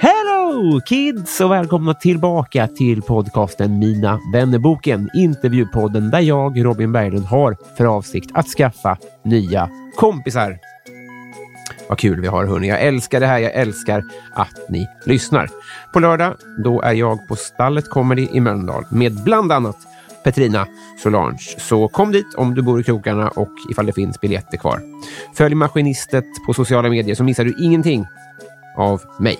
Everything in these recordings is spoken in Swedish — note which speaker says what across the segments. Speaker 1: Hello kids och välkomna tillbaka till podcasten Mina vännerboken. Intervjupodden där jag, Robin Berglund, har för avsikt att skaffa nya kompisar. Vad kul vi har hörni. Jag älskar det här. Jag älskar att ni lyssnar. På lördag, då är jag på Stallet Comedy i Mölndal med bland annat Petrina Solange. Så kom dit om du bor i krokarna och ifall det finns biljetter kvar. Följ Maskinistet på sociala medier så missar du ingenting av mig.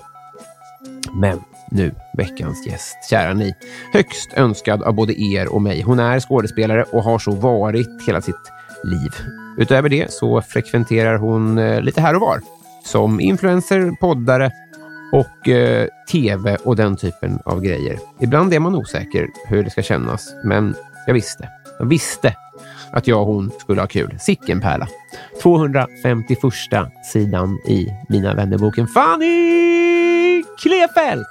Speaker 1: Men nu veckans gäst, kära ni. Högst önskad av både er och mig. Hon är skådespelare och har så varit hela sitt liv. Utöver det så frekventerar hon eh, lite här och var. Som influencer, poddare och eh, tv och den typen av grejer. Ibland är man osäker hur det ska kännas, men jag visste. Jag visste att jag och hon skulle ha kul. Sicken pärla. 251 sidan i Mina vännerboken. Fanny Klefelt!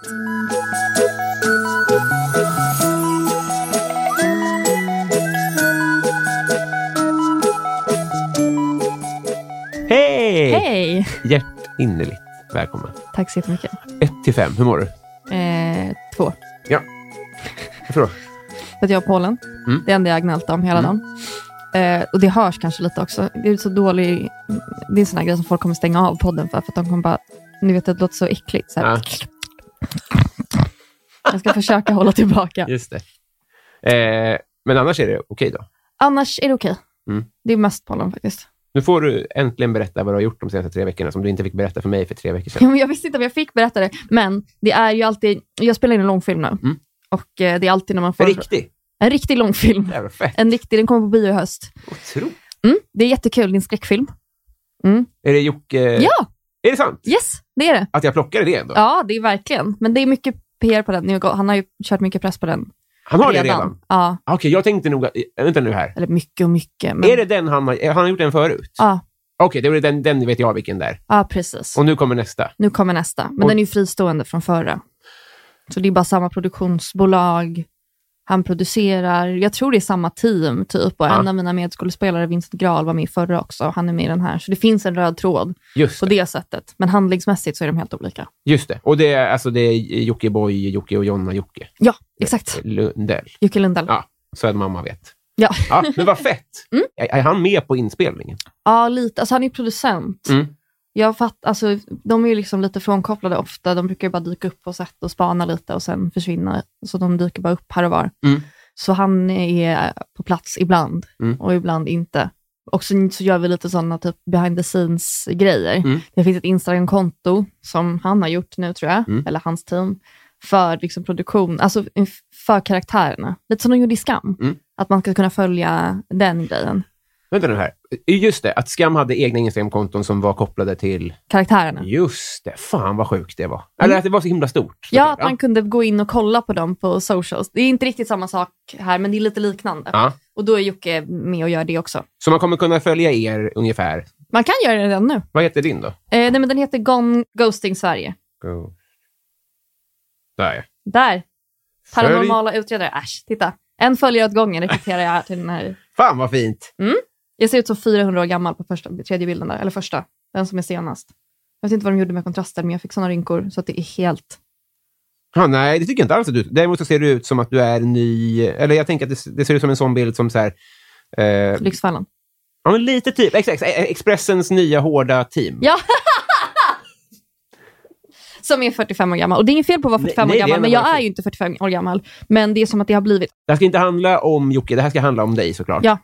Speaker 1: Hej!
Speaker 2: Hej!
Speaker 1: Hjärtinnerligt välkommen.
Speaker 2: Tack så jättemycket.
Speaker 1: 1 till 5, hur mår du?
Speaker 2: Eh, två.
Speaker 1: Jag tror.
Speaker 2: För att jag har pollen.
Speaker 1: Mm.
Speaker 2: Det är enda jag gnältar om hela
Speaker 1: Mm.
Speaker 2: dagen. Eh, och det hörs kanske lite också. Det är så dålig... Det är en sån här grej som folk kommer stänga av podden för. För att de kommer bara... Ni vet, det låter så äckligt. Så här.
Speaker 1: Ja.
Speaker 2: Jag ska försöka hålla tillbaka.
Speaker 1: Just det. Eh, men annars är det okej då.
Speaker 2: Annars är det okej.
Speaker 1: Mm.
Speaker 2: Det är mest pollen faktiskt.
Speaker 1: Nu får du äntligen berätta vad du har gjort de senaste tre veckorna som du inte fick berätta för mig för tre veckor sedan.
Speaker 2: Ja, men jag visste inte om jag fick berätta det, men det är ju alltid... Jag spelar in en långfilm nu.
Speaker 1: Mm.
Speaker 2: Och eh, det är alltid när man
Speaker 1: För
Speaker 2: får...
Speaker 1: riktigt?
Speaker 2: En riktig långfilm.
Speaker 1: Jävla fett.
Speaker 2: En riktig, den kommer på bio i höst.
Speaker 1: Otroligt.
Speaker 2: Mm, det är jättekul, din skräckfilm.
Speaker 1: Är det Jocke?
Speaker 2: Ja,
Speaker 1: Är det sant?
Speaker 2: yes, det är det.
Speaker 1: Att jag plockade det ändå?
Speaker 2: Ja, det är verkligen. Men det är mycket PR på den. Nu går- Han har ju kört mycket press på den
Speaker 1: Han har det redan?
Speaker 2: Ja,
Speaker 1: Ah, Okej, jag tänkte nog att... eh, Vänta nu här.
Speaker 2: eller mycket och mycket. Men...
Speaker 1: Är det den han har... eh, Han har gjort den förut?
Speaker 2: Ja.
Speaker 1: Okej, det var den, den vet jag vilken där.
Speaker 2: Ja, precis.
Speaker 1: Och nu kommer nästa.
Speaker 2: Nu kommer nästa. Men
Speaker 1: Och-
Speaker 2: den är ju fristående från förra. Så det är bara samma produktionsbolag. Han producerar. Jag tror det är samma team, typ. Och
Speaker 1: Ja.
Speaker 2: en av mina medskådespelare, Vincent Graal, var med i förra också. Och han är med i den här. Så det finns en röd tråd
Speaker 1: Just
Speaker 2: på
Speaker 1: det.
Speaker 2: det sättet. Men handlingsmässigt så är de helt olika.
Speaker 1: Just det. Och det är, alltså, det är Jockiboi, Jocke och Jonna-Jocke
Speaker 2: Ja, exakt.
Speaker 1: Lundell.
Speaker 2: Jocke Lundell.
Speaker 1: Ja. Så att mamma vet.
Speaker 2: Ja.
Speaker 1: Ja, men vad fett!
Speaker 2: Mm.
Speaker 1: Är är han med på inspelningen?
Speaker 2: Ja, lite. Alltså han är ju producent.
Speaker 1: Mm.
Speaker 2: Jag fatt, alltså, de är ju liksom lite frånkopplade ofta. De brukar ju bara dyka upp på sätt och spana lite och sen försvinna. Så de dyker bara upp här och var.
Speaker 1: Mm.
Speaker 2: Så han är på plats ibland
Speaker 1: Mm.
Speaker 2: och ibland inte. Och sen så gör vi lite sådana typ behind the scenes-grejer.
Speaker 1: Mm.
Speaker 2: Det finns ett Instagram-konto som han har gjort nu tror jag,
Speaker 1: Mm.
Speaker 2: eller hans team, för liksom produktion, alltså för karaktärerna. Lite som de gjorde i Skam,
Speaker 1: Mm.
Speaker 2: att man ska kunna följa den grejen,
Speaker 1: Vänta nu här. Eh, Just det, att Skam hade egna Instagram-konton som var kopplade till...
Speaker 2: karaktärerna.
Speaker 1: Just det, fan vad sjukt det var. Eller att det var så himla stort.
Speaker 2: Mm. Ja, att man kunde gå in och kolla på dem på socials. Det är inte riktigt samma sak här, men det är lite liknande.
Speaker 1: Ja.
Speaker 2: Och då är Jocke med och gör det också.
Speaker 1: Så man kommer kunna följa er ungefär.
Speaker 2: Man kan göra det redan nu. Eh,
Speaker 1: Vad heter din då?
Speaker 2: nej, men den heter Gone Ghosting Sverige.
Speaker 1: Go. Där ja.
Speaker 2: Där.
Speaker 1: Följ-
Speaker 2: Paranormala utredare. Äsch, titta. En följare åt gången rekryterar jag till den här.
Speaker 1: Fan vad fint!
Speaker 2: Mm. Jag ser ut som 400 år gammal på första, tredje bilden där, eller första, den som är senast. Jag vet inte vad de gjorde med kontraster, men jag fick såna rynkor så att det är helt...
Speaker 1: Ja, nej, det tycker jag inte alls att du Däremot så ser du ut som att du är ny. Eller jag tänker att det, det ser ut som en sån bild som så här... Eh,
Speaker 2: Lyxfällan.
Speaker 1: ja, men lite typ. Exakt. Expressens nya hårda team.
Speaker 2: Ja! Som är 45 år gammal. Och det är inget fel på att vara
Speaker 1: Nej,
Speaker 2: 45
Speaker 1: nej,
Speaker 2: år
Speaker 1: det är
Speaker 2: gammal,
Speaker 1: en
Speaker 2: men jag
Speaker 1: annan
Speaker 2: är ju inte 45 år gammal. Men det är som att det har blivit.
Speaker 1: Det här ska inte handla om Jocke, det här ska handla om dig såklart.
Speaker 2: Ja.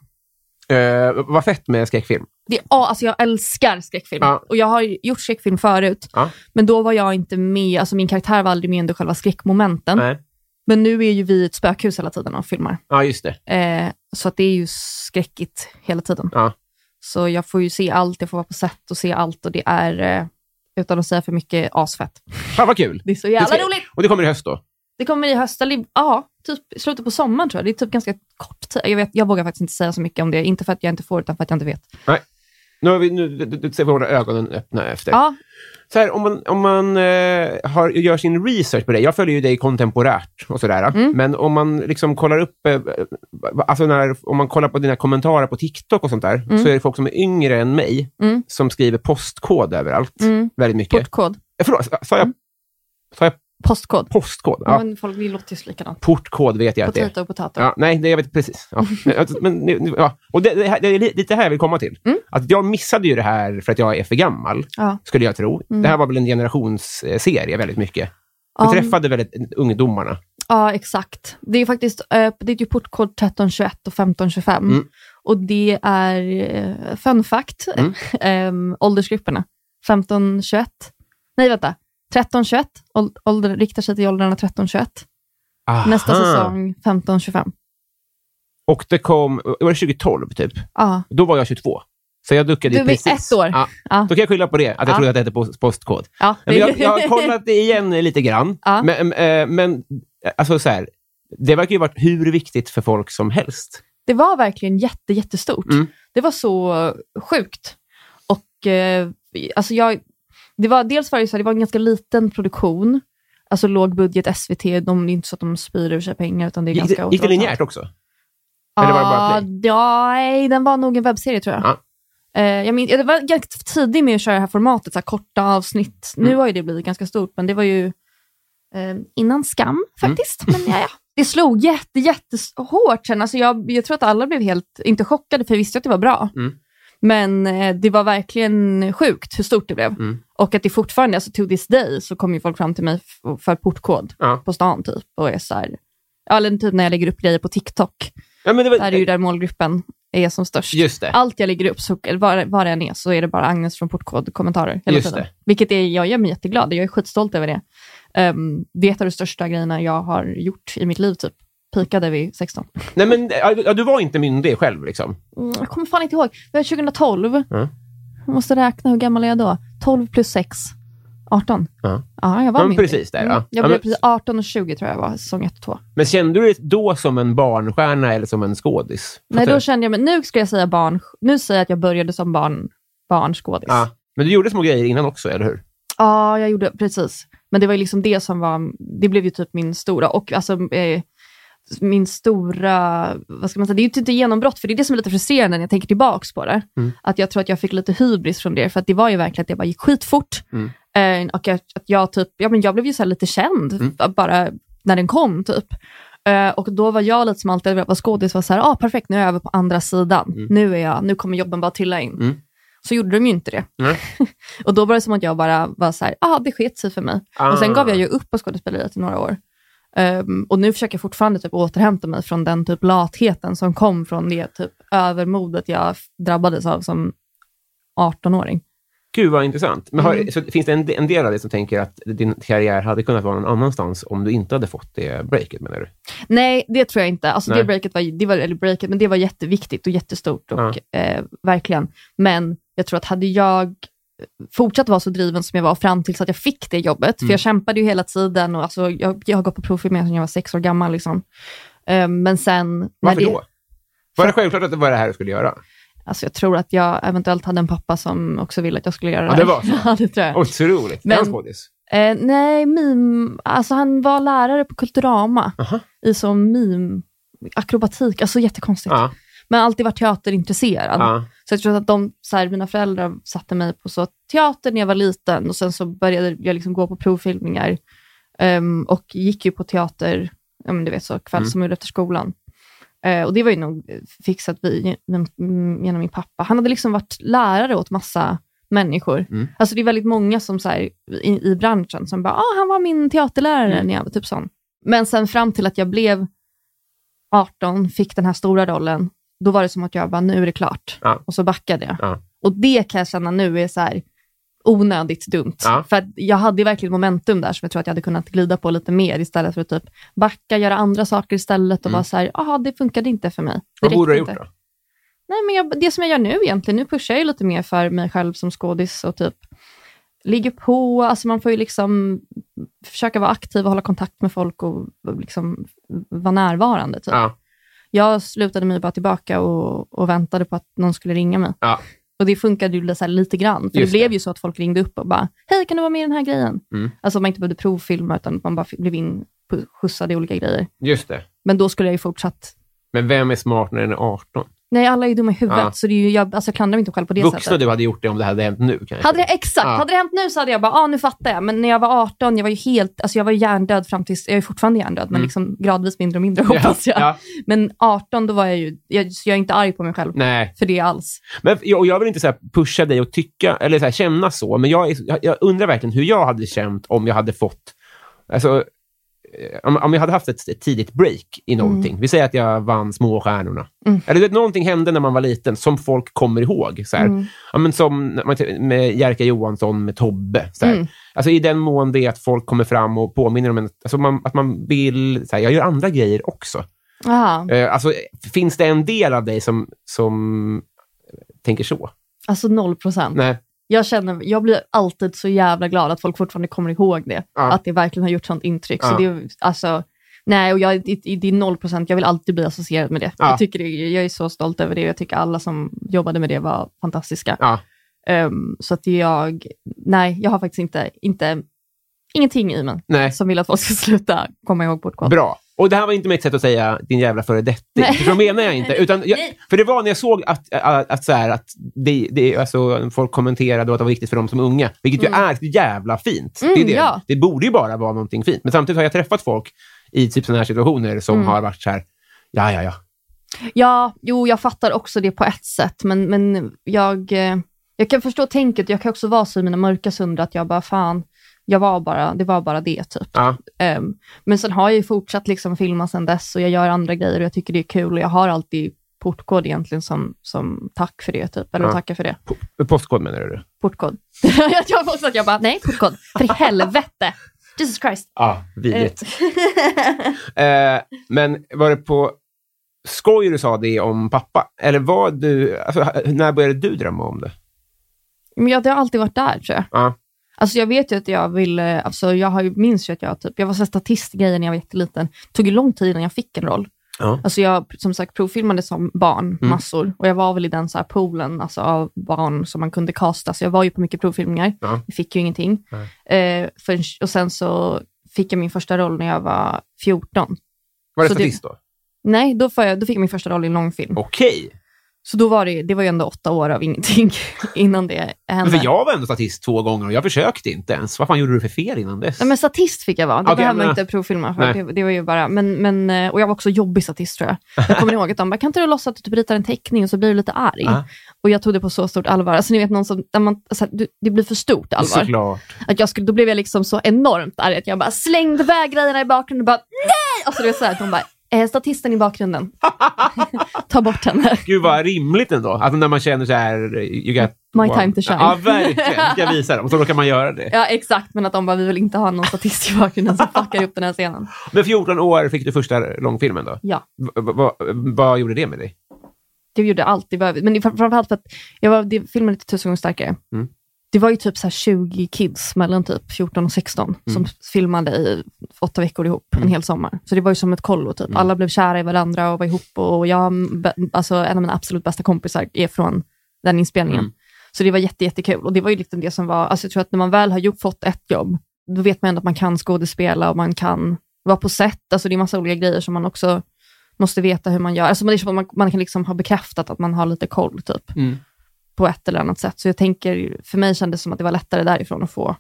Speaker 1: Eh, vad fett med skräckfilm.
Speaker 2: Det, ja, alltså jag älskar skräckfilm.
Speaker 1: Ja.
Speaker 2: Och jag har ju gjort skräckfilm förut,
Speaker 1: Ja.
Speaker 2: men då var jag inte med. Alltså min karaktär var aldrig med under själva skräckmomenten.
Speaker 1: Nej.
Speaker 2: Men nu är ju vi ett spökhus hela tiden och filmar.
Speaker 1: Ja, just det.
Speaker 2: Eh, så att det är ju skräckigt hela tiden.
Speaker 1: Ja.
Speaker 2: Så jag får ju se allt, jag får vara på set och se allt och det är, eh, utan att säga för mycket, asfett.
Speaker 1: Fan vad kul!
Speaker 2: Det är så jävla
Speaker 1: Det ska-
Speaker 2: roligt!
Speaker 1: Och det kommer i höst då?
Speaker 2: Det kommer i höst, eller i- ja, typ i slutet på sommaren tror jag. Det är typ ganska kort tid. Jag, vet, jag vågar faktiskt inte säga så mycket om det. Inte för att jag inte får, utan för att jag inte vet.
Speaker 1: Nu, har vi, nu du, du ser våra ögonen öppna efter.
Speaker 2: Ja,
Speaker 1: Så här, om man, om man eh, har, gör sin research på dig. Jag följer ju dig kontemporärt och sådär.
Speaker 2: Mm.
Speaker 1: Men om man liksom kollar upp, eh, alltså när, om man kollar på dina kommentarer på TikTok och sånt där, så är det folk som är yngre än mig
Speaker 2: Mm.
Speaker 1: som skriver postkod överallt.
Speaker 2: Mm.
Speaker 1: Väldigt mycket.
Speaker 2: portkod.
Speaker 1: Eh, Förlåt, sa jag, sa jag
Speaker 2: Postkod.
Speaker 1: postkod?
Speaker 2: Ja.
Speaker 1: Ja.
Speaker 2: Men folk, det låter ju så likadant.
Speaker 1: Portkod vet jag att det är.
Speaker 2: Potato och potato.
Speaker 1: Ja, nej, det, jag vet precis. Ja. Men- Men, nu- nu- ja. Och det, det, här- det är li- lite här jag vill komma till.
Speaker 2: Mm.
Speaker 1: Att jag missade ju det här för att jag är för gammal,
Speaker 2: Ja. Mm.
Speaker 1: skulle jag tro. Det här var väl en generationsserie väldigt mycket. Du
Speaker 2: Ja,
Speaker 1: träffade väldigt ungdomarna.
Speaker 2: Ja, exakt. Det är ju faktiskt eh, det är ju portkod 1321 och 1525.
Speaker 1: Mm.
Speaker 2: Och det är, eh, fun fact,
Speaker 1: Mm.
Speaker 2: ehm, åldersgrupperna. 1521, nej vänta, 1321 åld- ålder, riktar sig till åldrarna 1321. Nästa
Speaker 1: Aha.
Speaker 2: säsong 1525.
Speaker 1: Och det kom, var det 2012 typ?
Speaker 2: Ja,
Speaker 1: Då var jag 22. Så jag duckade
Speaker 2: Du
Speaker 1: ju
Speaker 2: var
Speaker 1: precis.
Speaker 2: ett år.
Speaker 1: Ja.
Speaker 2: Ja.
Speaker 1: Då kan jag skylla på det, att jag
Speaker 2: Ja.
Speaker 1: trodde att det hette post- postkod.
Speaker 2: ja.
Speaker 1: Men jag, jag har kollat det igen lite grann.
Speaker 2: Ja.
Speaker 1: Men, eh, men alltså så här, det verkar ju varit hur viktigt för folk som helst.
Speaker 2: Det var verkligen jätte, jättestort.
Speaker 1: Mm.
Speaker 2: Det var så sjukt. Och eh, alltså jag, det var, dels var det, så här, det var en ganska liten produktion, alltså låg budget SVT, de, det är inte så att de spyr ur sig pengar. Utan det är
Speaker 1: Gick
Speaker 2: ganska
Speaker 1: det, gick det
Speaker 2: återhållsamt.
Speaker 1: linjärt också? Eller var det bara play?
Speaker 2: Ja, Ah, nej, den var nog en webbserie tror jag.
Speaker 1: Ja.
Speaker 2: Eh, jag, min, jag var ganska tidig med att köra det här formatet, så här korta avsnitt. Nu
Speaker 1: Mm.
Speaker 2: har ju det blivit ganska stort, men det var ju eh, innan Skam
Speaker 1: Mm.
Speaker 2: faktiskt. Men ja, ja. Det slog jätte, jättehårt sen. Alltså jag, jag tror att alla blev helt, inte chockade, för jag visste att det var bra.
Speaker 1: Mm.
Speaker 2: Men eh, det var verkligen sjukt hur stort det blev.
Speaker 1: Mm.
Speaker 2: Och att det fortfarande, alltså to this day, så kommer ju folk fram till mig f- för portkod
Speaker 1: Ja.
Speaker 2: på stan typ. Och är så här, ja, eller typ när jag lägger upp grejer på TikTok.
Speaker 1: Ja, men det var,
Speaker 2: Där är ju där målgruppen är som störst.
Speaker 1: Just det.
Speaker 2: Allt jag lägger upp, så, eller var, var det än är, så är det bara Agnes från Portkod-kommentarer hela
Speaker 1: Just
Speaker 2: tiden.
Speaker 1: det.
Speaker 2: Vilket är, jag gör mig jätteglad. Jag är skitstolt över det. Ehm, det är ett av de största grejerna jag har gjort i mitt liv, typ. Pikade vid 16.
Speaker 1: Nej, men, ja, du var inte myndig själv. Liksom.
Speaker 2: Mm, jag kommer fan inte ihåg. Det var 2012.
Speaker 1: Mm.
Speaker 2: Jag måste räkna, hur gammal är jag då? 12 plus 6. 18.
Speaker 1: Ja.
Speaker 2: Ja, jag var
Speaker 1: Ja, men
Speaker 2: myndig.
Speaker 1: precis där, ja.
Speaker 2: Mm, jag
Speaker 1: Ja,
Speaker 2: blev
Speaker 1: men-
Speaker 2: precis 18 och 20 tror jag var, säsong 1 och 2.
Speaker 1: Men kände du dig då som en barnstjärna eller som en skådis?
Speaker 2: Nej,
Speaker 1: Fattar
Speaker 2: då
Speaker 1: du?
Speaker 2: kände jag mig, nu ska jag säga barn, nu säger jag att jag började som barn, barnskådis.
Speaker 1: ja. Men du gjorde små grejer innan också, eller hur?
Speaker 2: Ja, jag gjorde precis. Men det var ju liksom det som var, det blev ju typ min stora, och alltså eh, min stora, vad ska man säga, det är ju typ inte genombrott, för det är det som är lite frustrerande när jag tänker tillbaks på det.
Speaker 1: Mm.
Speaker 2: Att jag tror att jag fick lite hybris från det, för att det var ju verkligen att det bara gick skitfort.
Speaker 1: Mm.
Speaker 2: Eh, och att, att jag typ, ja men jag blev ju så här lite känd,
Speaker 1: Mm.
Speaker 2: b- bara när den kom typ. Eh, och då var jag lite som alltid hade velat vara skådis, var så här, ah, perfekt, nu är jag över på andra sidan. Nu är jag, nu kommer jobben bara trilla in.
Speaker 1: Mm.
Speaker 2: Så gjorde de ju inte det.
Speaker 1: Nej.
Speaker 2: Och då var det som att jag bara var så här, ah, det sket sig för mig. Och sen
Speaker 1: Ah.
Speaker 2: gav jag ju upp på skådespeleriet i några år. Ehm, och nu försöker jag fortfarande typ återhämta mig från den typ latheten som kom från det typ övermodet jag f- drabbades av som 18-åring.
Speaker 1: Gud, vad intressant. Men har,
Speaker 2: Mm.
Speaker 1: så finns det en, en del av dig som tänker att din karriär hade kunnat vara någon annanstans om du inte hade fått det breaket, menar du?
Speaker 2: Nej, det tror jag inte. Alltså det
Speaker 1: Nej.
Speaker 2: breaket var, det var, eller breaket, men det var jätteviktigt och jättestort. Och, eh, verkligen. Men jag tror att hade jag fortsatt vara så driven som jag var fram tills att jag fick det jobbet,
Speaker 1: Mm.
Speaker 2: för jag kämpade ju hela tiden och alltså, jag, jag har gått på provfilm sedan jag var sex år gammal. Liksom. Eh, men sen... när
Speaker 1: Varför
Speaker 2: det,
Speaker 1: då? Var det självklart att det var det här du skulle göra?
Speaker 2: Alltså jag tror att jag eventuellt hade en pappa som också ville att jag skulle göra det
Speaker 1: Ja, det var så.
Speaker 2: här. ja, det tror jag.
Speaker 1: Otroligt.
Speaker 2: Men-
Speaker 1: Men... En skådis.
Speaker 2: Eh, nej, mim, alltså han var lärare på Kulturama
Speaker 1: Aha.
Speaker 2: i som mim, akrobatik, alltså jättekonstigt.
Speaker 1: Ja.
Speaker 2: men alltid varit teaterintresserad.
Speaker 1: Ja.
Speaker 2: Så jag tror att de, så här, mina föräldrar satte mig på så teater när jag var liten och sen så började jag liksom gå på provfilmningar ehm, och gick ju på teater, ja, men du vet så, kväll
Speaker 1: Mm.
Speaker 2: som gjorde efter skolan. Eh, och det var ju nog eh, fixat vi, men- mm, genom min pappa. Han hade liksom varit lärare åt massa människor.
Speaker 1: Mm.
Speaker 2: Alltså det är väldigt många som så här, i, i branschen som bara, ah, han var min teaterlärare
Speaker 1: Mm.
Speaker 2: när jag var typ sån. Men sen fram till att jag blev 18, fick den här stora rollen, då var det som att jag bara, nu är det klart.
Speaker 1: Ja.
Speaker 2: Och så backade jag.
Speaker 1: Ja.
Speaker 2: Och det kan jag känna nu är så här onödigt dumt.
Speaker 1: Ja.
Speaker 2: För att jag hade ju verkligen momentum där som jag tror att jag hade kunnat glida på lite mer istället för att typ backa, göra andra saker istället och
Speaker 1: Mm.
Speaker 2: bara så här, jaha, det funkade inte för mig. Det
Speaker 1: Vad borde du ha
Speaker 2: räckte
Speaker 1: gjort
Speaker 2: inte.
Speaker 1: då?
Speaker 2: Nej, men jag, det som jag gör nu egentligen, nu pushar jag ju lite mer för mig själv som skådis och typ ligger på, alltså man får ju liksom försöka vara aktiv och hålla kontakt med folk och liksom vara närvarande. Typ.
Speaker 1: Ja.
Speaker 2: Jag slutade mig bara tillbaka och, och väntade på att någon skulle ringa mig.
Speaker 1: Ja.
Speaker 2: Och det funkade ju li- så här lite grann, för
Speaker 1: Just
Speaker 2: det blev
Speaker 1: det.
Speaker 2: ju så att folk ringde upp och bara, hej kan du vara med i den här grejen?
Speaker 1: Mm.
Speaker 2: Alltså man inte behövde provfilma, utan man bara fick- blev inskjutsad i olika grejer.
Speaker 1: Just det.
Speaker 2: Men då skulle jag ju fortsatt,
Speaker 1: Men vem är smart när den är 18?
Speaker 2: nej alla är ju dumma i huvudet,
Speaker 1: Ja.
Speaker 2: så det är ju, jag, alltså, jag klandrar mig inte själv på det sättet.
Speaker 1: Vuxna du hade gjort det om det hade hänt nu kanske?
Speaker 2: Hade det, exakt.
Speaker 1: Ja.
Speaker 2: Hade det hänt nu så hade jag bara, ah, nu fattar jag. Men när jag var 18, jag var ju helt, alltså jag var ju hjärndöd fram tills, jag är fortfarande hjärndöd, men
Speaker 1: Mm.
Speaker 2: liksom gradvis mindre och mindre hoppas jag.
Speaker 1: Ja.
Speaker 2: Men 18, då var jag ju, jag, så jag är inte arg på mig själv
Speaker 1: Nej,
Speaker 2: för det alls.
Speaker 1: men jag, och jag vill inte så här pusha dig att tycka eller så här känna så, men jag, är- jag, jag undrar verkligen hur jag hade känt om jag hade fått... Alltså, eh, om, om jag hade haft ett, ett tidigt break i någonting. Vi säger att jag vann Småstjärnorna.
Speaker 2: Mm.
Speaker 1: Eller du vet, någonting hände när man var liten som folk kommer ihåg. Så här.
Speaker 2: Mm.
Speaker 1: Ja, men som när man- med Jerka Johansson, med Tobbe. Så här.
Speaker 2: Mm.
Speaker 1: Alltså, I den mån det är att folk kommer fram och påminner om en, alltså man, att man vill... Så här, jag gör andra grejer också.
Speaker 2: Aha.
Speaker 1: Eh, alltså, finns det en del av dig som, som tänker så?
Speaker 2: Alltså noll procent.
Speaker 1: Nej.
Speaker 2: Jag, känner, jag blir alltid så jävla glad att folk fortfarande kommer ihåg det.
Speaker 1: Ja.
Speaker 2: Att det verkligen har gjort sånt intryck.
Speaker 1: Ja.
Speaker 2: Så det, är- alltså, nej, och jag, det, det är noll procent. Jag vill alltid bli associerad med det.
Speaker 1: Ja.
Speaker 2: Jag, tycker det. jag är så stolt över det. Jag tycker alla som jobbade med det var fantastiska.
Speaker 1: Ja.
Speaker 2: Ehm, så att jag, nej, jag har faktiskt inte, inte ingenting i mig
Speaker 1: Nej.
Speaker 2: som vill att folk ska sluta komma ihåg portkod.
Speaker 1: Bra. Och det här var inte mitt sätt att säga din jävla föredetting.
Speaker 2: Nej.
Speaker 1: För så menar jag inte. Utan jag,
Speaker 2: Nej.
Speaker 1: för det var när jag såg att, att, att, så här, att det, det, alltså, folk kommenterade och att det var viktigt för dem som unga, vilket ju är så jävla fint. det, är
Speaker 2: Mm,
Speaker 1: det.
Speaker 2: ja.
Speaker 1: det borde ju bara vara någonting fint. Men samtidigt har jag träffat folk i typ sådana här situationer som
Speaker 2: Mm.
Speaker 1: har varit så här, ja, ja, ja.
Speaker 2: Ja, jo, jag fattar också det på ett sätt, men, men jag, eh, jag kan förstå tänket. Jag kan också vara så i mina mörka stunder att jag bara, fan, jag var bara, det var bara det, typ.
Speaker 1: ja.
Speaker 2: Ehm, men sen har jag ju fortsatt liksom filma sen dess och jag gör andra grejer och jag tycker det är kul och jag har alltid portkod egentligen som, som tack för det, typ. Eller
Speaker 1: Ja.
Speaker 2: tacka för det.
Speaker 1: P- Postkod menar du?
Speaker 2: Portkod. jag var också att jag bara, nej, portkod. För i helvete. Jesus Christ.
Speaker 1: Ja, Ah, vidrigt. Eh, men var det på skoj du sa det om pappa? Eller var du, alltså, h- när började du drömma om det?
Speaker 2: Men jag, det har alltid varit där, tror jag.
Speaker 1: Ja.
Speaker 2: Alltså jag vet ju att jag ville, alltså jag har ju, minns ju att jag typ, jag var så här statistgrejen när jag var jätteliten. Det tog ju lång tid innan jag fick en roll.
Speaker 1: Ja. Mm.
Speaker 2: Alltså jag som sagt provfilmade som barn, massor. Och jag var väl i den så här poolen alltså av barn som man kunde kasta. Så jag var ju på mycket provfilmningar.
Speaker 1: Ja.
Speaker 2: Jag fick ju ingenting. Eh, förrän, och sen så fick jag min första roll när jag var 14.
Speaker 1: Var det
Speaker 2: Så det-
Speaker 1: statist då?
Speaker 2: Nej, då, får jag, då fick jag min första roll i en långfilm.
Speaker 1: Okej.
Speaker 2: Så då var det, det var ju ändå åtta år av ingenting innan det
Speaker 1: Men
Speaker 2: hände.
Speaker 1: För jag var ändå statist två gånger och jag försökte inte ens. Vad fan gjorde du för fel innan dess?
Speaker 2: Nej, men statist fick jag vara. Det
Speaker 1: Okej,
Speaker 2: behöver man
Speaker 1: men-
Speaker 2: inte provfilma för.
Speaker 1: Nej.
Speaker 2: Det, det var ju bara, men, men, eh, och jag var också jobbig statist tror jag. Jag kommer ihåg att de bara, kan inte du låtsas att du typ ritar en teckning och så blir du lite arg?
Speaker 1: Ja.
Speaker 2: Och jag tog det på så stort allvar. Alltså ni vet någon som, där man, så här, du, det blir för stort allvar.
Speaker 1: Såklart.
Speaker 2: Att jag skulle, då blev jag liksom så enormt arg att jag bara slängde iväg grejerna i bakgrunden och bara, nej! Alltså det var så här, att de bara, eh, statisten i bakgrunden. Ta bort henne.
Speaker 1: Gud vad rimligt ändå. Alltså när man känner så här, you got
Speaker 2: My
Speaker 1: one.
Speaker 2: time to shine.
Speaker 1: Ja, verkligen. Ska jag visa dem. Och så då kan man göra det.
Speaker 2: Ja, exakt. Men att de bara, vi vill inte ha någon statist i bakgrunden som fuckar upp den här scenen.
Speaker 1: Men 14 år fick du första långfilmen då.
Speaker 2: Ja.
Speaker 1: V- v- vad- vad gjorde det med dig?
Speaker 2: Det gjorde allt. Det var, men det- fram- framförallt för att jag var, det, filmen är lite tusen gånger starkare.
Speaker 1: Mm.
Speaker 2: Det var ju typ så här 20 kids mellan typ 14 och 16 som filmade i åtta veckor ihop en hel sommar. Så det var ju som ett kollo. Typ. Alla blev kära i varandra och var ihop. Och jag, alltså, en av mina absolut bästa kompisar är från den inspelningen. Så det var jätte, jättekul. Och det var ju liksom det som var, alltså, jag tror att när man väl har gjort, fått ett jobb, då vet man ändå att man kan skådespela och man kan vara på set. Alltså det är massa olika grejer som man också måste veta hur man gör. Alltså man, liksom, man, man kan liksom ha bekräftat att man har lite koll typ,
Speaker 1: Mm.
Speaker 2: på ett eller annat sätt. Så jag tänker, för mig kändes det som att det var lättare därifrån att få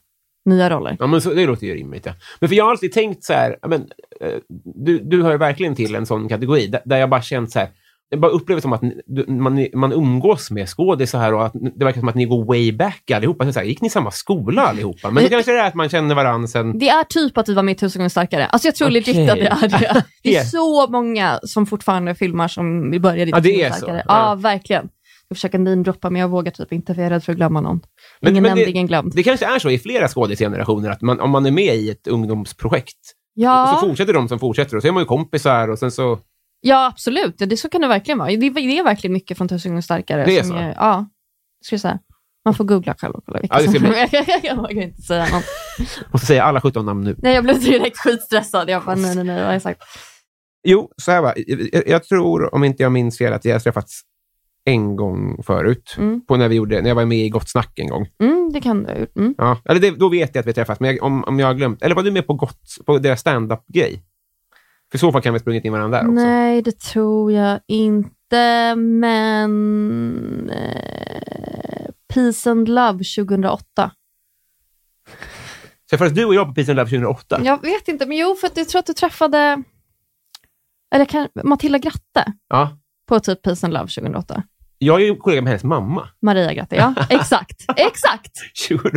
Speaker 2: nya roller.
Speaker 1: Ja, men så, det låter ju rimligt. Ja. Men för jag har alltid tänkt så här, ja, men, eh, du, du hör ju verkligen till en sån kategori där, där jag bara känt så här, jag bara upplever som att ni- du, man, man umgås med skådisar här och att det verkar som att ni går way back allihopa. Så här, gick ni i samma skola allihopa? Men då
Speaker 2: Men-
Speaker 1: kanske det är att man känner varandra sen...
Speaker 2: Det är typ att vi var med i Tusen gånger starkare. Alltså jag tror
Speaker 1: Okej.
Speaker 2: legit att det är det. Det
Speaker 1: Yeah.
Speaker 2: är så många som fortfarande filmar som vi började i
Speaker 1: Ja, det
Speaker 2: Tusen gånger
Speaker 1: är så.
Speaker 2: starkare.
Speaker 1: Ja.
Speaker 2: Ja, verkligen. Jag försöker namedroppa, men jag vågar typ inte, för jag är rädd för att glömma någon.
Speaker 1: Men-
Speaker 2: ingen
Speaker 1: men
Speaker 2: nämnd,
Speaker 1: det-
Speaker 2: ingen glömd.
Speaker 1: Det kanske är så i flera skådisgenerationer, att man, om man är med i ett ungdomsprojekt
Speaker 2: Ja.
Speaker 1: så fortsätter de som fortsätter och så är man ju kompisar och sen så...
Speaker 2: Ja, absolut. Ja, det, så kan det verkligen vara. Det, det är verkligen mycket från Tusen gånger starkare.
Speaker 1: Det är
Speaker 2: som
Speaker 1: så?
Speaker 2: ja, ska jag säga. Man får googla själv och kolla vilka
Speaker 1: Ja, det ska
Speaker 2: som...
Speaker 1: bli.
Speaker 2: Jag vågar inte säga något.
Speaker 1: Måste säga alla 17 namn nu.
Speaker 2: Nej, jag blev direkt skitstressad. Jag bara, nej, nej, nej, vad har jag sagt?
Speaker 1: Jo, så här va. Jag, jag tror, om inte jag minns fel, att jag har träffats en gång förut.
Speaker 2: Mm.
Speaker 1: På när, vi gjorde, när jag var med i Gott snack en gång.
Speaker 2: Mm, det kan du ha gjort. Mm.
Speaker 1: Ja. Eller det, då vet jag att vi har träffats, men jag, om, om jag har glömt. Eller var du med på, gott, på deras stand-up-grej? För i så fall kan vi ha sprungit in varandra där också.
Speaker 2: Nej, det tror jag inte, men... Eh, Peace and Love 2008.
Speaker 1: Så jag träffades du och jag på Peace and Love 2008.
Speaker 2: Jag vet inte, men jo, för att jag tror att du träffade... Eller kan, Matilda Gratte
Speaker 1: Ja.
Speaker 2: på typ Peace and Love 2008.
Speaker 1: Jag är ju kollega med hennes mamma.
Speaker 2: Maria Gratte, ja. Exakt. Exakt.
Speaker 1: 2008.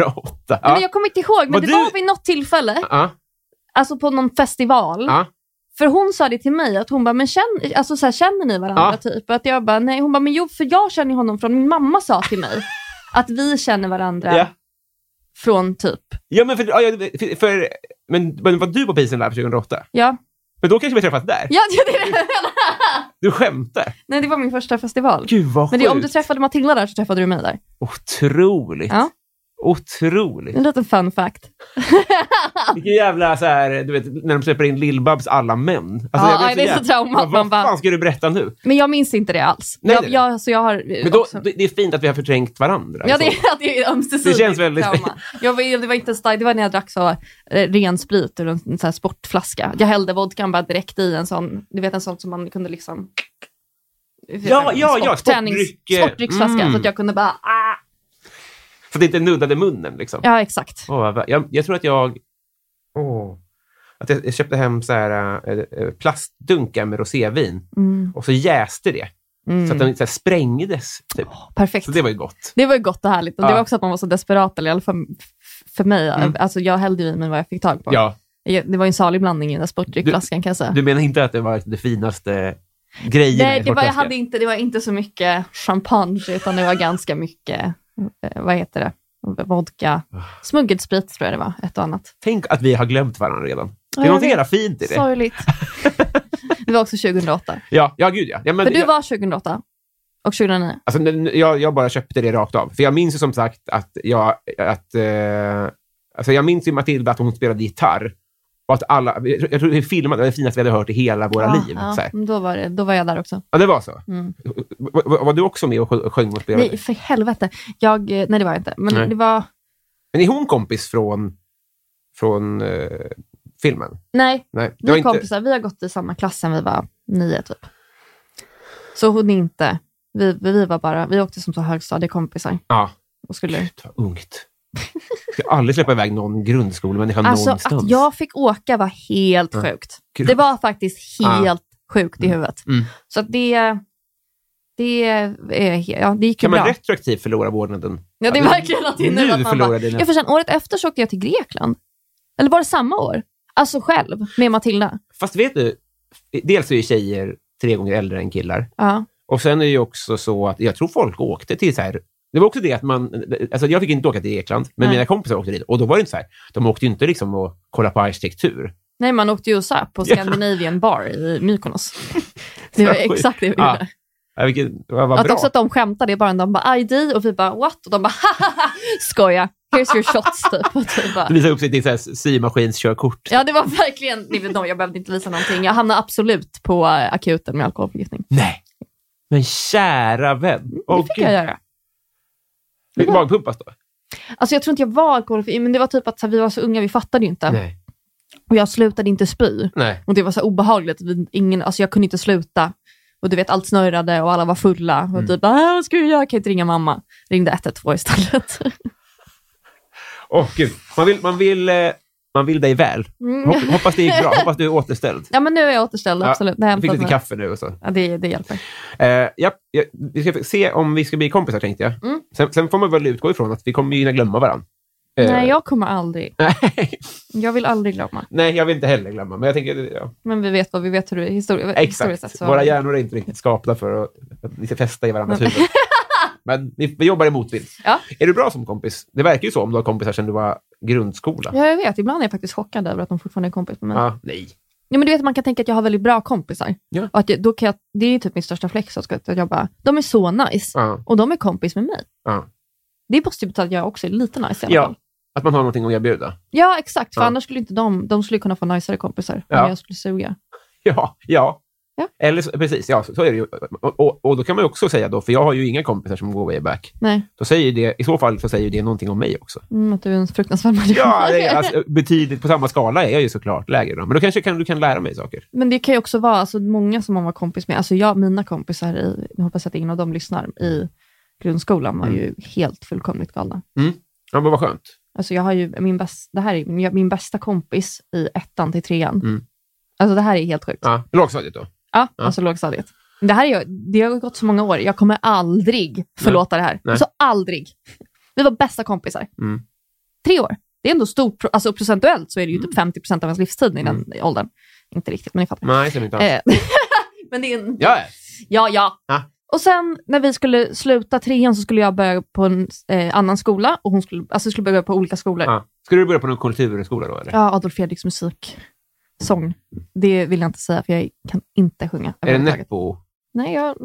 Speaker 1: Ja.
Speaker 2: Nej, men jag kommer inte ihåg, men
Speaker 1: Var
Speaker 2: det
Speaker 1: du-
Speaker 2: var vid något tillfälle,
Speaker 1: ja.
Speaker 2: alltså på någon festival.
Speaker 1: Ja.
Speaker 2: För hon sa det till mig, att hon bara, men känn, alltså, så här, känner ni varandra?
Speaker 1: Ja.
Speaker 2: Typ. Och att jag bara, nej. Hon bara, men jo, för jag känner ju honom från, min mamma sa till mig att vi känner varandra
Speaker 1: Ja.
Speaker 2: från typ,
Speaker 1: ja, men, för, ja, jag- för, för, men, men var du på Peace and Love 2008?
Speaker 2: ja.
Speaker 1: Men då kanske vi träffats där?
Speaker 2: ja det, är det.
Speaker 1: Du skämtar?
Speaker 2: Nej, det var min första festival.
Speaker 1: Gud vad
Speaker 2: Men det, om du
Speaker 1: sjukt.
Speaker 2: träffade Matilda där så träffade du mig där.
Speaker 1: Otroligt.
Speaker 2: Ja.
Speaker 1: Otroligt.
Speaker 2: En liten fun fact.
Speaker 1: Vilken jävla så här, du vet, när de släpper in Lill-Babs alla män. Alltså,
Speaker 2: Ja,
Speaker 1: jag blev
Speaker 2: aj, det är
Speaker 1: jävla-
Speaker 2: så traumat.
Speaker 1: Vad, vad
Speaker 2: Man bara-
Speaker 1: fan ska du berätta nu?
Speaker 2: Men jag minns inte det alls.
Speaker 1: Nej,
Speaker 2: jag,
Speaker 1: nej, nej.
Speaker 2: jag, så jag har, eh,
Speaker 1: Men då,
Speaker 2: också-
Speaker 1: det det är fint att vi har förträngt varandra. liksom.
Speaker 2: Ja,
Speaker 1: i så
Speaker 2: det,
Speaker 1: fall.
Speaker 2: ja, det är ömsesidigt
Speaker 1: Alltså, Det känns väldigt-
Speaker 2: trauma. Jag, var- det var inte en stark, det var när jag drack så eh, ren sprit ur en, en sån här sportflaska. Jag hällde vodkan bara direkt i en sån, du vet en sån som man kunde liksom...
Speaker 1: Ja, ja, ja,
Speaker 2: Sporttränings-
Speaker 1: sportdryck, eh,
Speaker 2: Sportdrycksflaska,
Speaker 1: mm.
Speaker 2: så att jag kunde bara... Ah.
Speaker 1: Så att det inte nuddade munnen. Liksom.
Speaker 2: Ja, exakt.
Speaker 1: Åh, vad vä- jag, jag tror att jag... Åh. Att jag, jag köpte hem så här, eh, eh, plastdunkar med rosévin
Speaker 2: Mm,
Speaker 1: och så jäste det så att
Speaker 2: mm.
Speaker 1: den så här, sprängdes. Typ.
Speaker 2: Perfekt.
Speaker 1: Så det var ju gott.
Speaker 2: Det var ju gott och härligt. Och
Speaker 1: Ja. Mm.
Speaker 2: Det var också att man var så desperat, eller i alla fall f- för mig. Alltså, jag hällde ju i mig vad jag fick tag på.
Speaker 1: Ja,
Speaker 2: Jag- Det var ju en salig blandning i den där sportdryckflaskan kan jag säga.
Speaker 1: du menar inte att det var det finaste grejen
Speaker 2: Nej,
Speaker 1: i
Speaker 2: det var, jag
Speaker 1: sportflaskan?
Speaker 2: hade inte, det var inte så mycket champagne, utan det var ganska mycket, eh, vad heter det, vodka. Smuggelsprit tror jag det var, ett och annat.
Speaker 1: Tänk att vi har glömt varandra redan. Det
Speaker 2: Ja,
Speaker 1: är
Speaker 2: jag
Speaker 1: någonting
Speaker 2: vet.
Speaker 1: jävla fint i det.
Speaker 2: Sorgligt. Det var också 2008.
Speaker 1: Ja, ja, gud ja. ja men,
Speaker 2: För du
Speaker 1: jag,
Speaker 2: var 2008 och 2009.
Speaker 1: alltså, n- n- jag, jag bara köpte det rakt av. För jag minns ju som sagt att jag... Att, eh, alltså jag minns ju Matilda att hon spelade gitarr. Och att alla, jag jag tror vi filmade, det var det finaste vi hade hört i hela våra liv.
Speaker 2: Ja,
Speaker 1: Så här.
Speaker 2: men då, var det, då var jag där också.
Speaker 1: ja, det var så.
Speaker 2: Mm.
Speaker 1: Var, var du också med och sjö- sjöng och spelade?
Speaker 2: Nej, för helvete. Jag, eh, nej, det var jag inte. Men
Speaker 1: Nej.
Speaker 2: det var...
Speaker 1: Men är hon kompis från, från eh, filmen?
Speaker 2: Nej,
Speaker 1: Nej, det
Speaker 2: vi
Speaker 1: var
Speaker 2: är
Speaker 1: inte...
Speaker 2: kompisar. Vi har gått i samma klass sen vi var nio, typ. Så hon inte. Vi, vi var bara... Vi åkte som så högstadiekompisar
Speaker 1: Ja.
Speaker 2: och skulle
Speaker 1: Ta ungt. Jag ska aldrig släppa iväg någon grundskolemänniska
Speaker 2: Alltså
Speaker 1: någonstans.
Speaker 2: att jag fick åka var helt
Speaker 1: Ja.
Speaker 2: sjukt.
Speaker 1: Gud.
Speaker 2: Det var faktiskt
Speaker 1: Ja.
Speaker 2: helt sjukt i huvudet.
Speaker 1: Mm.
Speaker 2: Så att det, det, är- ja, det gick ju
Speaker 1: Kan man
Speaker 2: bra.
Speaker 1: retroaktivt förlora vårdnaden?
Speaker 2: Ja, det är
Speaker 1: Ja,
Speaker 2: verkligen att det är
Speaker 1: nu
Speaker 2: nu att man
Speaker 1: förlorar
Speaker 2: bara...
Speaker 1: dina-
Speaker 2: Ja, för sen, året efter så åkte jag till Grekland. Eller var det samma år? Alltså själv, med Matilda.
Speaker 1: Fast vet du, dels är ju tjejer tre gånger äldre än killar.
Speaker 2: Ja.
Speaker 1: Och sen är det ju också så att jag tror folk åkte till så här... Det var också det att man... Alltså jag fick inte åka till Grekland, men
Speaker 2: Nej.
Speaker 1: mina kompisar åkte dit. Och då var det inte så här. De åkte ju inte liksom och kollade på arkitektur.
Speaker 2: Nej, man åkte ju och söp på
Speaker 1: Ja.
Speaker 2: Scandinavian Bar i Mykonos. Det var
Speaker 1: Sjukt.
Speaker 2: exakt det vi
Speaker 1: Ja,
Speaker 2: gjorde.
Speaker 1: Ja, vilket, Ah, vad, vad
Speaker 2: Att
Speaker 1: bra.
Speaker 2: också att de skämtar, det är bara de bara ID och vi bara what? Och de bara haha, skoja. Here's your shots typ. Och typ bara,
Speaker 1: De visade upp sitt till så här symaskinskörkort.
Speaker 2: Ja, det var verkligen... Nej, men jag behövde inte visa någonting. Jag hamnade absolut på eh, akuten med alkoholförgiftning.
Speaker 1: Nej! Men kära vän.
Speaker 2: Det
Speaker 1: Åh,
Speaker 2: fick
Speaker 1: gud.
Speaker 2: jag göra.
Speaker 1: Fick du magpumpas då?
Speaker 2: Alltså, jag tror inte jag var alkoholförgiftad, men det var typ att så här, vi var så unga, vi fattade ju inte.
Speaker 1: Nej.
Speaker 2: Och jag slutade inte spy.
Speaker 1: Nej.
Speaker 2: Och det var så obehagligt. Vi- Ingen, alltså jag kunde inte sluta. Och du vet, allt snurrade och alla var fulla.
Speaker 1: Mm.
Speaker 2: Och typ, "Ah, vad ska vi göra? Kan jag inte ringa mamma? Ringde 112 istället.
Speaker 1: Åh, gud. Man vill, man vill, eh, man vill dig väl. Hop- Hoppas det gick bra. Hoppas du är återställd.
Speaker 2: Mm, ja, men nu är jag återställd, absolut.
Speaker 1: Ja,
Speaker 2: Nej,
Speaker 1: jag fick lite
Speaker 2: men-
Speaker 1: kaffe nu och så.
Speaker 2: Ja, det, det hjälper.
Speaker 1: Eh, ja, ja, vi ska se om vi ska bli kompisar, tänkte jag.
Speaker 2: Mm.
Speaker 1: Sen, sen får man väl utgå ifrån att vi kommer ju hinna glömma Eh, varandra.
Speaker 2: Nej, jag kommer aldrig. Jag vill aldrig glömma.
Speaker 1: Nej, jag vill inte heller glömma, men jag tänker... Ja,
Speaker 2: Men vi vet vad vi vet hur det är histori- historiskt sett.
Speaker 1: exakt.
Speaker 2: så-
Speaker 1: Våra hjärnor är inte riktigt skapta för att, att vi ska fästa i varandras huvuden. Men vi, vi jobbar i motvind.
Speaker 2: Ja.
Speaker 1: Är du bra som kompis? Det verkar ju så om du har kompisar sedan du var grundskola.
Speaker 2: Ja, jag vet. Ibland är jag faktiskt chockad över att de fortfarande är kompis med mig.
Speaker 1: Ja, nej.
Speaker 2: Ja, men du vet, man kan tänka att jag har väldigt bra kompisar.
Speaker 1: Ja.
Speaker 2: Och att jag, då kan jag, det är ju typ min största flex. Att jag bara, de är så nice
Speaker 1: Ja,
Speaker 2: och de är kompis med mig.
Speaker 1: ja.
Speaker 2: Det måste ju betyda att jag också är lite nice i alla
Speaker 1: ja.
Speaker 2: fall.
Speaker 1: Att man har någonting att erbjuda.
Speaker 2: Ja, exakt. För
Speaker 1: Ja.
Speaker 2: annars skulle inte de, de skulle kunna få najsare kompisar
Speaker 1: Ja.
Speaker 2: om jag skulle suga.
Speaker 1: Ja, ja.
Speaker 2: Ja.
Speaker 1: Eller så, precis, ja, så, så är det ju. Och, och, och då kan man ju också säga då, för jag har ju inga kompisar som går way back.
Speaker 2: Nej,
Speaker 1: Då säger det, I så fall så säger det någonting om mig också.
Speaker 2: mm, att du är en fruktansvärd människa.
Speaker 1: Ja, det är, alltså, betydligt, på samma skala är jag ju såklart lägre. Då. Men då kanske kan, du kan lära mig saker.
Speaker 2: Men det kan ju också vara alltså, många som man var kompis med. Alltså jag, mina kompisar, i, nu hoppas jag att ingen av dem lyssnar, i grundskolan var
Speaker 1: Mm.
Speaker 2: ju helt fullkomligt galna.
Speaker 1: Ja, men vad skönt.
Speaker 2: Alltså jag har ju min, bäst, det här är min, min bästa kompis i ettan till trean.
Speaker 1: Mm.
Speaker 2: Alltså det här är helt sjukt. Ja,
Speaker 1: Ja, lågstadiet då. Ja.
Speaker 2: alltså lågstadiet. Det här är, ju- det har gått så många år. Jag kommer aldrig förlåta det här.
Speaker 1: Nej.
Speaker 2: Alltså aldrig. Vi var bästa kompisar.
Speaker 1: Mm.
Speaker 2: Tre år. Det är ändå stort. pro- Alltså procentuellt så är det
Speaker 1: Mm.
Speaker 2: ju typ 50 procent av ens livstid i den åldern. Inte riktigt, men ni fattar.
Speaker 1: Nej, sen inte alls.
Speaker 2: Eh, men det är en...
Speaker 1: Ja,
Speaker 2: Ja, ja.
Speaker 1: Ja.
Speaker 2: Och sen när vi skulle sluta trean så skulle jag börja på en eh, annan skola och hon skulle, alltså, vi skulle börja på olika skolor.
Speaker 1: ja. Skulle du börja på någon kulturskola då? Eller?
Speaker 2: Eh. Ja, Adolf Fredriks musik. Sång. Det vill jag inte säga, för jag kan inte sjunga.
Speaker 1: är det
Speaker 2: överhuvudtaget.
Speaker 1: Nepo?
Speaker 2: Nej, jag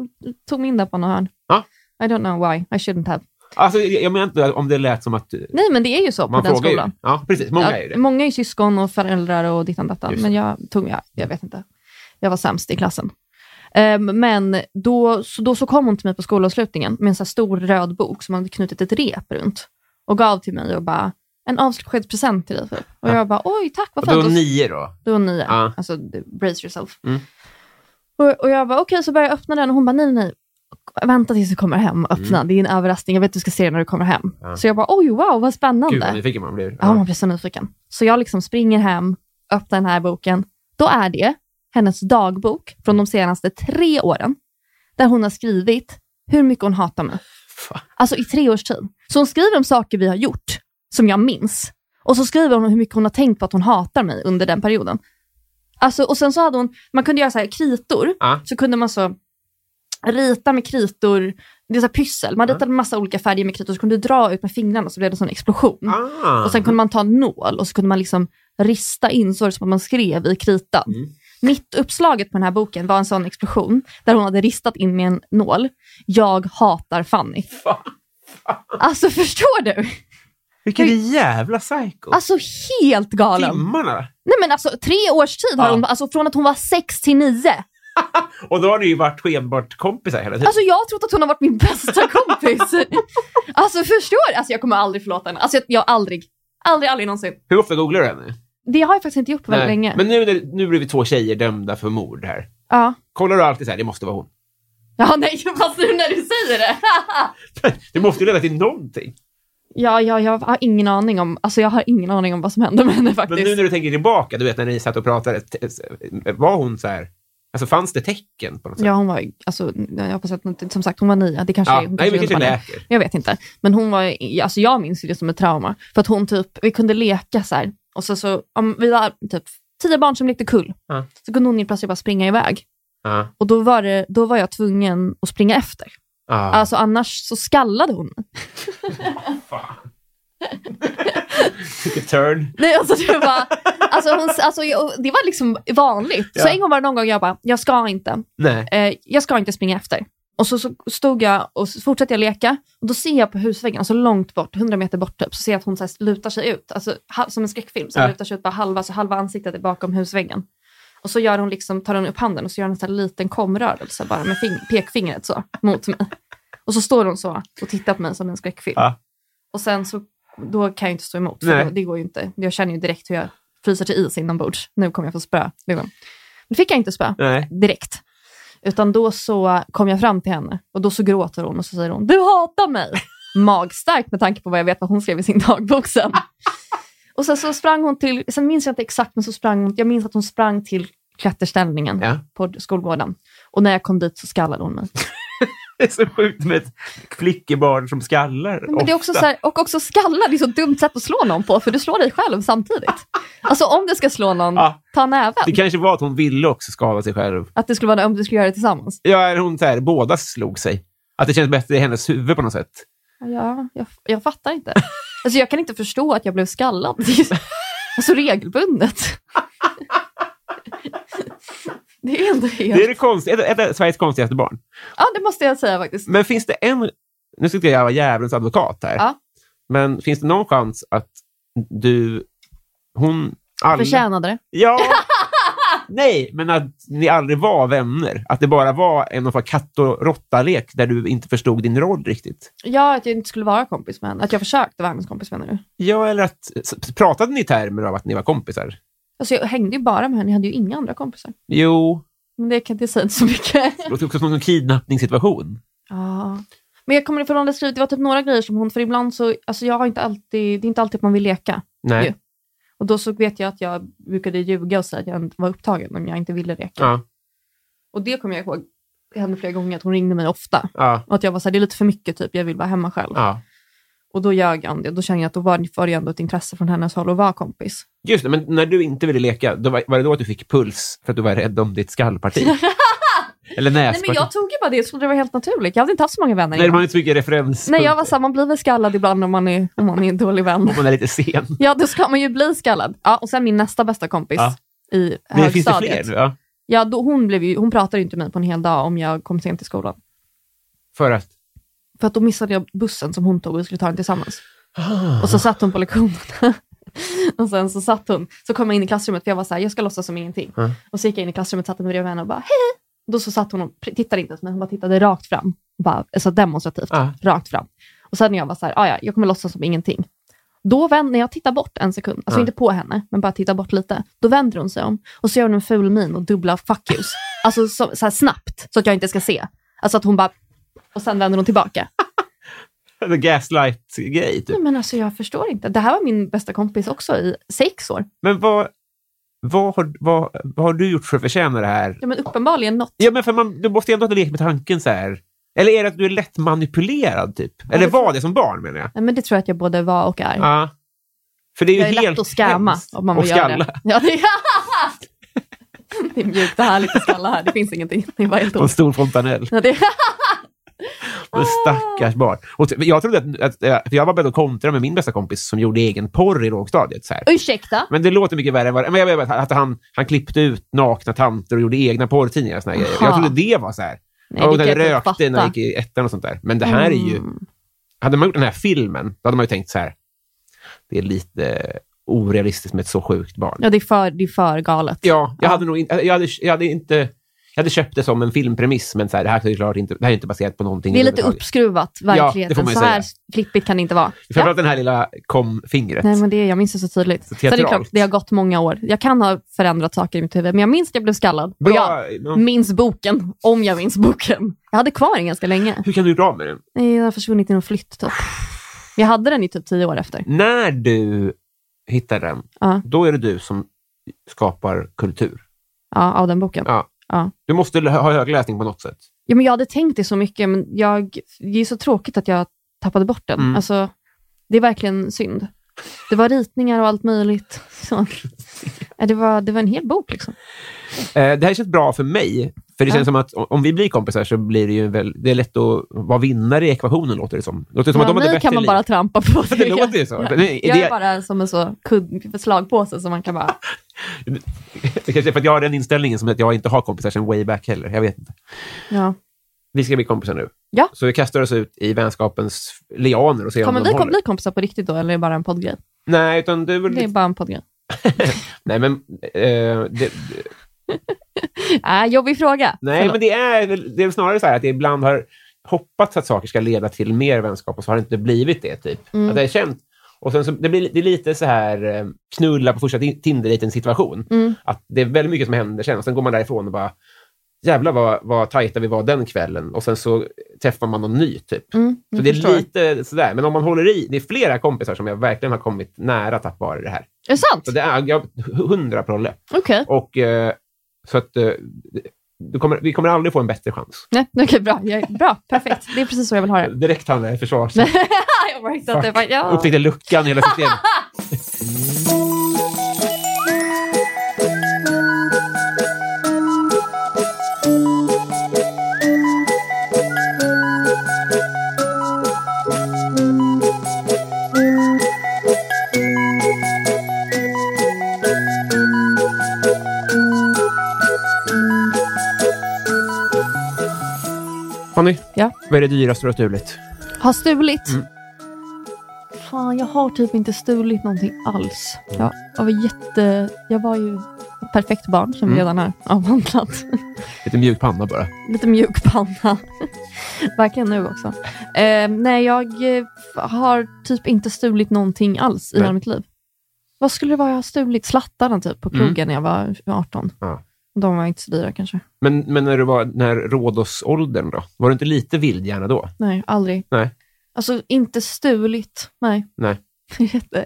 Speaker 2: tog mig in där på något hörn.
Speaker 1: Ja.
Speaker 2: I don't know why. I shouldn't have.
Speaker 1: Alltså, jag jag menar inte om det lät som att eh,
Speaker 2: Nej, men det är ju så
Speaker 1: man
Speaker 2: på den
Speaker 1: frågar
Speaker 2: skolan.
Speaker 1: ju. Ja, precis. Många är ju
Speaker 2: Ja,
Speaker 1: det.
Speaker 2: många är ju syskon och föräldrar och dittan datan.
Speaker 1: Just
Speaker 2: Men jag tog, jag, jag vet inte. Jag var sämst i klassen. Ehm, men då så, då så kom hon till mig på skolavslutningen med en så här stor röd bok som hade knutit ett rep runt och gav till mig och bara, en avskedspresent till dig. typ. Och jag bara, oj tack, vad
Speaker 1: Och då
Speaker 2: fint. Och så-
Speaker 1: nio då?
Speaker 2: då var hon nio.
Speaker 1: Ja.
Speaker 2: Alltså, brace yourself.
Speaker 1: Mm.
Speaker 2: Och, och jag bara, okej, så började jag öppna den och hon bara, nej, nej. Vänta tills du kommer hem och öppna. Det är en överraskning. Jag vet att du ska se den när du kommer hem.
Speaker 1: Mm. Ja.
Speaker 2: Så jag bara, oj, wow, vad spännande.
Speaker 1: Gud vad nyfiken man blir.
Speaker 2: Ja, man blir så nyfiken. Så jag liksom springer hem, öppnar den här boken. Då är det hennes dagbok från de senaste tre åren, där hon har skrivit hur mycket hon hatar mig.
Speaker 1: Fan.
Speaker 2: Alltså i tre års tid. Så hon skriver om saker vi har gjort, som jag minns. Och så skriver hon om hur mycket hon har tänkt på att hon hatar mig under den perioden. Alltså, och sen så hade hon, man kunde göra så här kritor,
Speaker 1: Ja.
Speaker 2: så kunde man så rita med kritor, det är så här pyssel, man ritade en massa olika färger med kritor, så kunde du dra ut med fingrarna så blev det en sån explosion.
Speaker 1: Ah.
Speaker 2: Och sen kunde man ta en nål och så kunde man liksom rista in så var det som att man skrev i kritan.
Speaker 1: Mm.
Speaker 2: Mitt uppslaget på den här boken var en sån explosion där hon hade ristat in med en nål. Jag hatar Fanny.
Speaker 1: Fan.
Speaker 2: Alltså förstår du?
Speaker 1: Vilken jävla psycho.
Speaker 2: Alltså helt galen.
Speaker 1: Timmarna.
Speaker 2: Nej men alltså tre års tid har
Speaker 1: Ja.
Speaker 2: hon, alltså från att hon var sex till nio.
Speaker 1: Och då har ni ju varit skenbart kompisar hela tiden.
Speaker 2: Alltså jag har trott att hon har varit min bästa kompis. alltså förstår du? Alltså jag kommer aldrig förlåta henne. Alltså jag, jag aldrig, aldrig, aldrig någonsin.
Speaker 1: Hur ofta googlar du henne?
Speaker 2: Det har jag faktiskt inte gjort på väldigt
Speaker 1: Nej.
Speaker 2: länge.
Speaker 1: Men nu, när- nu blir vi två tjejer dömda för mord här.
Speaker 2: Ja.
Speaker 1: Kollar du alltid så här, det måste vara hon.
Speaker 2: ja, nej fast nu när du säger det.
Speaker 1: Det måste ju leda till någonting.
Speaker 2: Ja, ja, jag har ingen aning om, alltså jag har ingen aning om vad som hände med henne
Speaker 1: Men
Speaker 2: faktiskt.
Speaker 1: nu när du tänker tillbaka, du vet när ni satt och pratade, t- s- var hon så här, alltså fanns det tecken på något sätt?
Speaker 2: Ja, hon var ju- alltså, jag hoppas att, hon inte- som sagt, hon var nia. Det kanske
Speaker 1: Ja,
Speaker 2: är, hon
Speaker 1: nej, vi
Speaker 2: inte
Speaker 1: kanske
Speaker 2: var det.
Speaker 1: läker.
Speaker 2: Jag vet inte. Men hon var, ju- alltså jag minns ju det som ett trauma. För att hon typ, vi kunde leka så här. Och så, så om vi var typ tio barn som lekte kull.
Speaker 1: Ja.
Speaker 2: Så kunde hon helt plötsligt bara springa iväg.
Speaker 1: Ja.
Speaker 2: Och då var, det, då var jag tvungen att springa efter.
Speaker 1: Ja.
Speaker 2: Alltså annars så skallade hon mig.
Speaker 1: Took a turn.
Speaker 2: Nej, alltså det var, alltså hon, alltså, jag- det var liksom vanligt. Så
Speaker 1: Ja.
Speaker 2: en gång var det någon gång jag bara, jag ska inte.
Speaker 1: Nej.
Speaker 2: eh, jag ska inte springa efter. Och så, så stod jag och så fortsatte jag leka och då ser jag på husväggen, alltså långt bort, 100 meter bort typ, så ser jag att hon så här lutar sig ut, alltså ha, som en skräckfilm, så
Speaker 1: Ja.
Speaker 2: lutar sig ut bara halva, så halva ansiktet är bakom husväggen. Och så gör hon liksom, tar hon upp handen och så gör hon en sån här liten komrörelse bara med fing- pekfingret så mot mig. Och så står hon så och tittar på mig som en skräckfilm.
Speaker 1: Ja.
Speaker 2: Och sen så, då kan jag ju inte stå emot, för
Speaker 1: Nej.
Speaker 2: då, det går ju inte. Jag känner ju direkt hur jag fryser till is inombords. Nu kommer jag få spö. Liksom. Men fick jag inte spö
Speaker 1: Nej.
Speaker 2: direkt. Utan då så kom jag fram till henne och då så gråter hon och så säger hon “Du hatar mig!” Magstarkt med tanke på vad jag vet vad hon skrev i sin dagbok sen. och sen så sprang hon till, sen minns jag inte exakt, men så sprang hon, jag minns att hon sprang till klätterställningen
Speaker 1: Ja.
Speaker 2: på skolgården. Och när jag kom dit så skallade hon mig.
Speaker 1: Det är så sjukt med ett flickebarn som skallar.
Speaker 2: Men det är också
Speaker 1: ofta.
Speaker 2: så här, och också skalla, det är så dumt sätt att slå någon på, för du slår dig själv samtidigt. Alltså om du ska slå någon,
Speaker 1: Ja.
Speaker 2: ta näven.
Speaker 1: Det kanske var att hon ville också skada sig själv.
Speaker 2: Att det skulle vara om du skulle göra det tillsammans.
Speaker 1: Ja, eller hon så här, båda slog sig. Att det känns bättre i hennes huvud på något sätt.
Speaker 2: Ja, jag, jag fattar inte. Alltså jag kan inte förstå att jag blev skallad. Det är ju- Alltså regelbundet. Det är ändå helt...
Speaker 1: Det är det konst, ett, ett, ett, Sveriges konstigaste barn.
Speaker 2: Ja, det måste jag säga faktiskt.
Speaker 1: Men finns det en... Nu ska jag vara djävulens advokat här.
Speaker 2: Ja.
Speaker 1: Men finns det någon chans att du... Hon...
Speaker 2: Jag
Speaker 1: Alla,
Speaker 2: förtjänade det.
Speaker 1: Ja. Nej, men att ni aldrig var vänner. Att det bara var en av katt och råtta-lek där du inte förstod din roll riktigt.
Speaker 2: Ja, att jag inte skulle vara kompis med henne. Att jag försökte vara hennes kompis menar du?
Speaker 1: Ja, eller att... s- Pratade ni i termer av att ni var kompisar?
Speaker 2: Alltså jag hängde ju bara med henne, jag hade ju inga andra kompisar.
Speaker 1: Jo.
Speaker 2: Men det kan jag inte säga så mycket.
Speaker 1: Det låter också som en kidnappningssituation.
Speaker 2: Ja. Men jag kommer ifrån att hon skrivit, det var typ några grejer som hon, för ibland så, alltså jag har inte alltid, det är inte alltid att man vill leka.
Speaker 1: Nej.
Speaker 2: Jo. Och då så vet jag att jag brukade ljuga och säga att jag var upptagen om jag inte ville leka.
Speaker 1: Ja,
Speaker 2: Och det kommer jag ihåg, det hände flera gånger att hon ringde mig ofta.
Speaker 1: ja,
Speaker 2: Och att jag var såhär, det är lite för mycket typ, jag vill vara hemma själv.
Speaker 1: ja.
Speaker 2: Och då ljög jag om det. Då kände jag att då var var det ju ändå ett intresse från hennes håll att vara kompis.
Speaker 1: Just det, men när du inte ville leka, då var, var det då att du fick puls för att du var rädd om ditt skallparti? Eller
Speaker 2: Nej men
Speaker 1: näsparti?
Speaker 2: jag tog ju bara det, jag trodde det var helt naturligt. Jag hade inte haft så många vänner
Speaker 1: Nej, man
Speaker 2: innan.
Speaker 1: har inte så mycket referens.
Speaker 2: Nej, jag var såhär, man blir väl skallad ibland om man är, om man är en dålig vän.
Speaker 1: Om man är lite sen.
Speaker 2: Ja, då ska man ju bli skallad. Ja, och sen min nästa bästa kompis
Speaker 1: Ja.
Speaker 2: i
Speaker 1: Men finns det fler
Speaker 2: högstadiet.
Speaker 1: nu? Ja,
Speaker 2: Ja, då hon, blev ju, hon pratade ju inte med mig på en hel dag om jag kom sent till skolan.
Speaker 1: för att...
Speaker 2: För att då missade jag bussen som hon tog och vi skulle ta den tillsammans.
Speaker 1: Ah,
Speaker 2: Och så satt hon på lektionerna. och sen så satt hon, så kom jag in i klassrummet för jag var så här, jag ska låtsas som ingenting.
Speaker 1: Mm.
Speaker 2: Och så gick jag in i klassrummet, satte mig bredvid henne och bara hej, hej. Då så satt hon och pr- tittade inte ens men hon bara tittade rakt fram. Bara, alltså demonstrativt,
Speaker 1: Ja.
Speaker 2: rakt fram. Och sen när jag var så här, "Ah, ja, jag kommer låtsas som ingenting. Då vänder, när jag tittar bort en sekund, alltså
Speaker 1: Mm.
Speaker 2: inte på henne, men bara tittar bort lite, då vänder hon sig om och så gör hon en ful min och dubbla fuck yous. Alltså så, så här snabbt, så att jag inte ska se. Alltså att hon bara, och sen vänder hon tillbaka.
Speaker 1: The gaslight-grej, typ.
Speaker 2: Nej, men alltså jag förstår inte. Det här var min bästa kompis också i sex år.
Speaker 1: Men vad, vad, har, vad, vad har du gjort för att förtjäna det här?
Speaker 2: Ja, men uppenbarligen något.
Speaker 1: Ja, men för man, du måste ju ändå ha lekt med tanken så här. Eller är det att du är lätt manipulerad, typ? Eller
Speaker 2: det
Speaker 1: var det som barn, menar jag?
Speaker 2: Nej, men det tror jag att jag både var och är.
Speaker 1: Ja. För det är ju
Speaker 2: jag är
Speaker 1: helt
Speaker 2: lätt att skämma
Speaker 1: hemskt.
Speaker 2: om man vill
Speaker 1: och
Speaker 2: göra
Speaker 1: skalla.
Speaker 2: det. Ja, det, det är mjukt och härligt att skalla här. Det finns ingenting. Det är bara helt
Speaker 1: Och en
Speaker 2: ont.
Speaker 1: stor fontanell.
Speaker 2: Ja, det,
Speaker 1: Och stackars barn. Och t- jag trodde att, att eh, för jag var beredd att kontra med min bästa kompis som gjorde egen porr i lågstadiet. Så här.
Speaker 2: ursäkta?
Speaker 1: Men det låter mycket värre än vad det men jag menar att han, han klippte ut nakna tanter och gjorde egna porrtidningar. Och såna här grejer. Jag
Speaker 2: Jaha.
Speaker 1: trodde det var så här.
Speaker 2: Nej,
Speaker 1: och när
Speaker 2: det kan
Speaker 1: jag
Speaker 2: jag inte
Speaker 1: rökte när jag
Speaker 2: fatta. Mm.
Speaker 1: gick i ettan och sånt där. Men det här är ju... Hade man gjort den här filmen, då hade man ju tänkt så här. Det är lite orealistiskt med ett så sjukt barn.
Speaker 2: Ja, det är för, det är för galet.
Speaker 1: Ja, jag hade nog in, jag hade, jag hade inte... Jag hade köpt det som en filmpremiss, men så här, det här är såklart inte, det här är inte baserat på någonting.
Speaker 2: Det är lite
Speaker 1: överhuvudtaget.
Speaker 2: uppskruvat,
Speaker 1: man ju
Speaker 2: verkligheten. så
Speaker 1: säga.
Speaker 2: här flippigt kan det inte vara. Ja.
Speaker 1: Framförallt den här lilla kom-fingret.
Speaker 2: Nej, men det, jag minns det så tydligt.
Speaker 1: Så
Speaker 2: Sen är det,
Speaker 1: teatralt.
Speaker 2: klart, det har gått många år. Jag kan ha förändrat saker i mitt huvud, men jag minns att jag blev skallad. Och jag
Speaker 1: Bra, ja.
Speaker 2: minns boken, om jag minns boken. Jag hade kvar den ganska länge.
Speaker 1: Hur kan du bli av med den?
Speaker 2: Nej, Den har försvunnit i någon flytt, typ. Jag hade den i typ tio år efter.
Speaker 1: När du hittar den,
Speaker 2: Ja.
Speaker 1: då är det du som skapar kultur.
Speaker 2: Ja, av den boken.
Speaker 1: Ja.
Speaker 2: Ja.
Speaker 1: Du måste l- ha högläsning på något sätt.
Speaker 2: Ja, men jag hade tänkt det så mycket, men jag, det är så tråkigt att jag tappade bort den.
Speaker 1: Mm.
Speaker 2: Alltså, det är verkligen synd. Det var ritningar och allt möjligt. Så. Ja, Det, var, det var en hel bok. Liksom.
Speaker 1: Eh, det här känns bra för mig, för det
Speaker 2: Ja.
Speaker 1: känns som att o- om vi blir kompisar så blir det ju väl, det är lätt att vara vinnare i ekvationen, låter det som. Låter det som
Speaker 2: Ja,
Speaker 1: att de hade
Speaker 2: mig
Speaker 1: bättre
Speaker 2: kan man
Speaker 1: liv.
Speaker 2: bara trampa på.
Speaker 1: Det låter ju så.
Speaker 2: Ja.
Speaker 1: Nej,
Speaker 2: Jag
Speaker 1: det,
Speaker 2: är bara som en så kudd, slagpåse som man kan bara...
Speaker 1: det kanske är för att jag har den inställningen som att jag inte har kompisar sedan way back heller. Jag vet inte.
Speaker 2: Ja.
Speaker 1: Vi ska bli kompisar nu.
Speaker 2: Ja.
Speaker 1: Så vi kastar oss ut i vänskapens lianer och ser
Speaker 2: Kommer
Speaker 1: om de
Speaker 2: vi kom,
Speaker 1: håller.
Speaker 2: bli kompisar på riktigt då, eller är det bara en poddgrej?
Speaker 1: Nej, utan det är väl...
Speaker 2: Det är bara en poddgrej.
Speaker 1: Nej, men... Eh, det,
Speaker 2: Äh, jobbig fråga.
Speaker 1: Nej,
Speaker 2: Förlåt.
Speaker 1: men det är, väl- det är väl snarare så här att det ibland
Speaker 2: Mm.
Speaker 1: har hoppats att saker ska leda till mer vänskap och så har det inte blivit det. typ. Att det är känt, okej, Och sen så, det, blir, det är lite så här eh, knulla på första tin- tinder situation
Speaker 2: Mm.
Speaker 1: Att det är väldigt mycket som händer sen. Och sen går man därifrån och bara, jävlar vad, vad tajta vi var den kvällen. Och sen så träffar man någon ny, typ.
Speaker 2: Mm,
Speaker 1: Så
Speaker 2: jag
Speaker 1: det är
Speaker 2: förstår.
Speaker 1: lite sådär. Men om man håller i, det är flera kompisar som jag verkligen har kommit nära tack vare det här.
Speaker 2: Är det sant?
Speaker 1: Så det är jag, hundra prolle.
Speaker 2: Okej.
Speaker 1: Och eh, så att eh, du kommer, vi kommer aldrig få en bättre chans.
Speaker 2: Nej, okej, bra. Jag, bra. Perfekt. Det är precis så jag vill ha det.
Speaker 1: Direkt hamnar jag i försvars...
Speaker 2: jag märkte att det var... Ja.
Speaker 1: Upptäckte luckan i hela systemet. Fanny,
Speaker 2: Ja.
Speaker 1: vad är det dyraste du har stulit?
Speaker 2: Har stulit?
Speaker 1: Mm.
Speaker 2: Fan, jag har typ inte stulit någonting alls. Jag, jag var jätte... Jag var ju ett perfekt barn som
Speaker 1: Mm.
Speaker 2: redan är avhandlat.
Speaker 1: Lite mjuk panna bara.
Speaker 2: Lite mjuk panna. Verkligen nu också. Eh, nej, jag eh, har typ inte stulit någonting alls i
Speaker 1: Nej.
Speaker 2: hela mitt liv. Vad skulle det vara jag har stulit? Slattarna typ på krogen när jag var 18.
Speaker 1: Mm. Ja.
Speaker 2: De var inte så dyra kanske.
Speaker 1: Men, men när du var när rådåsåldern då? Var du inte lite vildhjärna då?
Speaker 2: Nej, aldrig.
Speaker 1: Nej.
Speaker 2: Alltså inte stulit. Nej.
Speaker 1: Nej.
Speaker 2: Jätte...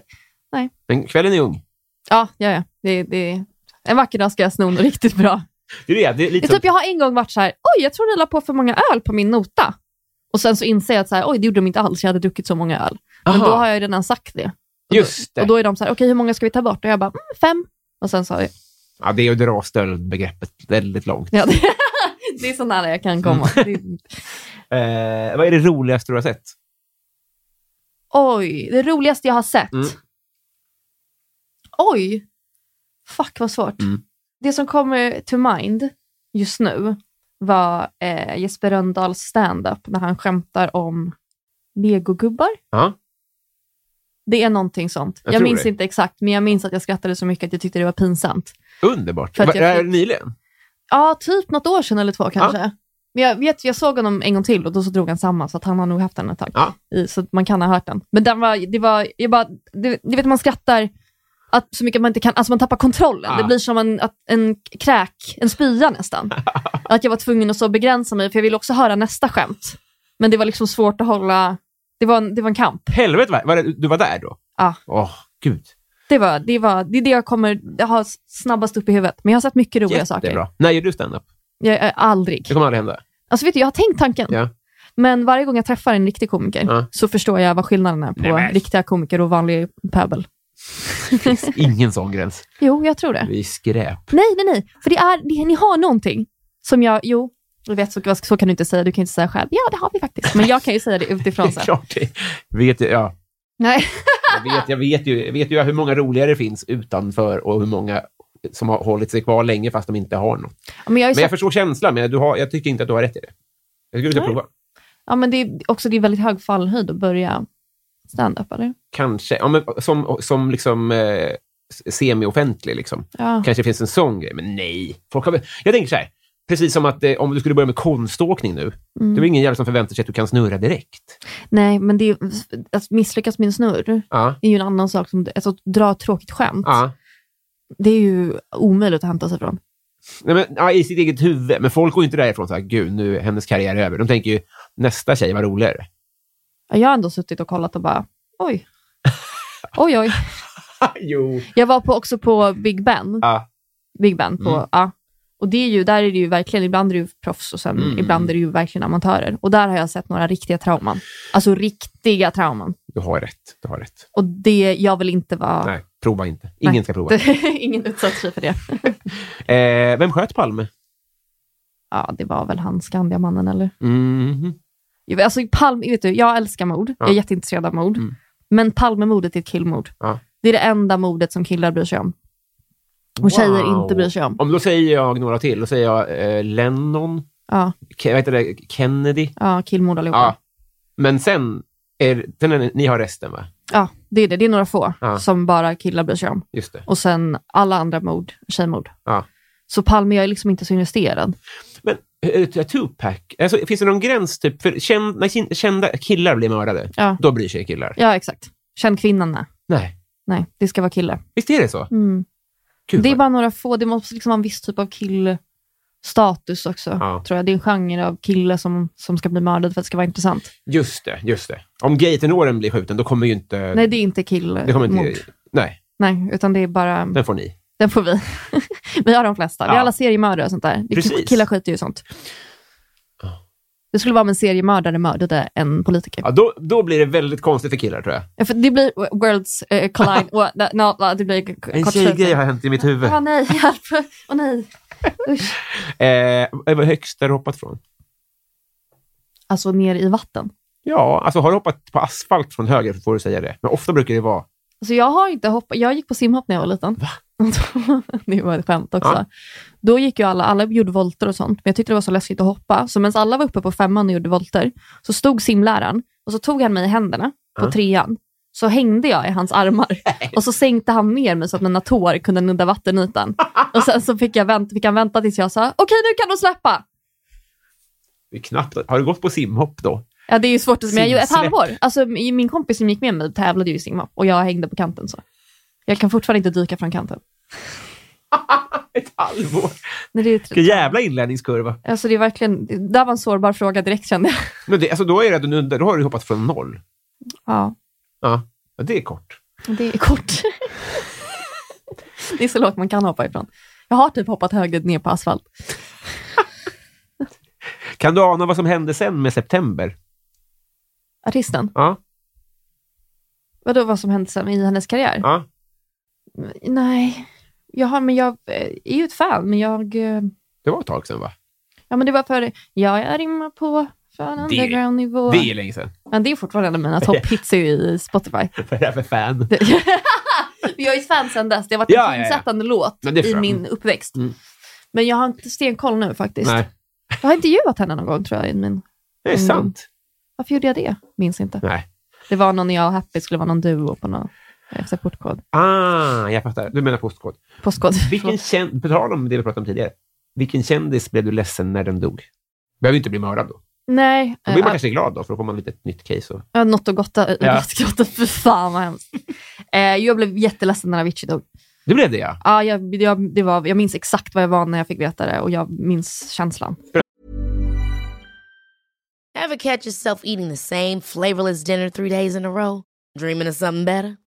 Speaker 1: Men kvällen är ung.
Speaker 2: Ja, ja, ja. Det, det... En vacker dag ska jag sno något riktigt bra.
Speaker 1: Det är, det, det är
Speaker 2: Det
Speaker 1: lite
Speaker 2: är typ, jag har en gång varit så här, oj, jag tror ni la på för många öl på min nota. Och sen så inser jag att så här, oj, det gjorde de inte alls, jag hade druckit så många öl.
Speaker 1: som,
Speaker 2: Men
Speaker 1: Aha,
Speaker 2: då har jag ju redan sagt det.
Speaker 1: just det.
Speaker 2: Och då är de så här, okej, hur många ska vi ta bort? Och jag bara, mm, fem. Och sen sa jag,
Speaker 1: ja, det är att dra stöldbegreppet väldigt långt.
Speaker 2: ja, det, det är så nära jag kan komma.
Speaker 1: Mm.
Speaker 2: Det,
Speaker 1: Eh, vad är det roligaste du har sett?
Speaker 2: oj, det roligaste jag har sett.
Speaker 1: Mm.
Speaker 2: Oj, fuck vad svårt.
Speaker 1: Mm.
Speaker 2: Det som kommer to mind just nu var eh, Jesper Rönndahls stand-up när han skämtar om legogubbar.
Speaker 1: Ja.
Speaker 2: Det är någonting sånt.
Speaker 1: Jag
Speaker 2: Jag,
Speaker 1: tror
Speaker 2: minns
Speaker 1: det.
Speaker 2: inte exakt, men jag minns att jag skrattade så mycket att jag tyckte det var pinsamt.
Speaker 1: Underbart.
Speaker 2: För att
Speaker 1: Va-
Speaker 2: jag
Speaker 1: är det
Speaker 2: fick-
Speaker 1: nyligen?
Speaker 2: Ja, typ något år sedan eller två kanske. Men jag, vet, jag såg honom en gång till och då så drog han samma, så att han har nog haft den ett tag.
Speaker 1: Ja.
Speaker 2: I, så att man kan ha hört den. Men den var, det var, jag bara, du, du vet man skrattar att så mycket man inte kan, alltså man tappar kontrollen.
Speaker 1: Ja.
Speaker 2: Det blir som en, att, en kräk, en spya nästan. att jag var tvungen att så begränsa mig, för jag ville också höra nästa skämt. Men det var liksom svårt att hålla, det var en, det var en kamp.
Speaker 1: Helvete, var, var det, du var där då?
Speaker 2: Ja.
Speaker 1: Åh, gud.
Speaker 2: Det, var, det, var, det är det jag kommer jag har snabbast upp i huvudet. Men jag har sett mycket roliga saker.
Speaker 1: Jättebra. När gör du stand-up?
Speaker 2: Jag, jag, aldrig.
Speaker 1: Det kommer aldrig hända.
Speaker 2: Alltså vet du, jag har tänkt tanken.
Speaker 1: Ja.
Speaker 2: Men varje gång jag träffar en riktig komiker
Speaker 1: Ja.
Speaker 2: så förstår jag vad skillnaden är på
Speaker 1: Nej, men.
Speaker 2: riktiga komiker och vanlig pöbel.
Speaker 1: Ingen sån gräns.
Speaker 2: Jo, jag tror det.
Speaker 1: Vi är skräp.
Speaker 2: Nej, nej, nej. För det är, det, ni har någonting som jag, jo, jag vet, så, så kan du inte säga. Du kan inte säga själv. Ja, det har vi faktiskt. Men jag kan ju säga det
Speaker 1: Det
Speaker 2: utifrån
Speaker 1: är
Speaker 2: sen.
Speaker 1: klart. det- Vet, ju- ja,
Speaker 2: Nej.
Speaker 1: Jag vet, jag vet, ju, jag vet ju hur många roliga det finns utanför och hur många som har hållit sig kvar länge fast de inte har något.
Speaker 2: Ja, Men jag är
Speaker 1: Men
Speaker 2: så,
Speaker 1: jag förstår känslan, men du har, jag tycker inte att du har rätt i det. Jag skulle vilja
Speaker 2: Nej.
Speaker 1: prova.
Speaker 2: ja, men det är också det är väldigt hög fallhöjd att börja stand-up, eller?
Speaker 1: Kanske. Ja, men som som liksom, eh, semi-offentlig. Liksom.
Speaker 2: Ja.
Speaker 1: Kanske finns en sån grej, men nej. Folk har, väl- jag tänker så här, precis som att eh, om du skulle börja med konståkning nu,
Speaker 2: Mm.
Speaker 1: det är väl ingen jävel som förväntar sig att du kan snurra direkt.
Speaker 2: Nej, men det är, att misslyckas med en snurr
Speaker 1: Ja,
Speaker 2: är ju en annan sak. Som, alltså, att dra ett tråkigt skämt,
Speaker 1: ja.
Speaker 2: det är ju omöjligt att hämta sig från.
Speaker 1: Nej, men, ja, I sitt eget huvud. Men folk går ju inte därifrån så här, gud, nu är hennes karriär över. De tänker ju, nästa tjej var roligare.
Speaker 2: Ja, Jag har ändå suttit och kollat och bara, oj. Oj, oj.
Speaker 1: jo.
Speaker 2: Jag var på, också på Big Ben.
Speaker 1: Ja.
Speaker 2: Big Ben på,
Speaker 1: Mm.
Speaker 2: ja. Och det är ju, där är det ju verkligen, ibland är det ju proffs och sen
Speaker 1: Mm.
Speaker 2: ibland är det ju verkligen amatörer. Och där har jag sett några riktiga trauman. Alltså riktiga trauman.
Speaker 1: Du har rätt. Du har rätt.
Speaker 2: Och det, jag vill inte vara...
Speaker 1: Nej, prova inte. Ingen
Speaker 2: Nej.
Speaker 1: ska prova.
Speaker 2: Det, ingen utsatt sig för det.
Speaker 1: Eh, vem sköt Palme?
Speaker 2: Ja, det var väl han, Skandiamannen eller?
Speaker 1: Mhm.
Speaker 2: Jo, Alltså Palm, vet du, jag älskar mord. Jag
Speaker 1: Ja.
Speaker 2: är jätteintresserad av mord.
Speaker 1: Mm.
Speaker 2: Men Palmemordet är ett killmord.
Speaker 1: Ja.
Speaker 2: Det är det enda mordet som killar bryr sig om. Och tjejer inte bryr sig om.
Speaker 1: Om då säger jag några till. Då säger jag eh, Lennon,
Speaker 2: Ja,
Speaker 1: Ke- vad heter det, Kennedy.
Speaker 2: ja killmord allihopa.
Speaker 1: Ja. Men sen, är, sen är, ni- ni har resten va?
Speaker 2: Ja, det är det. Det är några få
Speaker 1: Ja.
Speaker 2: som bara killar bryr sig om.
Speaker 1: Just det.
Speaker 2: Och sen alla andra mord, tjejmord.
Speaker 1: Ja.
Speaker 2: Så Palme, jag är liksom inte så investerad.
Speaker 1: Men eh, Tupac, alltså, finns det någon gräns? Typ, för känd, när kin- kända killar blir mördade,
Speaker 2: Ja.
Speaker 1: då bryr sig killar.
Speaker 2: Ja, exakt. Känn kvinnan, nej.
Speaker 1: Nej.
Speaker 2: Nej, det ska vara killar.
Speaker 1: Visst är det så?
Speaker 2: Mm.
Speaker 1: Kul.
Speaker 2: det är
Speaker 1: va?
Speaker 2: bara några få. Det måste liksom vara en viss typ av killstatus också,
Speaker 1: Ja.
Speaker 2: tror jag. Det är en genre av kille som, som ska bli mördad för att det ska vara intressant.
Speaker 1: Just det, just det. Om gatenåren blir skjuten, då kommer ju inte...
Speaker 2: Nej, det är inte killmord.
Speaker 1: det kommer inte nej,
Speaker 2: Nej, utan det är bara...
Speaker 1: den får ni.
Speaker 2: Den får vi. vi har de flesta. Vi
Speaker 1: Ja.
Speaker 2: har alla seriemördare och sånt där. Det- typ-
Speaker 1: Precis.
Speaker 2: Killar skiter ju i sånt. Det skulle vara om en seriemördare mördade en politiker.
Speaker 1: Ja, då, då blir det väldigt konstigt för killar, tror jag.
Speaker 2: Ja, För det blir worlds eh, collide. och, no, no, det blir k-
Speaker 1: En
Speaker 2: kortslutning.
Speaker 1: tjejgrej har hänt i mitt huvud.
Speaker 2: Ah, nej, hjälp. Åh nej. Usch.
Speaker 1: Eh, vad var högst har du hoppat från?
Speaker 2: Alltså ner i vatten.
Speaker 1: Ja, alltså har du hoppat på asfalt från höger så får du säga det. Men ofta brukar det vara...
Speaker 2: Alltså jag har inte hoppat. Jag gick på simhopp när jag var liten. Va? det var ett skämt också. Då gick ju alla, alla gjorde volter och sånt, men jag tyckte det var så läskigt att hoppa. Så medan alla var uppe på femman och gjorde volter, så stod simläraren och så tog han mig i händerna på
Speaker 1: Ja.
Speaker 2: trean. Så hängde jag i hans armar och så sänkte han ner mig så att mina tår kunde nudda vattenytan. Och sen så fick, jag vänta, fick han vänta tills jag sa, okej nu kan du släppa.
Speaker 1: Det är knappt. Har du gått på simhopp då?
Speaker 2: Ja, det är ju svårt att... Men jag gjorde ett
Speaker 1: Simsläpp.
Speaker 2: halvår. Alltså, min kompis som gick med mig tävlade ju i simhopp och jag hängde på kanten. så. Jag kan fortfarande inte dyka från kanten.
Speaker 1: Ett halvår!
Speaker 2: Nej, det, är ju trist.
Speaker 1: Vilken jävla inlärningskurva.
Speaker 2: alltså, det är verkligen... Det där var en sårbar fråga direkt kände jag.
Speaker 1: Men det, alltså då, är det, att du nuddar- då har du hoppat från noll.
Speaker 2: Ja,
Speaker 1: Ja, ja det är kort.
Speaker 2: det är kort. det är så lågt man kan hoppa ifrån. Jag har typ hoppat högre ner på asfalt.
Speaker 1: Kan du ana vad som hände sen med september?
Speaker 2: Artisten,
Speaker 1: Ja,
Speaker 2: vadå vad som hände sen i hennes karriär?
Speaker 1: ja.
Speaker 2: Nej, jag, har, men jag eh, är ju ett fan, men jag... eh,
Speaker 1: Det var ett tag sen va?
Speaker 2: Ja, men det var för... Ja, jag rimmar på från
Speaker 1: Det-
Speaker 2: underground-nivå.
Speaker 1: Det är länge sen.
Speaker 2: Men det är fortfarande en av mina topphits i Spotify.
Speaker 1: Vad är det här för fan?
Speaker 2: Det- jag är ett fan sedan dess. Det har varit
Speaker 1: Ja, ja,
Speaker 2: en
Speaker 1: ja.
Speaker 2: insättande låt
Speaker 1: Men det är
Speaker 2: i
Speaker 1: fram.
Speaker 2: min uppväxt.
Speaker 1: Mm.
Speaker 2: Men jag har inte stenkoll nu faktiskt.
Speaker 1: Nej,
Speaker 2: Jag har intervjuat henne någon gång tror jag. i Min...
Speaker 1: det är
Speaker 2: Mm.
Speaker 1: sant.
Speaker 2: Varför gjorde jag det? Minns inte.
Speaker 1: Nej.
Speaker 2: Det var någon jag och Happy skulle vara någon duo på någon efter portkod.
Speaker 1: Ah, jag fattar. Du menar postkod.
Speaker 2: Postkod.
Speaker 1: Vilken känd, på tal om det vi pratade om tidigare. Vilken kändis blev du ledsen när den dog? Behöver inte bli mördad då.
Speaker 2: Nej,
Speaker 1: Då blir man
Speaker 2: eh,
Speaker 1: kanske glad då, för då får man lite ett nytt case. Och...
Speaker 2: jag har något att gotta,
Speaker 1: Ja.
Speaker 2: ja. gotta för fan vad hemskt. Eh, jag blev jätteledsen när Avicii dog.
Speaker 1: Det blev det ja.
Speaker 2: Ja, jag, jag, det var, jag minns exakt vad jag var när jag fick veta det och jag minns känslan.
Speaker 3: Ever catch yourself eating the same flavorless dinner three days in a row? Dreaming of something better?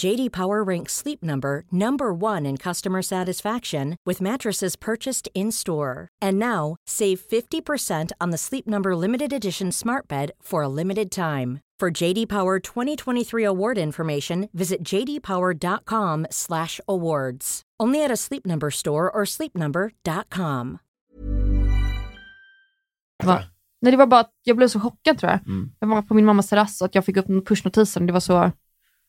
Speaker 4: JD Power ranks Sleep Number number 1 in customer satisfaction with mattresses purchased in-store. And now, save 50% on the Sleep Number limited edition Smart Bed for a limited time. For JD Power 2023 award information, visit jdpower.com/awards. Only at a Sleep Number store or sleepnumber.com.
Speaker 2: Va? Nej, det var bara att jag blev så chockad tror jag. Jag var på min mammas terrass och att jag fick upp pushnotisen. Det var så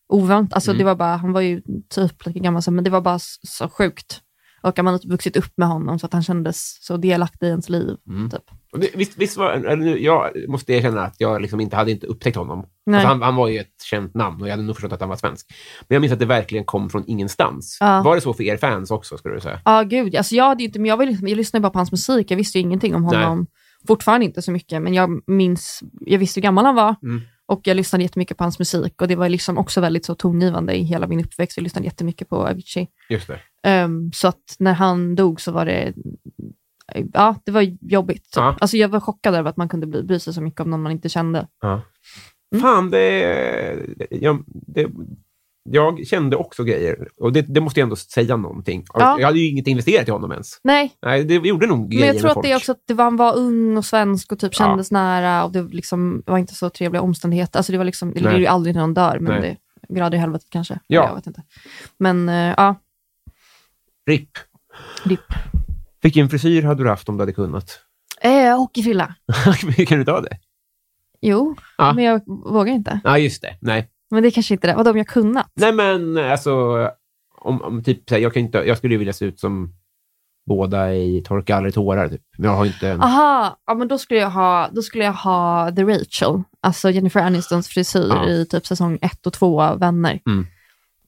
Speaker 2: oväntat. Alltså, det var bara, han var ju typ lika gammal som men det var bara s- så sjukt. Och att man hade typ vuxit upp med honom så att han kändes så delaktig i ens liv. Typ.
Speaker 1: Och det- Visst, visst var, eller nu, jag måste erkänna att jag liksom inte hade inte upptäckt honom.
Speaker 2: Nej.
Speaker 1: Alltså han, han var ju ett känt namn och jag hade nog förstått att han var svensk. Men jag minns att det verkligen kom från ingenstans.
Speaker 2: Ja.
Speaker 1: Var det så för er fans också, skulle du säga?
Speaker 2: Ja, gud. Alltså, jag, hade ju inte, men jag, var ju liksom, jag lyssnade bara på hans musik. Jag visste ju ingenting om honom. Fortfarande inte så mycket, men jag minns, jag visste hur gammal han var.
Speaker 1: Mm.
Speaker 2: Och jag lyssnade jättemycket på hans musik och det var liksom också väldigt så tongivande i hela min uppväxt. Jag lyssnade jättemycket på Avicii.
Speaker 1: Just det.
Speaker 2: Ehm, så att när han dog så var det Ja, det var jobbigt. typ.
Speaker 1: Ja.
Speaker 2: Alltså jag var chockad över att man kunde bli, bry sig så mycket om någon man inte kände. Mm.
Speaker 1: Fan, det, jag, det, jag kände också grejer. Och det, det måste jag ändå säga någonting.
Speaker 2: Ja.
Speaker 1: Jag hade ju inget investerat i honom ens.
Speaker 2: Nej,
Speaker 1: Nej, det gjorde nog grejer
Speaker 2: men jag tror
Speaker 1: med
Speaker 2: att det är
Speaker 1: folk.
Speaker 2: också att det var, han var ung och svensk och typ
Speaker 1: Ja.
Speaker 2: kändes nära och det liksom var inte så trevliga omständigheter. Alltså det var liksom, det
Speaker 1: Nej.
Speaker 2: är ju aldrig när någon dör,
Speaker 1: Nej.
Speaker 2: men det grader i helvetet kanske.
Speaker 1: Ja.
Speaker 2: Jag vet inte. Men eh, ja,
Speaker 1: RIP.
Speaker 2: Ripp.
Speaker 1: Vilken frisyr hade du haft om du hade kunnat?
Speaker 2: Eh, hockeyfrilla.
Speaker 1: kan du ta det?
Speaker 2: Jo,
Speaker 1: Ja.
Speaker 2: men jag vågar inte.
Speaker 1: Ja, just det. Nej,
Speaker 2: Men det är kanske inte det. Vadå om jag kunnat?
Speaker 1: Nej men alltså, om, om typ, så här, jag, kan inte, jag skulle ju vilja se ut som båda i Torka aldrig tårar, typ. men jag har inte
Speaker 2: Ah.
Speaker 1: en...
Speaker 2: Aha, ja, men då skulle, jag ha, då skulle jag ha The Rachel, alltså Jennifer Anistons frisyr
Speaker 1: Ja.
Speaker 2: i typ säsong ett och två av Vänner.
Speaker 1: Mm.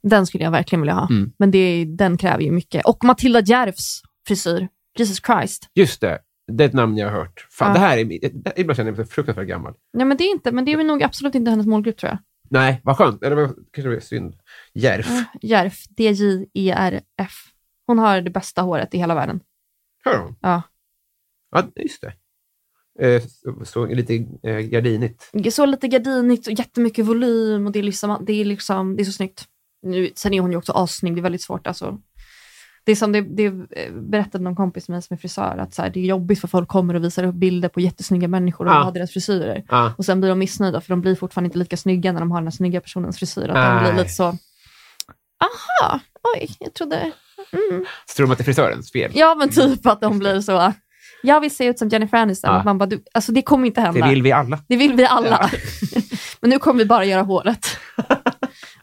Speaker 2: Den skulle jag verkligen vilja ha,
Speaker 1: Mm.
Speaker 2: men det, är- den kräver ju mycket. Och Matilda Järvs frisyr, Jesus Christ.
Speaker 1: Just det, det är ett namn jag har hört. Fan,
Speaker 2: Ja.
Speaker 1: det här är, det- det- ibland känner jag mig så fruktansvärt gammal.
Speaker 2: Nej, men det är, inte, men det är väl nog absolut inte hennes målgrupp tror jag.
Speaker 1: Nej, vad skönt. Eller vad- kanske det är synd. Järf.
Speaker 2: Ja, Järf, D-J-E-R-F. Hon har det bästa håret i hela världen.
Speaker 1: Hör hon?
Speaker 2: Ja.
Speaker 1: Ja, just det. Eh, så, så lite eh, gardinigt.
Speaker 2: Så lite gardinigt och jättemycket volym och det är, liksom, det är, liksom, det är så snyggt. Nu, sen är hon ju också assnygg, det är väldigt svårt. Alltså. Det är som det, det eh, berättade någon kompis till mig som är frisör, att så här, det är jobbigt för folk kommer och visar upp bilder på jättesnygga människor och
Speaker 1: Ja.
Speaker 2: har deras frisyrer.
Speaker 1: Ja.
Speaker 2: Och sen blir de missnöjda för de blir fortfarande inte lika snygga när de har den här snygga personens frisyr. Att de
Speaker 1: Nej.
Speaker 2: blir lite så, aha, oj, jag trodde... Mm.
Speaker 1: Så tror de att det är frisörens fel.
Speaker 2: Ja, men typ att de blir så. Jag vill se ut som Jennifer Aniston.
Speaker 1: Ja.
Speaker 2: Man bara, du, alltså det kommer inte hända.
Speaker 1: Det vill vi alla.
Speaker 2: vi alla. men nu kommer vi bara göra håret.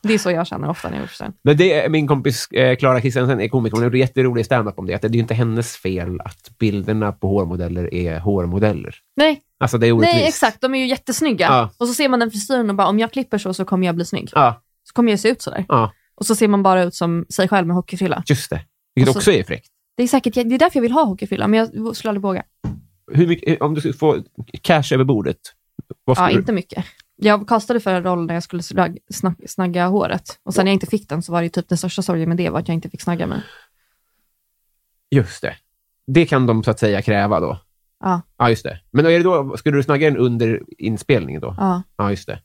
Speaker 2: det är så jag känner ofta när jag gör
Speaker 1: Men det är min kompis eh, Clara Kristiansen är komiker. Hon har gjort jätterolig standup om det. Att det är ju inte hennes fel att bilderna på hårmodeller är hårmodeller.
Speaker 2: Nej,
Speaker 1: Alltså det är orättvist.
Speaker 2: nej, exakt. De är ju jättesnygga.
Speaker 1: Ja.
Speaker 2: Och så ser man den frisyren och bara, om jag klipper så så kommer jag bli snygg.
Speaker 1: Ja,
Speaker 2: Så kommer jag se ut sådär.
Speaker 1: ja
Speaker 2: Och så ser man bara ut som sig själv med hockeyfrilla.
Speaker 1: just det. Vilket
Speaker 2: Och så-
Speaker 1: också är fräckt.
Speaker 2: Det är säkert, det är därför jag vill ha hockeyfrilla, men jag skulle aldrig våga.
Speaker 1: Hur mycket, eh, om du skulle få cash över bordet, vad
Speaker 2: Ja,
Speaker 1: skulle
Speaker 2: inte mycket. Jag kastade för en roll när jag skulle snag, snag, snagga håret. Och sen när jag inte fick den så var det ju typ den största sorgen med det var att jag inte fick snagga mig.
Speaker 1: du... Just det. Det kan de så att säga kräva då.
Speaker 2: Ja.
Speaker 1: Ja, just det. Men är det då, skulle du snagga den under inspelningen då?
Speaker 2: Ja.
Speaker 1: Ja, just det.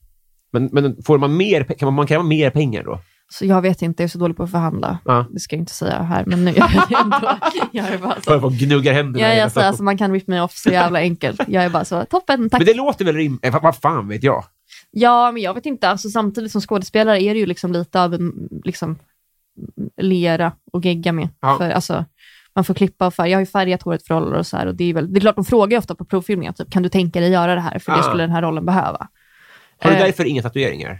Speaker 1: Men, men får man mer, pe- kan man kräva mer pengar då?
Speaker 2: Så jag vet inte, jag är så dålig på att förhandla.
Speaker 1: Ja.
Speaker 2: Det ska jag inte säga här, men nu gör jag det ändå. Jag är bara så,
Speaker 1: För att gnugga händerna
Speaker 2: jag
Speaker 1: i
Speaker 2: är så
Speaker 1: nästan.
Speaker 2: alltså, man kan rip mig off så jävla enkelt. Jag är bara så, toppen, tack.
Speaker 1: Men det låter väl rimligt? Eh, Vad vad fan vet jag?
Speaker 2: Ja, men jag vet inte, alltså, samtidigt som skådespelare är det ju liksom lite av en liksom, lera och gegga med.
Speaker 1: Ja.
Speaker 2: För, alltså, man får klippa och färga. Jag har ju färgat håret för roller och så här. Och det, är väl, det är klart, de frågar ju ofta på provfilmningar, typ, kan du tänka dig göra det här? För
Speaker 1: Ja.
Speaker 2: det skulle den här rollen behöva.
Speaker 1: Har du
Speaker 2: Eh.
Speaker 1: därför inga tatueringar?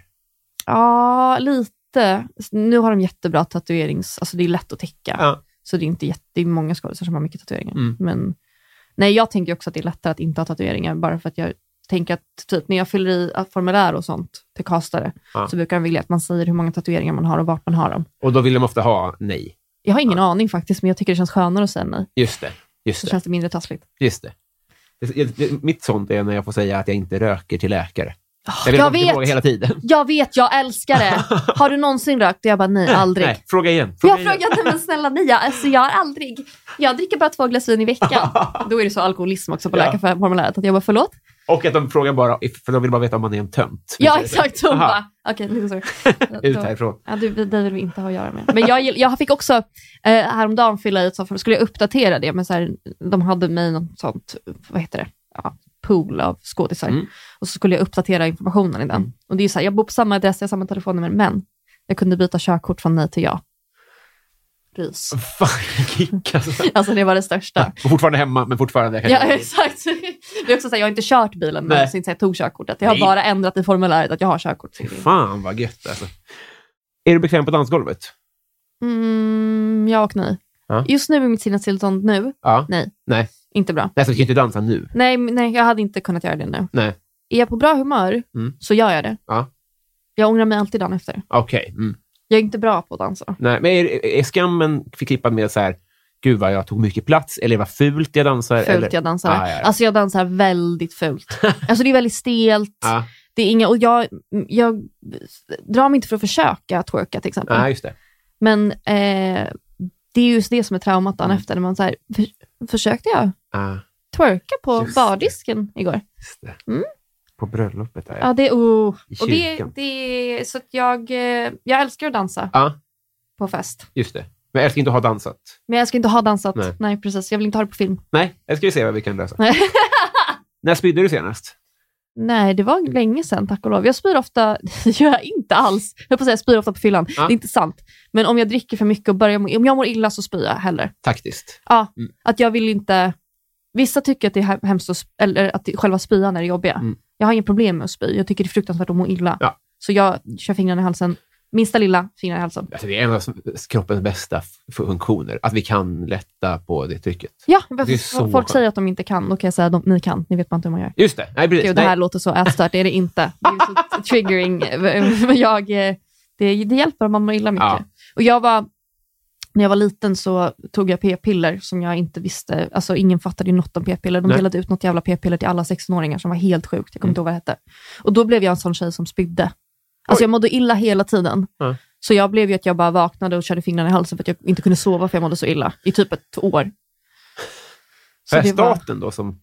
Speaker 2: Ja, lite. Nu har de jättebra tatuerings... Alltså det är lätt att täcka.
Speaker 1: Ja.
Speaker 2: Så det är inte jätte, det är många skådespelare som har mycket tatueringar.
Speaker 1: Mm.
Speaker 2: Men nej, jag tänker också att det är lättare att inte ha tatueringar, bara för att jag tänker att typ, när jag fyller i eh, formulär och sånt till castare,
Speaker 1: Ja.
Speaker 2: så brukar de vilja att man säger hur många tatueringar man har och vart man har dem.
Speaker 1: Och då vill de ofta ha nej.
Speaker 2: Jag har ingen aning faktiskt, men jag tycker det känns skönare att säga nej.
Speaker 1: Just det. Just
Speaker 2: Så
Speaker 1: det.
Speaker 2: känns det mindre taskigt.
Speaker 1: Just det. Det- det- det- Mitt sånt är när jag får säga att jag inte röker till läkare.
Speaker 2: Ah, jag
Speaker 1: att de ska
Speaker 2: vet.
Speaker 1: fråga hela tiden.
Speaker 2: Jag vet, jag älskar det! Har du någonsin rökt? Och jag bara, nej, aldrig.
Speaker 1: Nej, fråga igen.
Speaker 2: För jag frågade, men snälla ni, jag, alltså, jag har aldrig... Jag dricker bara två glas vin i veckan. Då är det så alkoholism också på
Speaker 1: Ja.
Speaker 2: läkarformuläret, att jag bara, förlåt?
Speaker 1: Och att de frågar bara, if- för de vill bara veta om man är en tönt.
Speaker 2: Ja, exakt. Hon
Speaker 1: Aha.
Speaker 2: bara, okej, lite sorry.
Speaker 1: Ut
Speaker 2: Då-
Speaker 1: härifrån.
Speaker 2: Ja, du, dig vill vi inte ha att göra med. Men jag, gill- jag fick också eh, häromdagen fylla i ett sånt, för då skulle jag uppdatera det, men så här, de hade mig i något sånt, vad heter det, ja, pool av skådisar.
Speaker 1: Mm.
Speaker 2: Och så skulle jag uppdatera informationen i den. Och det är ju så här, jag bor på samma adress, jag har samma telefonnummer, men jag kunde byta körkort från nej till ja. Rys.
Speaker 1: Fan, kick alltså.
Speaker 2: Alltså det var det största.
Speaker 1: Och Fortfarande hemma, men fortfarande...
Speaker 2: Ja, exakt. Det är också så här, jag har inte kört bilen
Speaker 1: Nej.
Speaker 2: någonsin sen jag tog körkortet. Jag har
Speaker 1: Nej.
Speaker 2: bara ändrat i formuläret att jag har körkort.
Speaker 1: Fan vad gött alltså. Är du bekväm på dansgolvet?
Speaker 2: Mm, ja och nej.
Speaker 1: Ja.
Speaker 2: Just nu är mitt sinnestillstånd nu,
Speaker 1: Ja.
Speaker 2: nej,
Speaker 1: Nej.
Speaker 2: inte bra.
Speaker 1: Nej, så du ska inte dansa nu.
Speaker 2: Nej, men- nej, jag hade inte kunnat göra det nu.
Speaker 1: Nej.
Speaker 2: Är jag på bra humör
Speaker 1: Mm.
Speaker 2: så gör jag det.
Speaker 1: Ja.
Speaker 2: Jag ångrar mig alltid dagen efter.
Speaker 1: Okej. Mm.
Speaker 2: Jag är inte bra på att dansa.
Speaker 1: Nej, men är, är skammen förknippad med så här, gud vad jag tog mycket plats, eller vad fult jag dansar?
Speaker 2: Fult
Speaker 1: eller?
Speaker 2: jag dansar.
Speaker 1: Ah, ja, ja.
Speaker 2: Alltså jag dansar väldigt fult. alltså det är väldigt stelt.
Speaker 1: Ja,
Speaker 2: Det är inga, och jag, jag drar mig inte för att försöka twerka till exempel.
Speaker 1: ja, just det.
Speaker 2: Men eh, det är just det som är traumat
Speaker 1: Mm.
Speaker 2: dagen efter. När man så här, för, försökte jag
Speaker 1: Ja,
Speaker 2: twerka på
Speaker 1: Just det.
Speaker 2: bardisken igår?
Speaker 1: just det.
Speaker 2: Mm.
Speaker 1: På bröllopet där, ja.
Speaker 2: Ja, det, oh.
Speaker 1: I
Speaker 2: och det,
Speaker 1: kyrkan.
Speaker 2: det är så att jag, eh, jag älskar att dansa
Speaker 1: Ja,
Speaker 2: på fest.
Speaker 1: just det. Men jag älskar inte att ha dansat.
Speaker 2: Men jag ska inte ha dansat.
Speaker 1: Nej.
Speaker 2: Nej. precis. Jag vill inte ha det på film.
Speaker 1: Nej, jag ska vi se vad vi kan lösa.
Speaker 2: Nej.
Speaker 1: När spydde du senast?
Speaker 2: Nej, det
Speaker 1: Mm.
Speaker 2: var länge sedan tack och lov. Jag spyr ofta, det gör jag inte alls. Jag höll på att säga, jag spyr ofta på fyllan.
Speaker 1: Ja.
Speaker 2: Det är inte sant. Men om jag dricker för mycket och börjar, må- om jag mår illa så spyr jag hellre.
Speaker 1: Taktiskt.
Speaker 2: Ja,
Speaker 1: Mm.
Speaker 2: att jag vill inte... Vissa tycker att det är he- hemskt att, sp- eller att det- själva spyan är det jobbiga.
Speaker 1: Mm.
Speaker 2: Jag har inga problem med att spy. Jag tycker det är fruktansvärt att må illa.
Speaker 1: Ja.
Speaker 2: Så jag kör fingrarna i halsen. Minsta lilla fingrar i halsen.
Speaker 1: Alltså, det är en av kroppens bästa f- funktioner, att vi kan lätta på det trycket.
Speaker 2: Ja, varför-
Speaker 1: Det är så
Speaker 2: folk
Speaker 1: skönt.
Speaker 2: säger att de inte kan. Då kan jag säga att de, ni kan. Ni vet man inte hur man gör.
Speaker 1: Just det. Nej, precis.
Speaker 2: Gud, det här
Speaker 1: Nej.
Speaker 2: låter så ätstört. Det är det inte. Det är ju så triggering. Men jag, eh, det, det hjälper om man mår illa mycket.
Speaker 1: Ja.
Speaker 2: Och jag var, när jag var liten så tog jag p-piller som jag inte visste. Alltså ingen fattade ju något om p-piller. De
Speaker 1: Nej. Mm.
Speaker 2: delade ut något jävla p-piller till alla 16-åringar som var helt sjukt. Jag kommer inte ihåg vad det hette. Och då blev jag en sån tjej som spydde. Alltså
Speaker 1: Oj.
Speaker 2: jag mådde illa hela tiden.
Speaker 1: Ja.
Speaker 2: Så jag blev ju att jag bara vaknade och körde fingrarna i halsen för att jag inte kunde sova för jag mådde så illa. I typ ett år. Så
Speaker 1: Är
Speaker 2: det var-
Speaker 1: staten då som...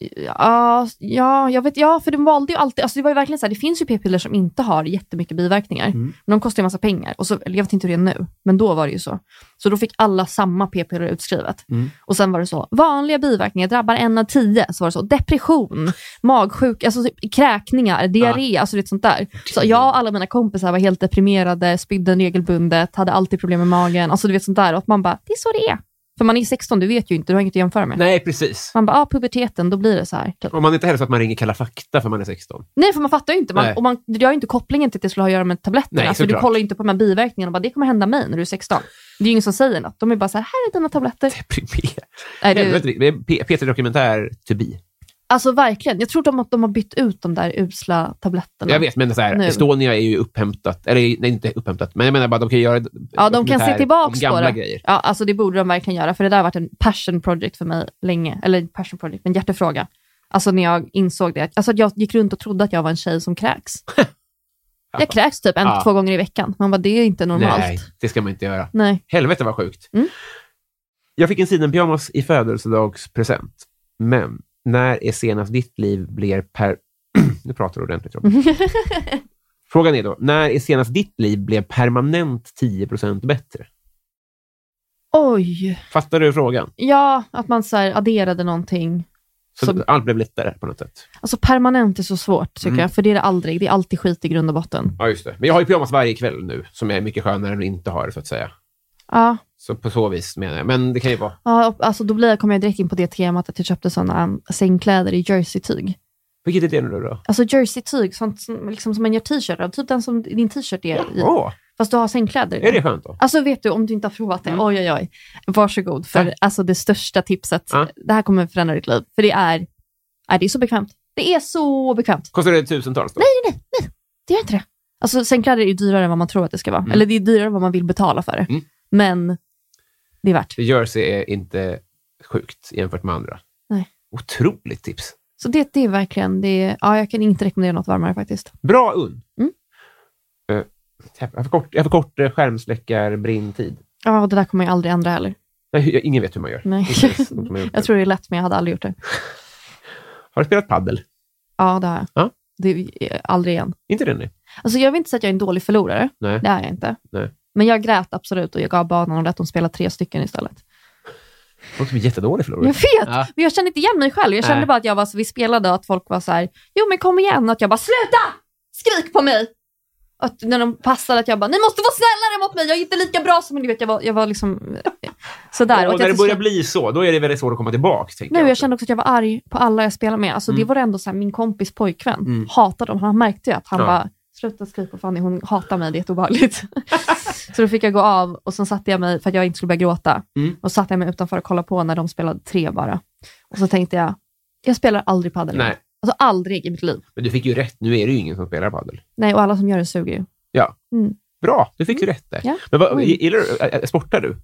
Speaker 2: Ja, ja, jag vet, ja, för de valde ju alltid, alltså det var ju verkligen så här, det finns ju p-piller som inte har jättemycket biverkningar,
Speaker 1: Mm.
Speaker 2: men de kostar ju en massa pengar. Och så, eller jag vet inte hur det är nu, men då var det ju så. Så då fick alla samma p-piller utskrivet.
Speaker 1: Mm.
Speaker 2: Och sen var det så, vanliga biverkningar drabbar en av tio, så var det så, depression, magsjuk, alltså typ, kräkningar, diarré, alltså det sånt där. Så jag och alla mina kompisar var helt deprimerade, spydde regelbundet, hade alltid problem med magen, alltså du vet sånt där. Och att man bara, det är så det är. För man är 16, du vet ju inte, du har inget att jämföra med.
Speaker 1: Nej, precis.
Speaker 2: Man bara, ah, puberteten, då blir det så här. Typ.
Speaker 1: Om man inte heller så att man ringer Kalla fakta för man är 16.
Speaker 2: Nej, för man fattar ju inte. Man,
Speaker 1: Nej.
Speaker 2: och man du gör ju inte kopplingen till att det skulle ha att göra med tabletterna.
Speaker 1: Nej,
Speaker 2: alltså, du
Speaker 1: såklart.
Speaker 2: kollar ju inte på de här biverkningarna och bara, det kommer hända mig när du är 16. Det är ju ingen som säger något. De är bara så här, här är dina tabletter.
Speaker 1: Deprimerad.
Speaker 2: Nej,
Speaker 1: Helvete,
Speaker 2: det,
Speaker 1: det är P- Peter Dokumentär to be.
Speaker 2: alltså verkligen. Jag tror de, att de har bytt ut de där usla tabletterna.
Speaker 1: Jag vet, men så här,
Speaker 2: Alltså. Nu.
Speaker 1: Estonia är ju upphämtat. Eller nej, inte upphämtat, men jag menar bara de kan göra
Speaker 2: Ja, de kan se tillbaks
Speaker 1: om
Speaker 2: på
Speaker 1: gamla
Speaker 2: det.
Speaker 1: grejer.
Speaker 2: Ja, alltså det borde de verkligen göra, för det där har varit en passion project för mig länge. Eller inte passion project, men hjärtefråga. Alltså när jag insåg det. Alltså att jag gick runt och trodde att jag var en tjej som kräks. Jag kräks typ en,
Speaker 1: Ja.
Speaker 2: två gånger i veckan. Man bara, det är inte normalt.
Speaker 1: Nej, det ska man inte göra.
Speaker 2: Nej.
Speaker 1: Helvete vad sjukt.
Speaker 2: Mm.
Speaker 1: Jag fick en sidenpyjamas i födelsedagspresent. Men när är senast ditt liv blir per... nu pratar du ordentligt, Robin. Frågan är då, när är senast ditt liv blev permanent 10 bättre?
Speaker 2: Oj.
Speaker 1: Fattar du frågan?
Speaker 2: Ja, att man så här adderade någonting.
Speaker 1: Så
Speaker 2: Som-
Speaker 1: allt blev lättare på något sätt.
Speaker 2: Alltså permanent är så svårt tycker
Speaker 1: Mm.
Speaker 2: jag, för det är det aldrig. Det är alltid skit i grund och botten.
Speaker 1: Ja, just det. Men jag har ju pyjamas varje kväll nu, som är mycket skönare än att inte ha det, så att säga.
Speaker 2: Ja,
Speaker 1: Så på så vis menar jag. Men det kan ju vara...
Speaker 2: ja och- alltså då blir jag, kommer jag direkt in på det temat att jag köpte sådana um, sängkläder i jerseytyg.
Speaker 1: Vilket är det nu då?
Speaker 2: Alltså jerseytyg, sånt som, liksom, som man gör t-shirt av, typ den som din t-shirt är i.
Speaker 1: Åh,
Speaker 2: Fast du har sängkläder i.
Speaker 1: Oh. är det Mm. skönt då?
Speaker 2: Alltså vet du, om du inte har provat det, oj oj oj. Varsågod för
Speaker 1: Tack.
Speaker 2: alltså, det största tipset.
Speaker 1: Ja.
Speaker 2: Det här kommer förändra ditt liv, för det är, är, det är så bekvämt. Det är så bekvämt.
Speaker 1: Kostar det tusentals då?
Speaker 2: det gör inte det. Alltså, sängkläder är ju dyrare än vad man tror att det ska vara. Eller det är dyrare än vad man vill betala för det.
Speaker 1: Mm.
Speaker 2: Men det är värt.
Speaker 1: Jersey är inte sjukt jämfört med andra.
Speaker 2: Nej.
Speaker 1: Otroligt tips.
Speaker 2: Så det, det är verkligen, det är, ja, jag kan inte rekommendera något varmare faktiskt.
Speaker 1: Bra Un.
Speaker 2: Mm.
Speaker 1: Eh, jag har för kort, jag har för kort eh, skärmsläckar-brintid.
Speaker 2: Ja, och det där kommer jag aldrig ändra heller.
Speaker 1: Nej, hur- jag- Ingen vet hur man gör.
Speaker 2: Nej.
Speaker 1: Inte ens de som har gjort
Speaker 2: Mm. Jag
Speaker 1: det.
Speaker 2: tror det är lätt, men jag hade aldrig gjort det.
Speaker 1: Har du spelat paddel?
Speaker 2: Ja, det har jag.
Speaker 1: Ja.
Speaker 2: Det, är- eh, aldrig igen.
Speaker 1: Inte det nu?
Speaker 2: Alltså, jag vill inte säga att jag är en dålig förlorare.
Speaker 1: Nej.
Speaker 2: Det är jag inte.
Speaker 1: Nej.
Speaker 2: Men jag grät absolut och jag gav banan och lät dem spela tre stycken istället.
Speaker 1: Folk som är jättedålig förlorare.
Speaker 2: Jag vet,
Speaker 1: Ja.
Speaker 2: men jag kände inte igen mig själv. Jag kände
Speaker 1: Nej.
Speaker 2: bara att jag var, så vi spelade och att folk var så här, jo men kom igen, och att jag bara, sluta! Skrik på mig! Och att när de passade att jag bara, ni måste vara snällare mot mig, jag är inte lika bra som ni vet, jag var, jag var liksom eh, sådär.
Speaker 1: och när
Speaker 2: att jag
Speaker 1: det
Speaker 2: till
Speaker 1: börjar
Speaker 2: slut-
Speaker 1: bli så, då är det väldigt svårt att komma tillbaka. Tänker
Speaker 2: Nej, jag
Speaker 1: också.
Speaker 2: kände också att jag var arg på alla jag spelade med. Alltså, Det
Speaker 1: Mm.
Speaker 2: var ändå så här, min kompis pojkvän
Speaker 1: Mm.
Speaker 2: hatade dem. Han märkte ju att han
Speaker 1: Ja.
Speaker 2: bara, sluta skrika Fanny, hon hatar mig, det är jätteobehagligt. så då fick jag gå av och sen satte jag mig, för att jag inte skulle börja gråta,
Speaker 1: Mm.
Speaker 2: och satte jag mig utanför och kollade på när de spelade tre bara. Och så tänkte jag, jag spelar aldrig padel.
Speaker 1: Nej,
Speaker 2: Alltså aldrig i mitt liv.
Speaker 1: men du fick ju rätt. Nu är det ju ingen som spelar paddel.
Speaker 2: Nej, och alla som gör det suger ju.
Speaker 1: Bra, du fick ju rätt där.
Speaker 2: Mm. Ja.
Speaker 1: Men vad,
Speaker 2: Oj.
Speaker 1: gillar du, ä- ä- sportar du?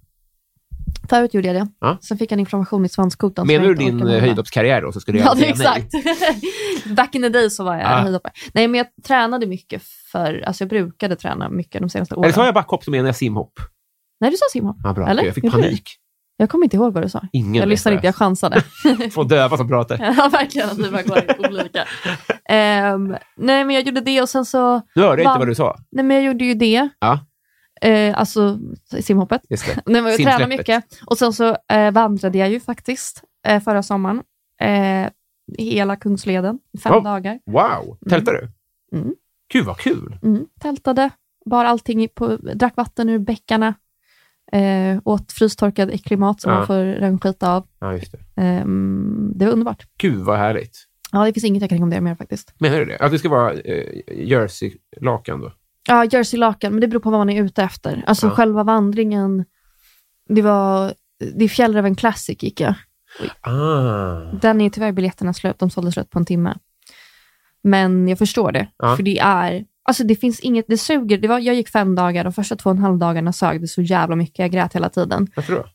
Speaker 2: Förut gjorde jag det.
Speaker 1: Ja.
Speaker 2: Sen fick jag en inflammation i svanskotan. som
Speaker 1: Menar
Speaker 2: jag
Speaker 1: du
Speaker 2: inte
Speaker 1: din
Speaker 2: orkar med.
Speaker 1: eh, höjdhoppskarriär då, så skulle jag
Speaker 2: Ja, det är
Speaker 1: säga nej.
Speaker 2: exakt. Back in the day så var jag
Speaker 1: Ah.
Speaker 2: höjdhoppare. Nej, men jag tränade mycket för, alltså jag brukade träna mycket de senaste åren.
Speaker 1: Eller sa jag backhopp så menar jag simhopp.
Speaker 2: Nej, du sa simhopp.
Speaker 1: Ja, bra.
Speaker 2: Eller?
Speaker 1: Jag fick
Speaker 2: Gjorde du?
Speaker 1: panik.
Speaker 2: Jag kommer inte ihåg vad du sa.
Speaker 1: Ingen
Speaker 2: jag
Speaker 1: vet
Speaker 2: lyssnade
Speaker 1: vad
Speaker 2: inte, jag chansade.
Speaker 1: Två döva som pratar.
Speaker 2: ja, verkligen att vi bara går olika. Ehm, nej, men jag gjorde det och sen så,
Speaker 1: Nu hörde jag
Speaker 2: Vann.
Speaker 1: inte vad du sa.
Speaker 2: nej men jag gjorde ju det.
Speaker 1: Ja.
Speaker 2: Eh, alltså simhoppet.
Speaker 1: Just det.
Speaker 2: Nej, men jag tränade
Speaker 1: Simsläppet.
Speaker 2: mycket. Och sen så eh, vandrade jag ju faktiskt eh, förra sommaren. Eh, hela Kungsleden i fem
Speaker 1: Oh.
Speaker 2: dagar.
Speaker 1: Wow! Tältade du?
Speaker 2: Mm.
Speaker 1: Gud, vad kul!
Speaker 2: Mm, tältade, bar allting i- på, drack vatten ur bäckarna, eh, åt frystorkad äcklig mat som
Speaker 1: Ja.
Speaker 2: man får renskita av.
Speaker 1: Ja, just det.
Speaker 2: Ehm, det var underbart.
Speaker 1: Gud, vad härligt.
Speaker 2: Ja, det finns inget jag kan rekommendera mer faktiskt.
Speaker 1: Menar du det? Att det ska vara eh, jersey-lakan då?
Speaker 2: Ja, jerseylakan, men det beror på vad man är ute efter. Alltså
Speaker 1: Ja.
Speaker 2: själva vandringen, det var, det är Fjällräven Classic gick jag.
Speaker 1: Ah.
Speaker 2: Den är tyvärr biljetterna slut, de sålde slut på en timme. Men jag förstår det,
Speaker 1: Ja.
Speaker 2: för det är, alltså det finns inget, det suger. Det var, jag gick fem dagar, de första två och en halv dagarna sög det så jävla mycket, jag grät hela tiden.
Speaker 1: Varför då?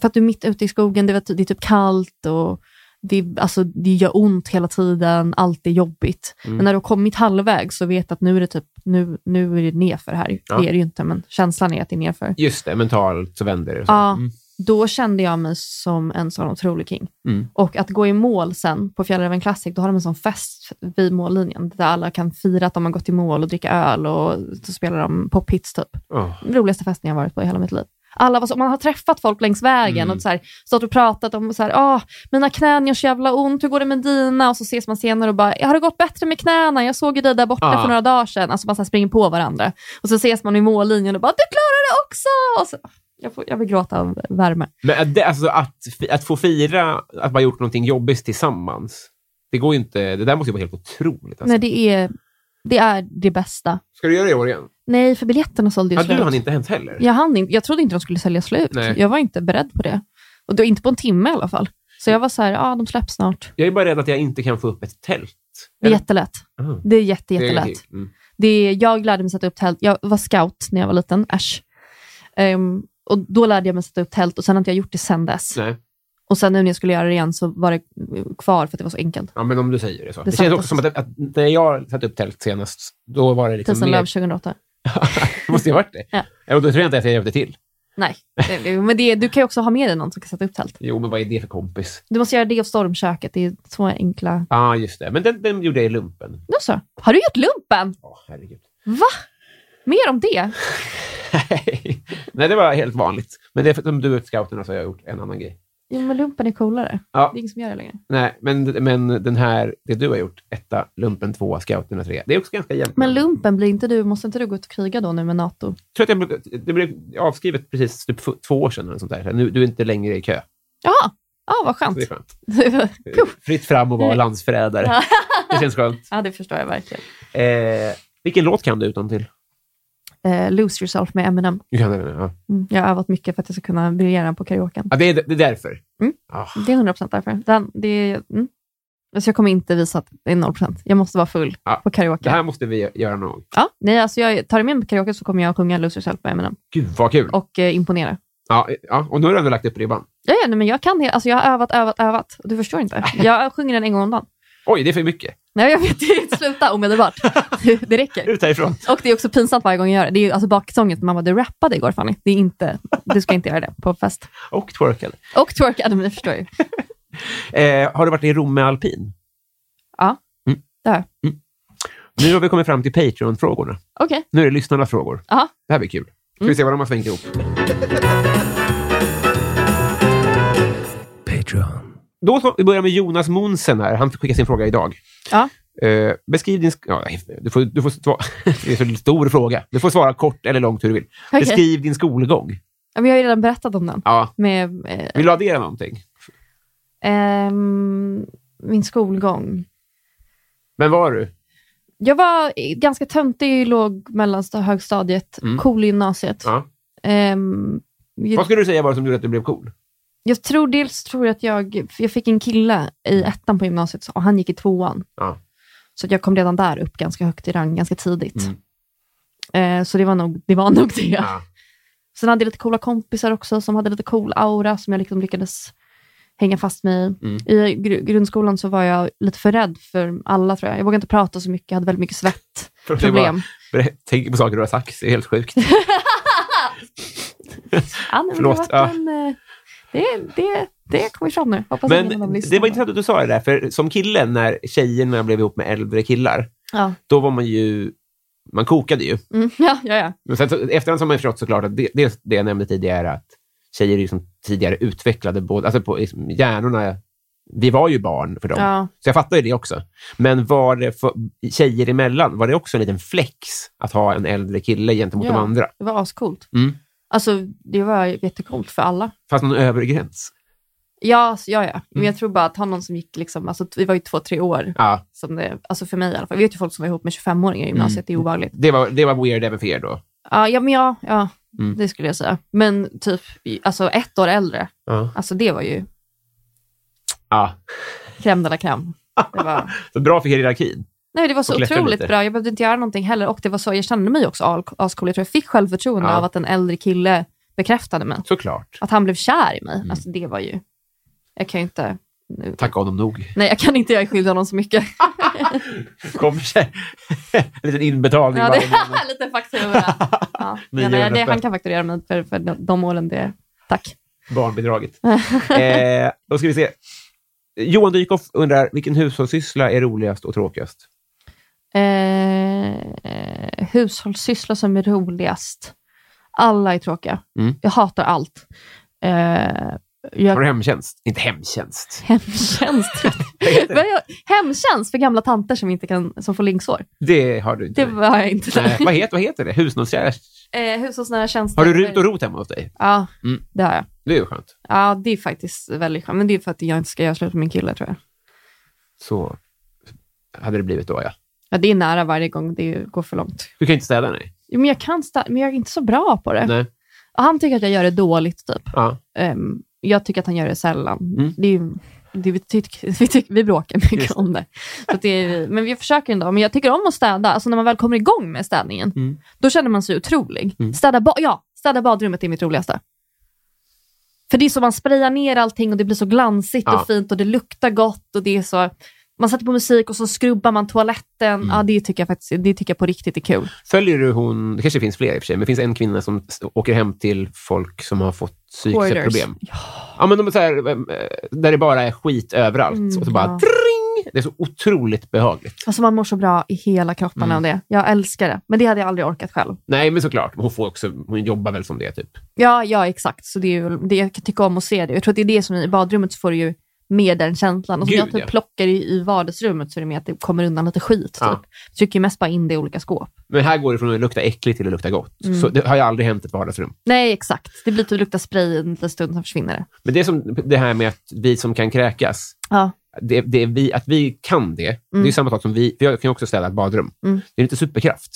Speaker 2: för att du är mitt ute i skogen, det, var ty- det är typ kallt och det, alltså, det gör ont hela tiden, allt är jobbigt.
Speaker 1: Mm.
Speaker 2: Men när du har kommit halvvägs så vet att nu är det typ, nu, nu är det nerför här.
Speaker 1: Ja.
Speaker 2: Det är det ju inte, men känslan är att det är nerför.
Speaker 1: Just det, mentalt så vänder det. Så.
Speaker 2: Ja.
Speaker 1: Mm.
Speaker 2: Då kände jag mig som en sån otrolig king.
Speaker 1: Mm.
Speaker 2: Och att gå i mål sen på Fjällräven Classic, då har de en sån fest vid mållinjen, där alla kan fira att de har gått i mål och dricka öl och så spelar de pophits typ
Speaker 1: Åh.
Speaker 2: roligaste festen jag varit på i hela mitt liv. Alla var så, man har träffat folk längs vägen
Speaker 1: Mm.
Speaker 2: och så här, stått och pratat om så här, ah, mina knän gör så jävla ont, hur går det med dina? Och så ses man senare och bara, har det gått bättre med knäna? Jag såg ju dig där borta
Speaker 1: Ah.
Speaker 2: för några dagar sedan. Alltså man så här springer på varandra. Och så ses man i mållinjen och bara, du klarar det också! Och så, jag, får, jag vill gråta av värme.
Speaker 1: Men att det, alltså att, fi- att få fira att man gjort någonting jobbigt tillsammans, det går ju inte. Det där måste ju vara helt otroligt. Alltså.
Speaker 2: Nej, det är, det är det bästa.
Speaker 1: Ska du göra det i år igen?
Speaker 2: Nej, för biljetterna sålde ju
Speaker 1: Ja, du
Speaker 2: slut.
Speaker 1: hann inte hänt heller.
Speaker 2: Jag, hann inte, jag trodde inte de skulle sälja slut.
Speaker 1: Nej.
Speaker 2: Jag var inte beredd på det. Och då, inte på en timme i alla fall. Så jag var så här, ja, ah, de släpps snart.
Speaker 1: Jag är bara rädd att jag inte kan få upp ett tält.
Speaker 2: Det är
Speaker 1: Eller-
Speaker 2: jättelätt.
Speaker 1: Ah,
Speaker 2: Det är jätte,
Speaker 1: det är
Speaker 2: jättelätt.
Speaker 1: ingenting. Mm.
Speaker 2: Det är, jag lärde mig sätta upp tält. Jag var scout när jag var liten, äsch. Ehm, och då lärde jag mig sätta upp tält och sen har inte jag gjort det sen dess.
Speaker 1: Nej,
Speaker 2: Och sen nu när jag skulle göra det igen så var det kvar för att det var så enkelt.
Speaker 1: ja, men om du säger det så. Det,
Speaker 2: Det
Speaker 1: känns
Speaker 2: satt
Speaker 1: också som
Speaker 2: oss-
Speaker 1: att, att när jag satte upp tält senast, då var det liksom
Speaker 2: Tusen
Speaker 1: mer...
Speaker 2: Love 2008.
Speaker 1: det måste ju ha varit det.
Speaker 2: Ja.
Speaker 1: Och då tror jag inte att jag hjälpte till.
Speaker 2: Nej, det- det- men det, du kan ju också ha med dig någon som kan sätta upp tält.
Speaker 1: Jo, men vad är det för kompis?
Speaker 2: Du måste göra det och stormköket. Det är två enkla...
Speaker 1: Ja, ah, just det. Men den, den gjorde jag i lumpen.
Speaker 2: Nu så. Har du gjort lumpen?
Speaker 1: Ja, herregud.
Speaker 2: Va? Mer om det?
Speaker 1: Nej, det var helt vanligt. Men det är för, som du scouterna så har jag gjort en annan grej.
Speaker 2: Jo, men lumpen är coolare.
Speaker 1: Ja,
Speaker 2: Det är ingen som gör det längre.
Speaker 1: nej, men, men den här, det du har gjort, etta, lumpen tvåa, scouterna tre. Det är också ganska jämnt.
Speaker 2: Men lumpen, blir inte du, måste inte du gå ut och kriga då nu med NATO?
Speaker 1: Jag tror att jag, blev- det blev avskrivet precis typ f- två år sedan. Eller sånt där. Nu, du är inte längre i kö.
Speaker 2: Jaha, ja, vad
Speaker 1: Så
Speaker 2: skönt.
Speaker 1: det är skönt.
Speaker 2: Puh.
Speaker 1: Fritt fram och vara landsförrädare. Det känns skönt.
Speaker 2: ja, det förstår jag verkligen.
Speaker 1: Eh, vilken låt kan du utan till?
Speaker 2: Eh, Lose yourself med Eminem.
Speaker 1: Du kan den, ja.
Speaker 2: Mm. Jag har övat mycket för att jag ska kunna briljera på karaoken.
Speaker 1: Ja, det, är, det är därför.
Speaker 2: Mm.
Speaker 1: Ah,
Speaker 2: Det är 100% därför. Den, det är, mm. Så jag kommer inte visa att det är 0%. Jag måste vara full
Speaker 1: Ja,
Speaker 2: på karaoke.
Speaker 1: det här måste vi göra någon gång.
Speaker 2: Ja, nej, alltså jag tar det med mig på karaoke så kommer jag att sjunga Lose yourself med Eminem
Speaker 1: Gud, vad kul.
Speaker 2: och eh, imponera.
Speaker 1: Ja, ja, och nu har du ändå lagt upp ribban.
Speaker 2: Ja, ja, nej, men jag kan det. Alltså, jag har övat, övat, övat. Du förstår inte. Jag sjunger den en gång om dagen.
Speaker 1: Oj, det är för mycket.
Speaker 2: Nej, jag vet inte. Sluta omedelbart. Det räcker.
Speaker 1: Ut härifrån.
Speaker 2: Och det är också pinsamt varje gång jag gör det. Det är ju alltså baksången. Mamma, du rappade igår Fanny. Det är inte, du ska inte göra det på fest.
Speaker 1: Och twerkade.
Speaker 2: Och twerkade, men ni förstår ju.
Speaker 1: Eh, har du varit i Rom med alpin?
Speaker 2: Ja,
Speaker 1: Mm.
Speaker 2: det har jag.
Speaker 1: Mm. Nu har vi kommit fram till Patreon-frågorna.
Speaker 2: Okej.
Speaker 1: Nu är det lyssnarnas frågor.
Speaker 2: Aha.
Speaker 1: Det här blir kul. Ska vi se vad de har svängt ihop.
Speaker 5: Patreon.
Speaker 1: Då så, vi börjar med Jonas Monsen här. Han skickade sin fråga idag.
Speaker 2: Ja.
Speaker 1: Eh, beskriv din... sk- Ja, nej, du får, du får svara, det är en så stor fråga. Du får svara kort eller långt hur du vill.
Speaker 2: Okej.
Speaker 1: Beskriv din skolgång.
Speaker 2: Ja, men jag har ju redan berättat om den.
Speaker 1: Ja.
Speaker 2: Med, eh,
Speaker 1: Vill du addera någonting?
Speaker 2: ehm, min skolgång.
Speaker 1: Vem var du?
Speaker 2: Jag var i- ganska töntig i låg mellanstadiet, högstadiet,
Speaker 1: Mm.
Speaker 2: cool i gymnasiet.
Speaker 1: Ja.
Speaker 2: Ehm,
Speaker 1: Vad
Speaker 2: jag,
Speaker 1: skulle du säga var det som gjorde att du blev cool?
Speaker 2: jag tror dels tror jag att jag, för jag fick en kille i ettan på gymnasiet och han gick i tvåan.
Speaker 1: Ja.
Speaker 2: Så att jag kom redan där upp ganska högt i rang ganska tidigt.
Speaker 1: Mm.
Speaker 2: Eh, så det var nog det. Var nog det.
Speaker 1: Ja.
Speaker 2: Sen hade jag lite coola kompisar också som hade lite cool aura som jag liksom lyckades hänga fast mig i.
Speaker 1: Mm.
Speaker 2: I gr- grundskolan så var jag lite för rädd för alla tror jag. Jag vågade inte prata så mycket, jag hade väldigt mycket svettproblem.
Speaker 1: För att du bara berä- tänker på saker du har sagt. Det är helt sjukt.
Speaker 2: Ja, nej, men
Speaker 1: Förlåt,
Speaker 2: Det, har varit en, eh, det, det, det kommer fram nu. Hoppas att ingen
Speaker 1: Men
Speaker 2: av dem lyssnar.
Speaker 1: det var intressant att du sa det där, för som kille, när tjejerna blev ihop med äldre killar,
Speaker 2: Ja,
Speaker 1: då var man ju... Man kokade ju.
Speaker 2: mm, ja, ja. ja.
Speaker 1: Men sen, så, efterhand så har man ju förstått såklart att det, dels det jag nämnde tidigare, att tjejer är ju som tidigare utvecklade både, alltså på liksom, hjärnorna vi var ju barn för dem.
Speaker 2: Ja.
Speaker 1: Så jag fattar ju det också. Men var det för, tjejer emellan, var det också en liten flex att ha en äldre kille gentemot
Speaker 2: Ja.
Speaker 1: de andra?
Speaker 2: Det var ascoolt.
Speaker 1: Mm.
Speaker 2: Alltså, det var jättecoolt för alla.
Speaker 1: Fanns det någon övre gräns?
Speaker 2: Ja, så- ja, ja.
Speaker 1: Mm.
Speaker 2: Men jag tror bara att ha någon som gick liksom, alltså vi var ju två, tre år.
Speaker 1: Ja,
Speaker 2: Som det, alltså för mig i alla fall. Jag vet ju folk som var ihop med 25-åringar i gymnasiet,
Speaker 1: Mm.
Speaker 2: det är obehagligt.
Speaker 1: det var, det var weird även för er då.
Speaker 2: Ja, ja, men ja, ja
Speaker 1: Mm.
Speaker 2: det skulle jag säga. Men typ, i- alltså ett år äldre,
Speaker 1: Ja.
Speaker 2: alltså det var ju
Speaker 1: ja.
Speaker 2: crème de la crème. Det var,
Speaker 1: Så bra för hierarkin.
Speaker 2: nej, det var så
Speaker 1: Och klättra
Speaker 2: otroligt
Speaker 1: lite.
Speaker 2: bra. Jag behövde inte göra någonting heller och det var så, jag kände mig också al- ascool. Jag tror jag fick självförtroende
Speaker 1: Ja.
Speaker 2: av att en äldre kille bekräftade mig.
Speaker 1: Såklart.
Speaker 2: Att han blev kär i mig,
Speaker 1: Mm.
Speaker 2: alltså det var ju... Jag kan ju inte... Nu,
Speaker 1: Tacka honom nog.
Speaker 2: nej, jag kan inte göra skyldig honom så mycket.
Speaker 1: Kom, en liten inbetalning.
Speaker 2: Ja,
Speaker 1: bara.
Speaker 2: det lite faktura. Ja. Ja, nej,
Speaker 1: 900
Speaker 2: det, han
Speaker 1: spänn.
Speaker 2: kan fakturera mig för, för de- de åren det... Tack.
Speaker 1: Barnbidraget. eh, då ska vi se. Johan Dykhoff undrar, vilken hushållssyssla är roligast och tråkigast?
Speaker 2: Eh, hushållssyssla som är roligast. Alla är tråkiga.
Speaker 1: Mm.
Speaker 2: Jag hatar allt. Eh, jag...
Speaker 1: Har du hemtjänst? Inte hemtjänst.
Speaker 2: Hemtjänst. Vad jag- Hemtjänst för gamla tanter som, inte kan, som får linksår.
Speaker 1: Det har du inte.
Speaker 2: Det var jag inte.
Speaker 1: Nej, vad, heter, vad heter det? Husnålskärst?
Speaker 2: Eh, hushållsnära tjänster.
Speaker 1: Har du rut och rot hemma hos dig?
Speaker 2: Ja,
Speaker 1: Mm.
Speaker 2: det har jag.
Speaker 1: Det är ju skönt.
Speaker 2: Ja, det är faktiskt väldigt skönt. Men det är för att jag inte ska göra slut med min kille, tror jag.
Speaker 1: Så hade det blivit då, ja.
Speaker 2: Ja, det är nära varje gång det går för långt.
Speaker 1: Du kan inte städa, nej.
Speaker 2: Jo, men jag kan sta- men jag är inte så bra på det.
Speaker 1: nej.
Speaker 2: Och Han tycker att jag gör det dåligt, typ.
Speaker 1: Ja.
Speaker 2: Ehm, jag tycker att han gör det sällan.
Speaker 1: Mm.
Speaker 2: Det är, ju- det, vi, tyck, vi, tyck, vi bråkar mycket
Speaker 1: Just det.
Speaker 2: om det. Så att det är, men vi försöker ändå. Men jag tycker om att städa. Alltså när man väl kommer igång med städningen,
Speaker 1: Mm.
Speaker 2: då känner man sig otrolig.
Speaker 1: Mm.
Speaker 2: Städa, ba- ja, städa badrummet är mitt roligaste. För det är så man sprayar ner allting och det blir så glansigt
Speaker 1: Ja.
Speaker 2: och fint och det luktar gott och det är så... Man sätter på musik och så skrubbar man toaletten.
Speaker 1: Mm.
Speaker 2: Ja, det tycker jag faktiskt det tycker jag på riktigt är kul.
Speaker 1: Följer du hon, det kanske finns fler i och för sig, men det finns en kvinna som s- åker hem till folk som har fått psykiska
Speaker 2: Hoarders.
Speaker 1: problem. Ja, men de är så här, eh, där det bara är skit överallt.
Speaker 2: Mm,
Speaker 1: och så bara
Speaker 2: ja.
Speaker 1: tring! Det är så otroligt behagligt.
Speaker 2: Alltså man mår så bra i hela kroppen
Speaker 1: Mm.
Speaker 2: av det. Jag älskar det. Men det hade jag aldrig orkat själv.
Speaker 1: Nej, men såklart. Hon, får också, hon jobbar väl som det, typ.
Speaker 2: Ja, ja exakt. Så det är ju, det jag kan tycka om att se det. Jag tror att det är det som i badrummet så får du ju mer den känslan. Och som
Speaker 1: Gud,
Speaker 2: jag typ
Speaker 1: ja.
Speaker 2: plockar i, i vardagsrummet så är det mer att det kommer undan lite skit.
Speaker 1: Ja.
Speaker 2: Typ. Jag trycker mest bara in det i olika skåp.
Speaker 1: Men här går det från att lukta äckligt till att lukta gott.
Speaker 2: Mm.
Speaker 1: Så det har ju aldrig hänt ett vardagsrum.
Speaker 2: Nej, exakt. Det blir typ lukta spray en liten stund, sen försvinner det.
Speaker 1: Men det är som det här med att vi som kan kräkas,
Speaker 2: Ja.
Speaker 1: det, det är vi, att vi kan det, det är samma sak som vi, för jag kan ju också städa ett badrum.
Speaker 2: Mm.
Speaker 1: Det är inte superkraft.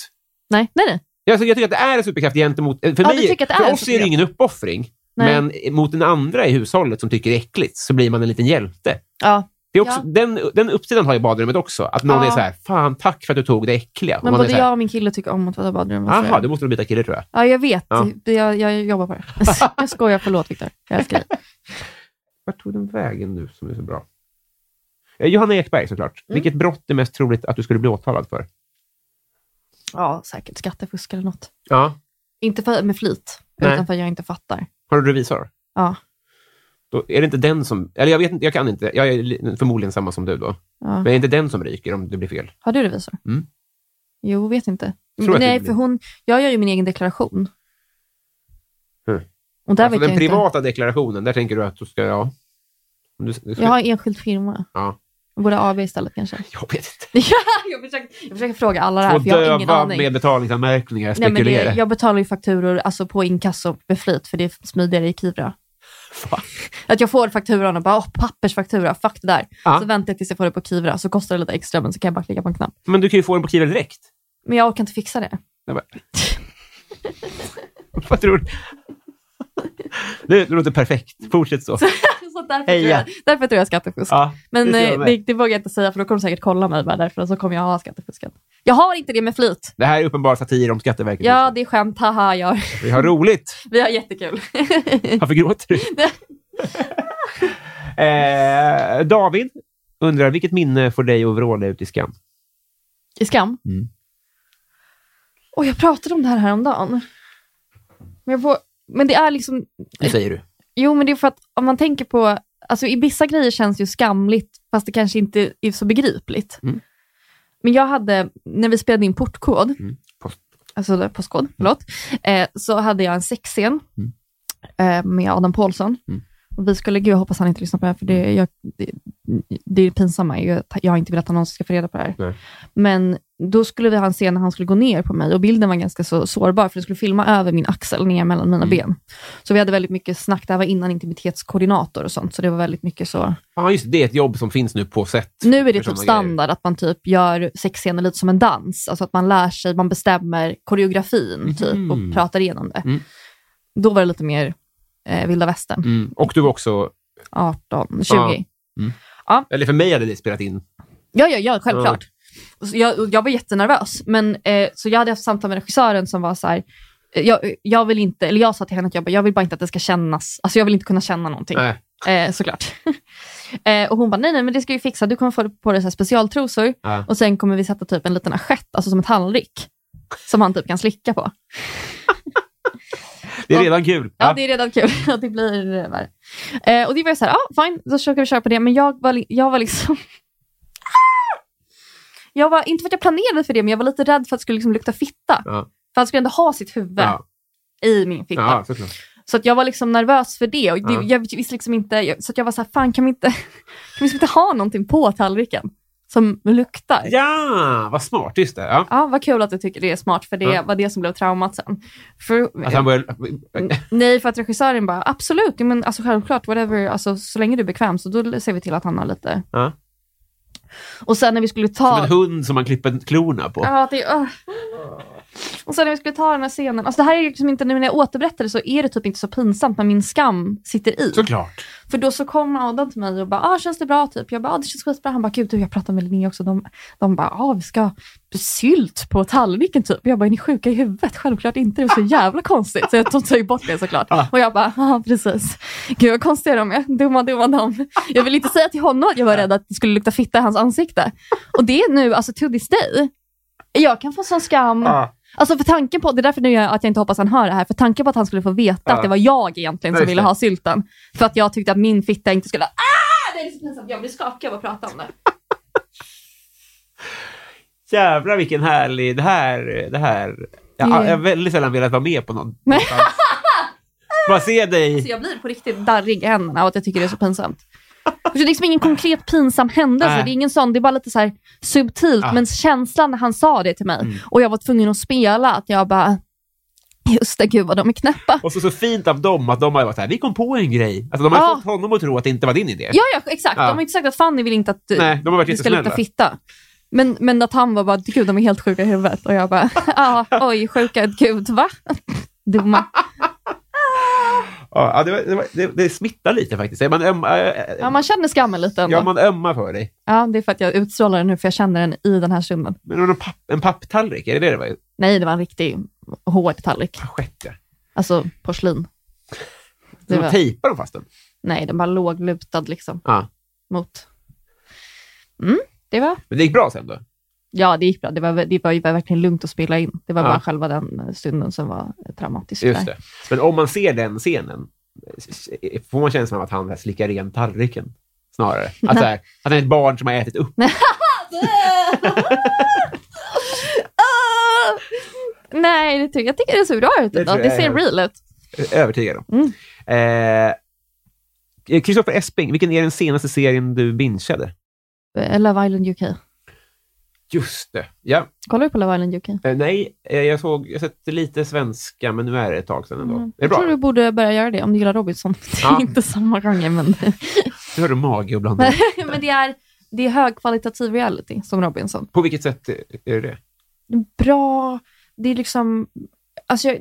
Speaker 2: Nej, nej, nej.
Speaker 1: Jag, alltså, jag tycker att det är en superkraft gentemot... För,
Speaker 2: Ja, du
Speaker 1: mig,
Speaker 2: tycker att det är
Speaker 1: för
Speaker 2: en
Speaker 1: oss är det
Speaker 2: superkraft.
Speaker 1: ingen uppoffring,
Speaker 2: Nej.
Speaker 1: men mot den andra i hushållet som tycker det är äckligt så blir man en liten hjälte.
Speaker 2: Ja.
Speaker 1: Det är också,
Speaker 2: Ja.
Speaker 1: den, den uppsidan har ju badrummet också, att någon
Speaker 2: Ja.
Speaker 1: är så här, fan tack för att du tog det äckliga. Och
Speaker 2: Men
Speaker 1: man är
Speaker 2: både
Speaker 1: så här,
Speaker 2: jag och min kille tycker om att tvätta badrummet. så
Speaker 1: Aha,
Speaker 2: jag-
Speaker 1: då måste du byta kille tror jag.
Speaker 2: Ja, jag vet.
Speaker 1: Ja.
Speaker 2: Det- Jag, jag jobbar på det. jag skojar. Förlåt, Viktor. Jag älskar dig.
Speaker 1: Vart tog den vägen nu som är så bra? Eh, Johanna Ekberg såklart.
Speaker 2: Mm.
Speaker 1: Vilket brott är mest troligt att du skulle bli åtalad för?
Speaker 2: Ja, säkert skattefusk eller något.
Speaker 1: Ja.
Speaker 2: Inte för, med flit,
Speaker 1: Nej.
Speaker 2: utan för att jag inte fattar.
Speaker 1: Har du revisor?
Speaker 2: Ja.
Speaker 1: Då är det inte den som... Eller jag vet inte, jag kan inte. Jag är li- förmodligen samma som du då.
Speaker 2: ja.
Speaker 1: Men är det inte den som ryker om det blir fel?
Speaker 2: Har du revisor?
Speaker 1: Mm.
Speaker 2: Jo, vet inte.
Speaker 1: Tror att det
Speaker 2: Nej,
Speaker 1: blir-
Speaker 2: för hon, jag gör ju min egen deklaration.
Speaker 1: Hmm.
Speaker 2: Och där
Speaker 1: alltså,
Speaker 2: vet
Speaker 1: den
Speaker 2: jag inte.
Speaker 1: privata deklarationen, där tänker du att du ska... Ja. Om Du, du ska
Speaker 2: Jag har en enskild firma.
Speaker 1: ja.
Speaker 2: Jag borde ha AB istället kanske.
Speaker 1: jag vet inte.
Speaker 2: jag, försöker, jag försöker fråga alla det här,
Speaker 1: Och
Speaker 2: för jag har ingen
Speaker 1: döva
Speaker 2: aning.
Speaker 1: med betalningsanmärkningar,
Speaker 2: Nej, men
Speaker 1: spekulera.
Speaker 2: det, jag betalar ju fakturor alltså, på inkasso med flit, för det är smidigare i Kivra.
Speaker 1: Fan.
Speaker 2: Att jag får fakturan och bara, åh, pappersfaktura, fuck det där.
Speaker 1: Ja.
Speaker 2: Så väntar jag tills jag får det på Kivra, så kostar det lite extra, men så kan jag bara klicka på en knapp.
Speaker 1: Men du kan ju få den på Kivel direkt.
Speaker 2: Men jag orkar inte fixa det.
Speaker 1: Jag bara... Vad tror du? Det låter perfekt. Fortsätt så.
Speaker 2: så därför, tror
Speaker 1: Heja.
Speaker 2: jag, därför tror jag skattefusk.
Speaker 1: Ja,
Speaker 2: Men
Speaker 1: det, tror
Speaker 2: det,
Speaker 1: jag
Speaker 2: det,
Speaker 1: med.
Speaker 2: det vågar jag inte säga för då kommer de säkert kolla mig bara därför och så kommer jag ha skattefuskat. Jag har inte det med flit.
Speaker 1: det här är uppenbar satir om Skatteverket.
Speaker 2: Ja, det är skämt. Haha, jag,
Speaker 1: Vi har roligt.
Speaker 2: vi har jättekul.
Speaker 1: Varför gråter du? eh, David undrar, vilket minne får dig att vråla ut i skam?
Speaker 2: I skam.
Speaker 1: Mm.
Speaker 2: Och jag pratade om det här häromdagen. Men, jag får, men det är liksom...
Speaker 1: Det säger du.
Speaker 2: Jo, men det är för att om man tänker på... Alltså i vissa grejer känns ju skamligt, fast det kanske inte är så begripligt.
Speaker 1: Mm.
Speaker 2: Men jag hade, när vi spelade in portkod,
Speaker 1: Mm. Post.
Speaker 2: alltså Postkod, förlåt, eh, så hade jag en sexscen
Speaker 1: Mm.
Speaker 2: eh, med Adam Paulsson.
Speaker 1: Mm.
Speaker 2: Och vi skulle, gud jag hoppas han inte lyssnar på det här, för det, jag, det, det pinsamma är ju att jag har inte velat att någon ska få reda på det här.
Speaker 1: Nej.
Speaker 2: Men då skulle vi ha en scen när han skulle gå ner på mig och bilden var ganska så sårbar, för den skulle filma över min axel, ner mellan
Speaker 1: Mm.
Speaker 2: mina ben. Så vi hade väldigt mycket snack, det här var innan intimitetskoordinator och sånt, så det var väldigt mycket så.
Speaker 1: Ja, just det. Det är ett jobb som finns nu på sätt.
Speaker 2: Nu är
Speaker 1: för
Speaker 2: det typ
Speaker 1: sådana
Speaker 2: standard att man typ gör sexscener lite som en dans, alltså att man lär sig, man bestämmer koreografin typ
Speaker 1: Mhm.
Speaker 2: och pratar igenom det.
Speaker 1: Mm.
Speaker 2: Då var det lite mer eh, vilda västern,
Speaker 1: grejer. Mm. Och du var också...
Speaker 2: 18, 20.
Speaker 1: Ja. Eller för mig hade det spelat in.
Speaker 2: Ja, ja, ja självklart. Så jag, och jag var jättenervös, men, eh, så jag hade haft samtal med regissören som var så här, eh, jag, jag vill inte, eller jag sa till henne att jag, bara, jag vill bara inte att det ska kännas, alltså jag vill inte kunna känna någonting,
Speaker 1: Nej.
Speaker 2: eh, såklart. eh, och hon bara, nej, nej, men det ska vi fixa, du kommer få på dig så här specialtrosor
Speaker 1: Ja.
Speaker 2: och sen kommer vi sätta typ en liten assiett, alltså som en tallrik, som han typ kan slicka på.
Speaker 1: Det är
Speaker 2: Ja.
Speaker 1: redan kul.
Speaker 2: Ja, det är redan kul att det blir värre. Eh, och det var ju så här, ja, fine, då försöker vi köra på det, men jag var, li- jag var liksom... Jag var, inte för att jag planerade för det, men jag var lite rädd för att det skulle liksom lukta fitta.
Speaker 1: Ja.
Speaker 2: För han skulle ändå ha sitt huvud
Speaker 1: Ja.
Speaker 2: i min fitta.
Speaker 1: Ja, såklart.
Speaker 2: Så att jag var liksom nervös för det. Och det
Speaker 1: Ja.
Speaker 2: Jag visste liksom inte, jag, så att jag var så här, fan kan vi inte, kan vi liksom inte ha någonting på tallriken som luktar?
Speaker 1: Ja, vad smart. Just det. Ja.
Speaker 2: Ja, vad kul att du tycker det är smart, för det
Speaker 1: Ja. Alltså-
Speaker 2: var det som blev traumat sen. För,
Speaker 1: Att han Eh, började...
Speaker 2: N- Nej, för att regissören bara, absolut, ja, men alltså, självklart, whatever, alltså, så länge du är bekväm, så då ser vi till att han har lite...
Speaker 1: Ja.
Speaker 2: Och sen när vi skulle
Speaker 1: Som
Speaker 2: ta...
Speaker 1: en hund som man klipper klorna på.
Speaker 2: Ja, det, ah. Och sen när vi skulle ta den här scenen, alltså det här är ju liksom inte, nu när jag återberättar det så är det typ inte så pinsamt när min skam sitter i.
Speaker 1: Såklart.
Speaker 2: För då så kom Adam till mig och bara, ah, känns det bra? Typ. Jag bara, ah, det känns skitbra. Han bara, gud du, jag pratade med Linnea också. De, de bara, ah, vi ska ha sylt på tallriken typ. Jag bara, är ni sjuka i huvudet? Självklart inte, det är så jävla konstigt. Så jag tog tog bort det såklart.
Speaker 1: Ah.
Speaker 2: Och jag bara, ah, precis. Gud vad konstiga de är. Dumma, dumma de. Jag vill inte säga till honom att jag var rädd att det skulle lukta fitta i hans ansikte. Och det är nu, alltså to this day. Jag kan få sån skam. Alltså för tanken på, det är därför nu jag, att jag inte hoppas han hör det här, för tanken på att han skulle få veta
Speaker 1: Ja.
Speaker 2: att det var jag egentligen
Speaker 1: Ja,
Speaker 2: som
Speaker 1: just
Speaker 2: ville
Speaker 1: det.
Speaker 2: ha sylten, för att jag tyckte att min fitta inte skulle... Ah! Det är så pinsamt, jag blir skakig av att prata om det.
Speaker 1: Jävlar vilken härlig... Det här... Det här. Jag har
Speaker 2: Mm.
Speaker 1: jag har väldigt sällan velat vara med på någon.
Speaker 2: Nej.
Speaker 1: Bara se dig.
Speaker 2: Så jag blir på riktigt darrig i händerna av att jag tycker det är så pinsamt. Och så Det är liksom ingen konkret pinsam händelse,
Speaker 1: Nej.
Speaker 2: det är ingen sån, det är bara lite så här subtilt,
Speaker 1: Ja. Mm.
Speaker 2: men känslan när han sa det till mig och jag var tvungen att spela, att jag bara, just det, gud vad de är knäppa.
Speaker 1: Och så, så fint av dem att de har varit så här, vi kom på en grej. Alltså, de har
Speaker 2: Ja.
Speaker 1: fått honom att tro att det inte var din idé.
Speaker 2: Ja, ja exakt.
Speaker 1: Ja.
Speaker 2: De har inte sagt att Fanny vill inte att du,
Speaker 1: Nej, de har varit
Speaker 2: du ska lukta
Speaker 1: jättesnälla.
Speaker 2: fitta. Men, men att han var bara, gud de är helt sjuka i huvudet. Och jag bara, ja, oj, sjuka, gud, va? Dumma.
Speaker 1: Ja, det, var, det, var, det, det smittar lite faktiskt. Man, ömma, äh,
Speaker 2: Ja, man känner skammen lite ändå.
Speaker 1: ja,
Speaker 2: Ja,
Speaker 1: man ömmar för dig.
Speaker 2: det är för att jag utstrålar den nu, för jag känner den i den här stunden.
Speaker 1: Men en, papp, en papptallrik, är det det det var?
Speaker 2: Nej, det var en riktig hård tallrik.
Speaker 1: Assiett, ja.
Speaker 2: Alltså porslin. Det
Speaker 1: Så de
Speaker 2: var,
Speaker 1: tejpar dem fast den?
Speaker 2: nej, den var låglutad liksom
Speaker 1: Ja.
Speaker 2: mot... Mm, det var...
Speaker 1: Men det gick bra sen då?
Speaker 2: Ja, det gick bra. Det var, det var, det var verkligen lugnt att spela in. Det var
Speaker 1: Ja.
Speaker 2: bara själva den stunden som var traumatisk.
Speaker 1: Just
Speaker 2: där.
Speaker 1: det. Men om man ser den scenen, får man känslan av att han slickar ren tallriken snarare? Att, så här, att han är ett barn som har ätit upp.
Speaker 2: Ah! Nej, det tycker, jag tycker det ser bra ut.
Speaker 1: Det
Speaker 2: ändå.
Speaker 1: tror
Speaker 2: Det,
Speaker 1: jag
Speaker 2: ser
Speaker 1: är.
Speaker 2: real ut.
Speaker 1: Övertygad
Speaker 2: Mm.
Speaker 1: om. Eh, Kristoffer Esping, vilken är den senaste serien du bingeade?
Speaker 2: Eh, Love Island UK.
Speaker 1: Just det. Ja.
Speaker 2: Kollar du på Love Island UK?
Speaker 1: Eh, nej, eh, jag såg, jag sett lite svenska, men nu är det ett tag sedan ändå. Är det
Speaker 2: Mm. Jag
Speaker 1: bra?
Speaker 2: tror du borde börja göra det om du gillar Robinson. Det är
Speaker 1: Ja.
Speaker 2: inte samma genre, men,
Speaker 1: Nu har du mage och blanda.
Speaker 2: men det, är, det är högkvalitativ reality som Robinson.
Speaker 1: På vilket sätt är är det?
Speaker 2: Bra, det är liksom... Alltså jag,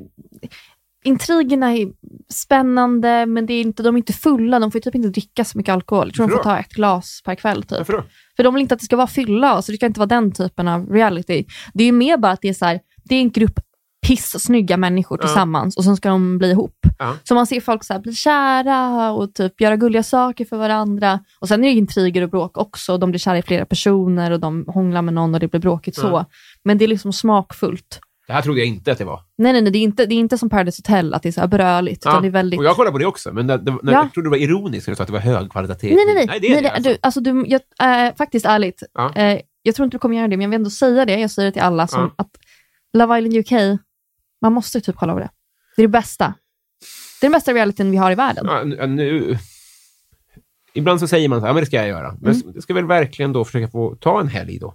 Speaker 2: intrigerna är spännande, men det är inte, de är inte fulla. De får ju typ inte dricka så mycket alkohol. Jag tror de får
Speaker 1: Varför
Speaker 2: ta ett glas per kväll. Typ.
Speaker 1: Varför då?
Speaker 2: För de vill inte att det ska vara fylla, så det ska inte vara den typen av reality. Det är ju mer bara att det är, så här, det är en grupp piss-snygga människor
Speaker 1: Ja.
Speaker 2: tillsammans och sen ska de bli ihop.
Speaker 1: Ja.
Speaker 2: Så man ser folk så här, bli kära och typ göra gulliga saker för varandra. Och Sen är det intriger och bråk också. Och de blir kära i flera personer och de hånglar med någon och det blir bråkigt så.
Speaker 1: Ja.
Speaker 2: Men det är liksom smakfullt.
Speaker 1: Det här trodde jag inte att det var.
Speaker 2: Nej, nej, nej det, är inte, det är inte som Paradise Hotel, att det är så här bröligt.
Speaker 1: Ja,
Speaker 2: Utan det är väldigt...
Speaker 1: Och jag kollade på det också, men det, det, när,
Speaker 2: Ja.
Speaker 1: jag trodde du var ironisk när du sa att det var högkvalitativt.
Speaker 2: Nej, nej, nej. nej,
Speaker 1: det är det, alltså.
Speaker 2: du, alltså, du, jag, eh, faktiskt, ärligt.
Speaker 1: Ja.
Speaker 2: Eh, jag tror inte du kommer göra det, men jag vill ändå säga det. Jag säger det till alla. Som att Love Island UK, man måste typ kolla på det. Det är det bästa. Det är den bästa realityn vi har i världen.
Speaker 1: Ja, nu- nu... Ibland så säger man så här, ja, men det ska jag göra. Men mm. ska väl verkligen då försöka få ta en helg då?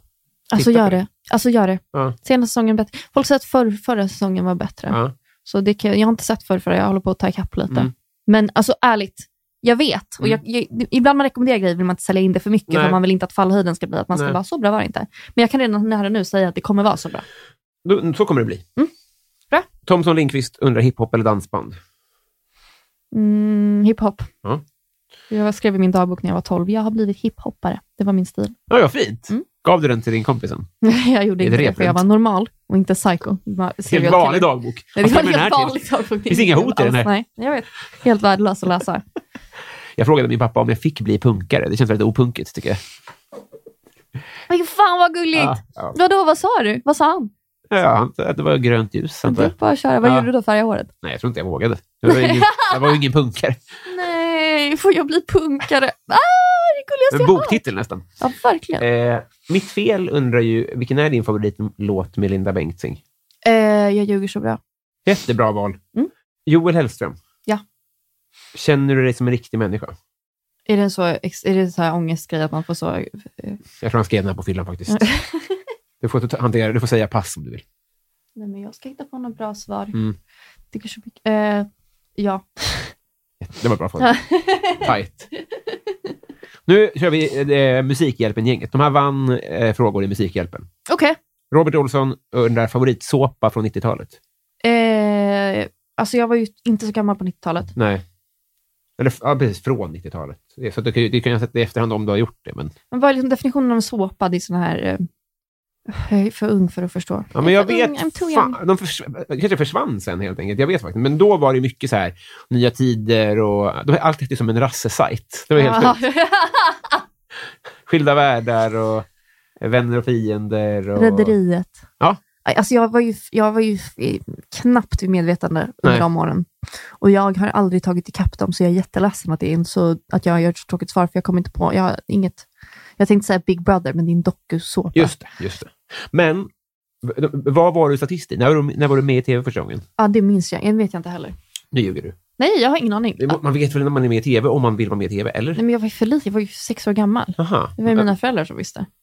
Speaker 2: Alltså
Speaker 1: Titta på
Speaker 2: gör det. Alltså gör det.
Speaker 1: Ja.
Speaker 2: Senaste säsongen bättre. Folk säger att förr, förra säsongen var bättre.
Speaker 1: Ja.
Speaker 2: Så det kan, jag har inte sett förr, förra, jag håller på att ta ikapp lite.
Speaker 1: Mm.
Speaker 2: Men alltså ärligt, jag vet. Och jag, jag, ibland man rekommenderar grejer vill man inte sälja in det för mycket,
Speaker 1: Nej.
Speaker 2: för man vill inte att fallhöjden ska bli att man ska
Speaker 1: Nej.
Speaker 2: vara så bra var det inte. Men jag kan redan här och nu säga att det kommer vara så bra.
Speaker 1: Då, så kommer det bli.
Speaker 2: Mm. Bra.
Speaker 1: Thomson Lindqvist undrar hiphop eller dansband?
Speaker 2: Mm, hiphop.
Speaker 1: Ja.
Speaker 2: Jag skrev i min dagbok när jag var 12, jag har blivit hiphoppare. Det var min stil.
Speaker 1: Ja, ja fint.
Speaker 2: Mm.
Speaker 1: Gav du den till din kompis sen?
Speaker 2: jag gjorde
Speaker 1: Är
Speaker 2: inte
Speaker 1: det
Speaker 2: det, för jag
Speaker 1: reprent?
Speaker 2: var normal och inte psycho. Bara serial
Speaker 1: Helt
Speaker 2: killer.
Speaker 1: vanlig dagbok.
Speaker 2: Nej,
Speaker 1: Vad
Speaker 2: Det
Speaker 1: ska
Speaker 2: var
Speaker 1: jag med
Speaker 2: en
Speaker 1: den här
Speaker 2: helt
Speaker 1: till?
Speaker 2: vanlig dagbok.
Speaker 1: Finns inga hot i den här.
Speaker 2: Nej, jag vet. Helt värdelös att läsa.
Speaker 1: Jag frågade min pappa om jag fick bli punkare. Det känns väldigt opunkigt, tycker jag.
Speaker 2: Men fan vad gulligt!
Speaker 1: Ja, ja.
Speaker 2: Vadå, vad sa du? Vad sa han?
Speaker 1: Ja, han sa att det var grönt ljus.
Speaker 2: Men
Speaker 1: antar
Speaker 2: Det
Speaker 1: jag.
Speaker 2: är bara att köra. Vad
Speaker 1: Ja.
Speaker 2: gjorde du då färga håret?
Speaker 1: Nej, jag tror inte jag vågade. Jag var ju ingen, jag var ju ingen punkare.
Speaker 2: Nej, får jag bli punkare? Ah, det gulligaste
Speaker 1: Men
Speaker 2: jag har.
Speaker 1: boktitel nästan.
Speaker 2: Ja, verkligen.
Speaker 1: Eh, mitt fel undrar ju, vilken är din favoritlåt med Linda Bengtzing?
Speaker 2: Eh, jag ljuger så bra.
Speaker 1: Jättebra val.
Speaker 2: Mm.
Speaker 1: Joel Hellström.
Speaker 2: Ja.
Speaker 1: Känner du dig som en riktig människa?
Speaker 2: Är det en så, ex- är det en så här ångestgrej att man får så...
Speaker 1: Jag tror han skrev den här på fyllan faktiskt.
Speaker 2: Mm.
Speaker 1: Du får, ta- hantera, du får säga pass om du vill.
Speaker 2: Nej, men jag ska hitta på något bra svar.
Speaker 1: Mm.
Speaker 2: Tycker så mycket. Eh, ja.
Speaker 1: Det var bra fråga. Tight. Nu kör vi eh, Musikhjälpen-gänget. De här vann eh, frågor i Musikhjälpen.
Speaker 2: Okej.
Speaker 1: Robert Olsson undrar favoritsåpa från 90-talet.
Speaker 2: Eh, alltså, jag var ju inte så gammal på 90-talet.
Speaker 1: Nej. Eller ja, precis, från 90-talet. Det är Så att du, kan ju- du kan ju ha sett det i efterhand om du har gjort det. Men,
Speaker 2: Men vad är liksom definitionen av en såpa? Det är sån här... eh, Jag är för ung för att förstå.
Speaker 1: ja, men jag
Speaker 2: är för ung,
Speaker 1: vet...
Speaker 2: I'm too young.
Speaker 1: fan, de förs, kanske försvann sen helt enkelt. Jag vet faktiskt. Men då var det ju mycket så här, nya tider och... De, allt hette ju som en rassesajt. Det var helt sjukt. Skilda världar och vänner och fiender. Och,
Speaker 2: Rederiet.
Speaker 1: Ja.
Speaker 2: Alltså jag var ju, jag var ju eh, knappt vid medvetande under
Speaker 1: Nej.
Speaker 2: de åren. Och jag har aldrig tagit ikapp dem, så jag är jätteledsen att, det är en så, att jag gör ett så tråkigt svar, för jag kommer inte på... Jag har inget... Jag tänkte säga Big Brother, men det är en dokusåpa.
Speaker 1: Just det, just det. Men v- de- vad var du statist i? När var du, när var du med i tv första gången?
Speaker 2: Ja, det minns jag. Det vet jag inte heller.
Speaker 1: Nu ljuger du.
Speaker 2: Nej, jag har ingen aning. Ah,
Speaker 1: Det- Man vet väl när man är med i tv om man vill vara med i tv, eller?
Speaker 2: Nej, men jag var ju för liten. Jag var ju sex år gammal.
Speaker 1: Aha.
Speaker 2: Det var ju mina föräldrar som visste.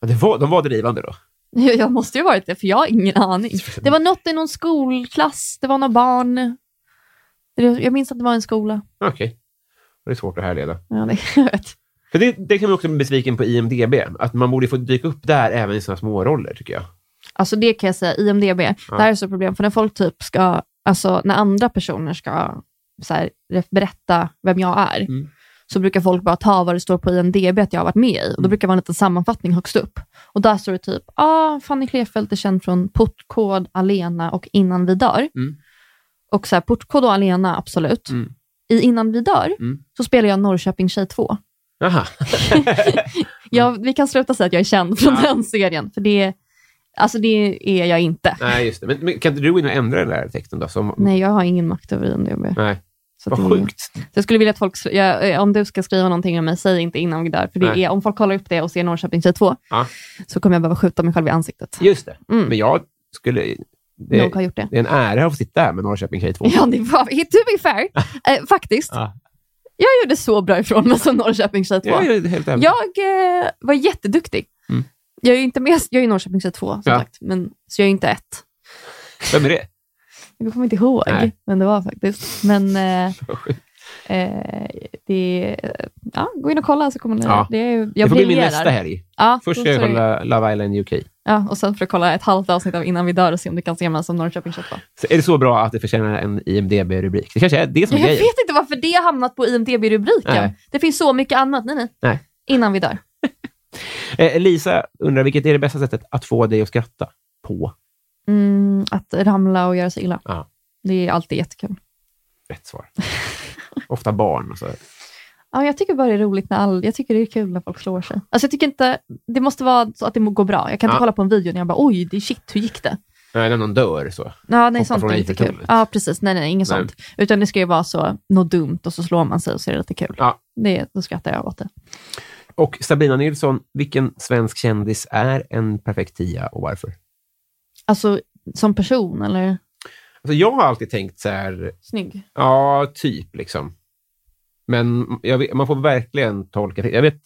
Speaker 1: Ja, det var, de var drivande då?
Speaker 2: Ja, Jag måste ju ha varit det, för jag har ingen aning. Det var något i någon skolklass, det var några barn. Det- Jag minns att det var en skola.
Speaker 1: Okej. Det är svårt att härleda.
Speaker 2: Ja, det, jag vet.
Speaker 1: För det, det kan man också bli besviken på IMDB, att man borde få dyka upp där även i sådana små roller tycker jag.
Speaker 2: Alltså det kan jag säga, IMDB, det här är så ett problem, för när folk typ ska, alltså när andra personer ska så här, re- berätta vem jag är,
Speaker 1: Mm.
Speaker 2: så brukar folk bara ta vad det står på IMDB att jag har varit med i, och då
Speaker 1: Mm.
Speaker 2: brukar det vara en liten sammanfattning högst upp. Och där står det typ, ah, Fanny Klefelt är känd från Portkod, Alena och Innan vi dör.
Speaker 1: Mm.
Speaker 2: Och så här, Portkod och Alena, absolut.
Speaker 1: Mm.
Speaker 2: I Innan vi dör
Speaker 1: Mm.
Speaker 2: så spelar jag Norrköping tjej 2.
Speaker 1: Aha.
Speaker 2: Jag, vi kan sluta säga att jag är känd från
Speaker 1: Mm. Ja.
Speaker 2: den serien, för det, alltså det är jag inte.
Speaker 1: Nej, just det. Men, men kan inte du gå in och ändra den där texten då? Som,
Speaker 2: Nej, jag har ingen makt över IMDB.
Speaker 1: Nej. Mm.
Speaker 2: Så att
Speaker 1: Vad
Speaker 2: det är-
Speaker 1: sjukt.
Speaker 2: Så jag skulle vilja att folk, skri- ja, eh, om du ska skriva någonting om mig, säg inte innan vi dör. För det
Speaker 1: Nej.
Speaker 2: är, om folk kollar upp det och ser Norrköping 22
Speaker 1: Ja.
Speaker 2: så kommer jag behöva skjuta mig själv i ansiktet.
Speaker 1: Just det.
Speaker 2: Mm.
Speaker 1: Men jag skulle... Det,
Speaker 2: Nog har gjort det.
Speaker 1: det är en ära att få sitta här med Norrköping Tjej 2.
Speaker 2: Ja, det var, to be fair, eh, faktiskt.
Speaker 1: Ja.
Speaker 2: Jag gjorde så bra ifrån mig som Norrköping 22.
Speaker 1: Ja, ja, helt ärligt.
Speaker 2: Jag eh, var jätteduktig.
Speaker 1: Mm.
Speaker 2: Jag är ju inte med, jag är ju Norrköping 22 som
Speaker 1: Ja.
Speaker 2: sagt, men, så jag är ju inte ett.
Speaker 1: Vem är det?
Speaker 2: Jag kommer inte ihåg
Speaker 1: Nej.
Speaker 2: vem det var faktiskt. Men eh,
Speaker 1: Vad sjukt.
Speaker 2: eh, det, ja, gå in och kolla så kommer ni...
Speaker 1: Ja.
Speaker 2: Det, är ju-
Speaker 1: Det
Speaker 2: jag
Speaker 1: får bli min
Speaker 2: briljerar.
Speaker 1: nästa helg.
Speaker 2: Ja,
Speaker 1: Först
Speaker 2: då
Speaker 1: ska jag
Speaker 2: så är det-
Speaker 1: kolla Love Island UK.
Speaker 2: Ja, och sen för att kolla ett halvt avsnitt av Innan vi dör och se om du kan se mig som Norrköping Köttbullar.
Speaker 1: Så är det så bra att det förtjänar en IMDB-rubrik? Det kanske är det som
Speaker 2: Jag
Speaker 1: är grejen.
Speaker 2: vet inte varför det har hamnat på IMDB-rubriken.
Speaker 1: Nej.
Speaker 2: Det finns så mycket annat. Nej, nej.
Speaker 1: Nej.
Speaker 2: Innan vi dör.
Speaker 1: Eh, Lisa undrar, vilket är det bästa sättet att få dig att skratta på?
Speaker 2: Mm, att ramla och göra sig illa.
Speaker 1: Ja.
Speaker 2: Det är alltid jättekul.
Speaker 1: Rätt svar. Ofta barn alltså. och så.
Speaker 2: Ja, jag tycker bara det är roligt när all... Jag tycker det är kul när folk slår sig. Alltså jag tycker inte... Det måste vara så att det må gå bra. Jag kan inte
Speaker 1: Ja.
Speaker 2: kolla på en video när jag bara, oj, det är shit, hur gick det?
Speaker 1: Nej, när någon dör så.
Speaker 2: Ja, nej,
Speaker 1: Hoppa
Speaker 2: sånt
Speaker 1: från
Speaker 2: är inte kul.
Speaker 1: Eiffeltornet.
Speaker 2: Ja, precis. Nej, nej, inget
Speaker 1: Nej.
Speaker 2: sånt. Utan det ska ju vara så, något dumt och så slår man sig och så är det lite kul.
Speaker 1: Ja.
Speaker 2: Det, då skrattar jag åt det.
Speaker 1: Och Sabina Nilsson, vilken svensk kändis är en perfekt tia och varför?
Speaker 2: Alltså, som person eller?
Speaker 1: Alltså, jag har alltid tänkt så här,
Speaker 2: Snygg.
Speaker 1: ja, typ liksom. Men jag vet, man får verkligen tolka det. Jag vet,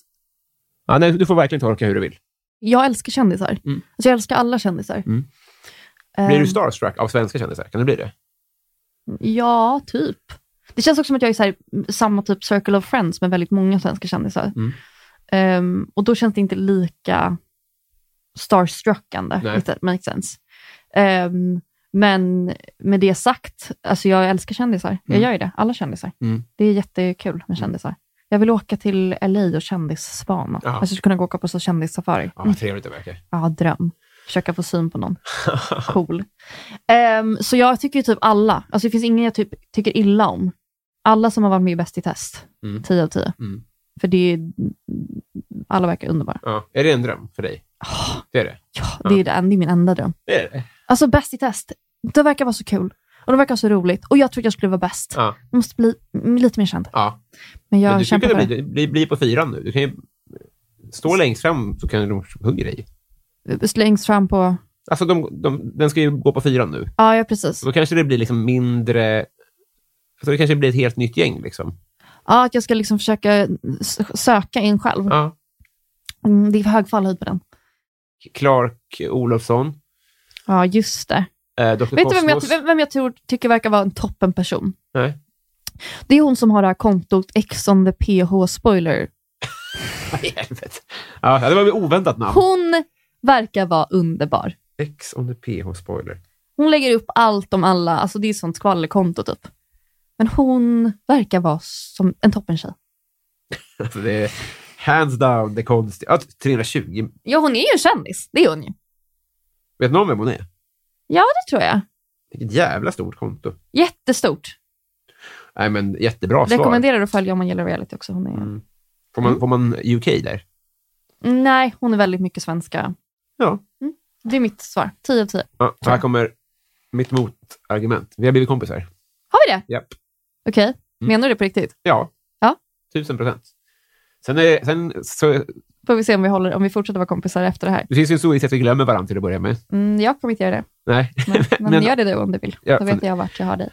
Speaker 1: ja, nej, du får verkligen tolka hur du vill.
Speaker 2: Jag älskar kändisar. Alltså, jag älskar alla kändisar.
Speaker 1: Mm. Blir
Speaker 2: Ehm,
Speaker 1: du starstruck av svenska kändisar? Kan det bli det?
Speaker 2: Ja, typ. Det känns också som att jag är så här, samma typ circle of friends med väldigt många svenska kändisar.
Speaker 1: Mm.
Speaker 2: Ehm, och då känns det inte lika starstruckande,
Speaker 1: Nej.
Speaker 2: if that makes sense. Ehm, men med det sagt, alltså jag älskar kändisar. Jag
Speaker 1: Mm.
Speaker 2: gör ju det, alla kändisar.
Speaker 1: Mm.
Speaker 2: Det är jättekul med kändisar. Jag vill åka till LA och kändissspana.
Speaker 1: Ja.
Speaker 2: Alltså kunna gå och åka på så kändissafari.
Speaker 1: Ja, vad trevligt det verkar.
Speaker 2: Ja, dröm. Försöka få syn på någon. Cool. Ehm, så jag tycker ju typ alla. Alltså det finns ingen jag typ tycker illa om. Alla som har varit med i Bäst i test.
Speaker 1: Mm.
Speaker 2: 10 av 10.
Speaker 1: Mm.
Speaker 2: För det är, alla verkar underbara.
Speaker 1: Ja. Är det en dröm för dig? Det är det.
Speaker 2: Ja, det är, den, det är min enda dröm.
Speaker 1: Det är det.
Speaker 2: Alltså Bäst i test. Det verkar vara så kul. Och det verkar så roligt. Och jag tror jag skulle vara bäst.
Speaker 1: Ja.
Speaker 2: Jag måste bli mm, lite mer känd.
Speaker 1: ja.
Speaker 2: Men jag
Speaker 1: Men du skulle
Speaker 2: kämpar för
Speaker 1: kunna
Speaker 2: det.
Speaker 1: bli, bli, bli på fyran nu. Du kan ju stå längst fram så kan de hugga dig.
Speaker 2: Längst fram på...
Speaker 1: Alltså de, de, den ska ju gå på fyran nu.
Speaker 2: Ja, ja precis.
Speaker 1: Så då kanske det blir liksom mindre... Så det kanske blir ett helt nytt gäng. Liksom.
Speaker 2: Ja, att jag ska liksom försöka s- söka in själv.
Speaker 1: Ja.
Speaker 2: Mm, det är för hög fallhöjd på den.
Speaker 1: Clark Olofsson.
Speaker 2: Ja, just det.
Speaker 1: Eh, Dr.
Speaker 2: Vet du vem jag,
Speaker 1: Cosmos.
Speaker 2: vem- vem jag tror, tycker verkar vara en toppenperson?
Speaker 1: Nej.
Speaker 2: Det är hon som har det här kontot X on the PH spoiler.
Speaker 1: Aj, helvete. Ja, det var ett oväntat namn.
Speaker 2: Hon verkar vara underbar.
Speaker 1: X on the PH spoiler.
Speaker 2: Hon lägger upp allt om alla, alltså det är ett sånt skvallerkonto typ. Men hon verkar vara som en toppentjej.
Speaker 1: Alltså det är hands down det konstiga. Ja, 320.
Speaker 2: Ja, hon är ju en kändis. Det är hon ju.
Speaker 1: Vet någon vem hon är?
Speaker 2: Ja, det tror jag.
Speaker 1: Vilket jävla stort konto.
Speaker 2: Jättestort.
Speaker 1: Nej, men jättebra svar.
Speaker 2: Rekommenderar att följa om man gillar reality också. Hon är...
Speaker 1: Mm. Får man, får man UK där? Mm.
Speaker 2: Nej, hon är väldigt mycket svenska.
Speaker 1: Ja.
Speaker 2: Det är mitt svar. 10 av 10.
Speaker 1: ja här kommer mitt motargument. Vi har blivit kompisar.
Speaker 2: Har vi det?
Speaker 1: Japp. Mm.
Speaker 2: Okej. Menar du det på riktigt?
Speaker 1: Ja.
Speaker 2: Ja.
Speaker 1: Tusen procent. Sen, är, sen så,
Speaker 2: Får vi se om vi, håller, om vi fortsätter vara kompisar efter det här.
Speaker 1: det finns ju en stor risk att vi glömmer varandra till att börja med.
Speaker 2: Mm, jag kommer inte göra det,
Speaker 1: Nej,
Speaker 2: men, men,
Speaker 1: Men-
Speaker 2: gör det du om du vill.
Speaker 1: Ja, fan.
Speaker 2: Då vet jag vart jag har dig.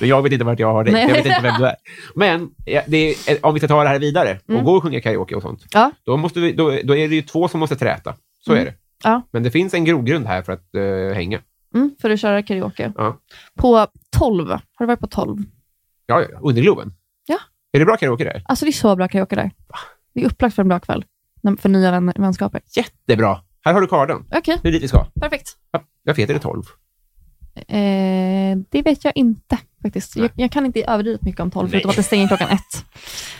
Speaker 1: men jag vet inte vart jag har dig.
Speaker 2: Nej.
Speaker 1: Jag vet inte vem du är. Men ja, det är, eh, om vi ska ta det här vidare och
Speaker 2: Mm.
Speaker 1: gå och sjunga karaoke och sånt,
Speaker 2: Ja.
Speaker 1: då, måste vi, då, då är det ju två som måste träta. Så är det.
Speaker 2: Mm. Ja.
Speaker 1: Men det finns en grogrund här för att eh, hänga.
Speaker 2: Mm, för att köra karaoke.
Speaker 1: Ja.
Speaker 2: På 12. Har du varit på 12?
Speaker 1: Ja, ja, ja. under Globen.
Speaker 2: Ja.
Speaker 1: Är det bra karaoke där?
Speaker 2: Alltså det är så bra karaoke där. Det är upplagt för en bra kväll. När- För nya vän, vänskaper.
Speaker 1: Jättebra. Här har du kardan.
Speaker 2: Okej,
Speaker 1: Det är dit vi ska.
Speaker 2: perfekt.
Speaker 1: Ja, Jag vet, är det 12?
Speaker 2: Eh, det vet jag inte faktiskt. Jag,
Speaker 1: Nej.
Speaker 2: jag kan inte överdrivet mycket om 12,
Speaker 1: Nej.
Speaker 2: förutom att det stänger klockan ett.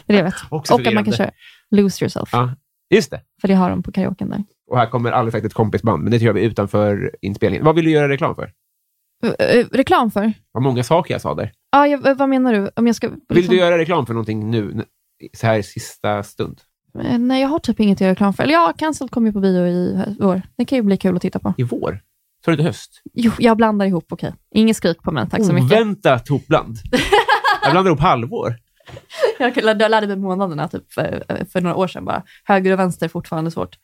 Speaker 2: Det är det jag vet.
Speaker 1: Också
Speaker 2: Och att man kan köra Lose Yourself,
Speaker 1: Ja. Just det.
Speaker 2: för det har de på karaoken där.
Speaker 1: Och här kommer alldeles säkert ett kompisband, men det gör vi utanför inspelningen. Vad vill du göra reklam för?
Speaker 2: Eh, eh, reklam för?
Speaker 1: Vad många saker jag sa där.
Speaker 2: Ah, jag, eh, vad menar du? Om jag ska...
Speaker 1: Vill du göra reklam för någonting nu, n- så här i sista stund?
Speaker 2: Eh, Nej, jag har typ inget att göra reklam för. Eller ja, Cancel kommer ju på bio i hö- vår. Det kan ju bli kul att titta på.
Speaker 1: I vår? Så är det inte höst?
Speaker 2: Jo, jag blandar ihop, okej. Ingen skryt på mig, tack
Speaker 1: Oh,
Speaker 2: så mycket.
Speaker 1: Oväntat hopbland. Jag blandar ihop halvår.
Speaker 2: Jag lärde, jag lärde mig månaderna typ, för, för några år sedan bara. Höger och vänster, fortfarande svårt.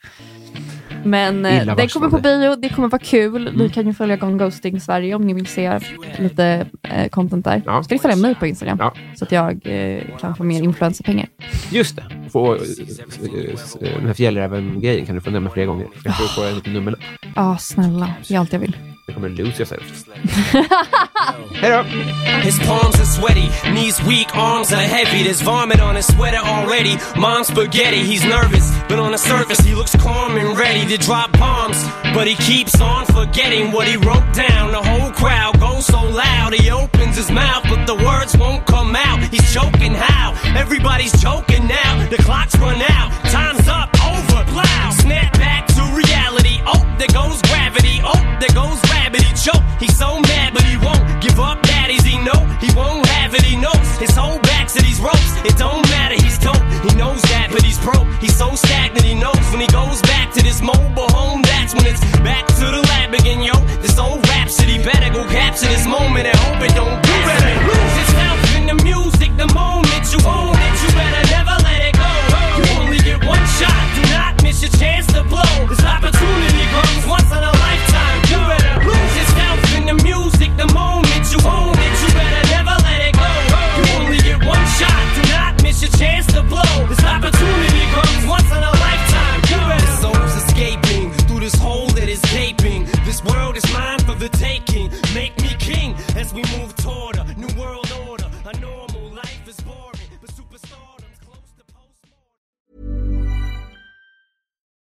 Speaker 2: Men eh, den kommer på bio, det kommer vara kul. Ni kan ju följa Gone Ghosting Sverige om ni vill se lite eh, content där.
Speaker 1: Ja.
Speaker 2: Ska ni följa mig på Instagram?
Speaker 1: Ja.
Speaker 2: Så att jag eh, kan få mer influencerpengar.
Speaker 1: Just det. Få, eh, s- eh, den här fjällräven-grejen kan du få nämna flera gånger. Jag tror du får en liten nummerlapp.
Speaker 2: Ja, snälla. Det är allt jag vill.
Speaker 1: Det kommer Lose Yourself. Hej då!
Speaker 5: His palms are sweaty, knees weak, arms are heavy. There's vomit on his sweater already. Mom's spaghetti, he's nervous, but on the surface he looks calm and ready to drop bombs. But he keeps on forgetting what he wrote down. The whole crowd goes so loud, he opens his mouth, but the words won't come out. He's choking how? Everybody's choking now. The clock's run out, time's up, over, plow. Snap back to reality. Oh, there goes gravity. Oh, there goes rabbit. He choke. He's so mad, but he won't give up. Daddies, he know he won't have it. He knows his whole back to these ropes. It don't matter. He's dope. He knows that, but he's broke. He's so stagnant. He knows when he goes back to this mobile home. That's when it's back to the lab again, yo. This old rhapsody better go capture this moment and hope it don't do it. Lose itself in the music. The moment you own it, you better never let it go. You only get one shot. Do not miss your chance to blow. This opportunity comes once in a lifetime. You better lose yourself in the music. The moment you own it, you better never let it go. You only get one shot. Do not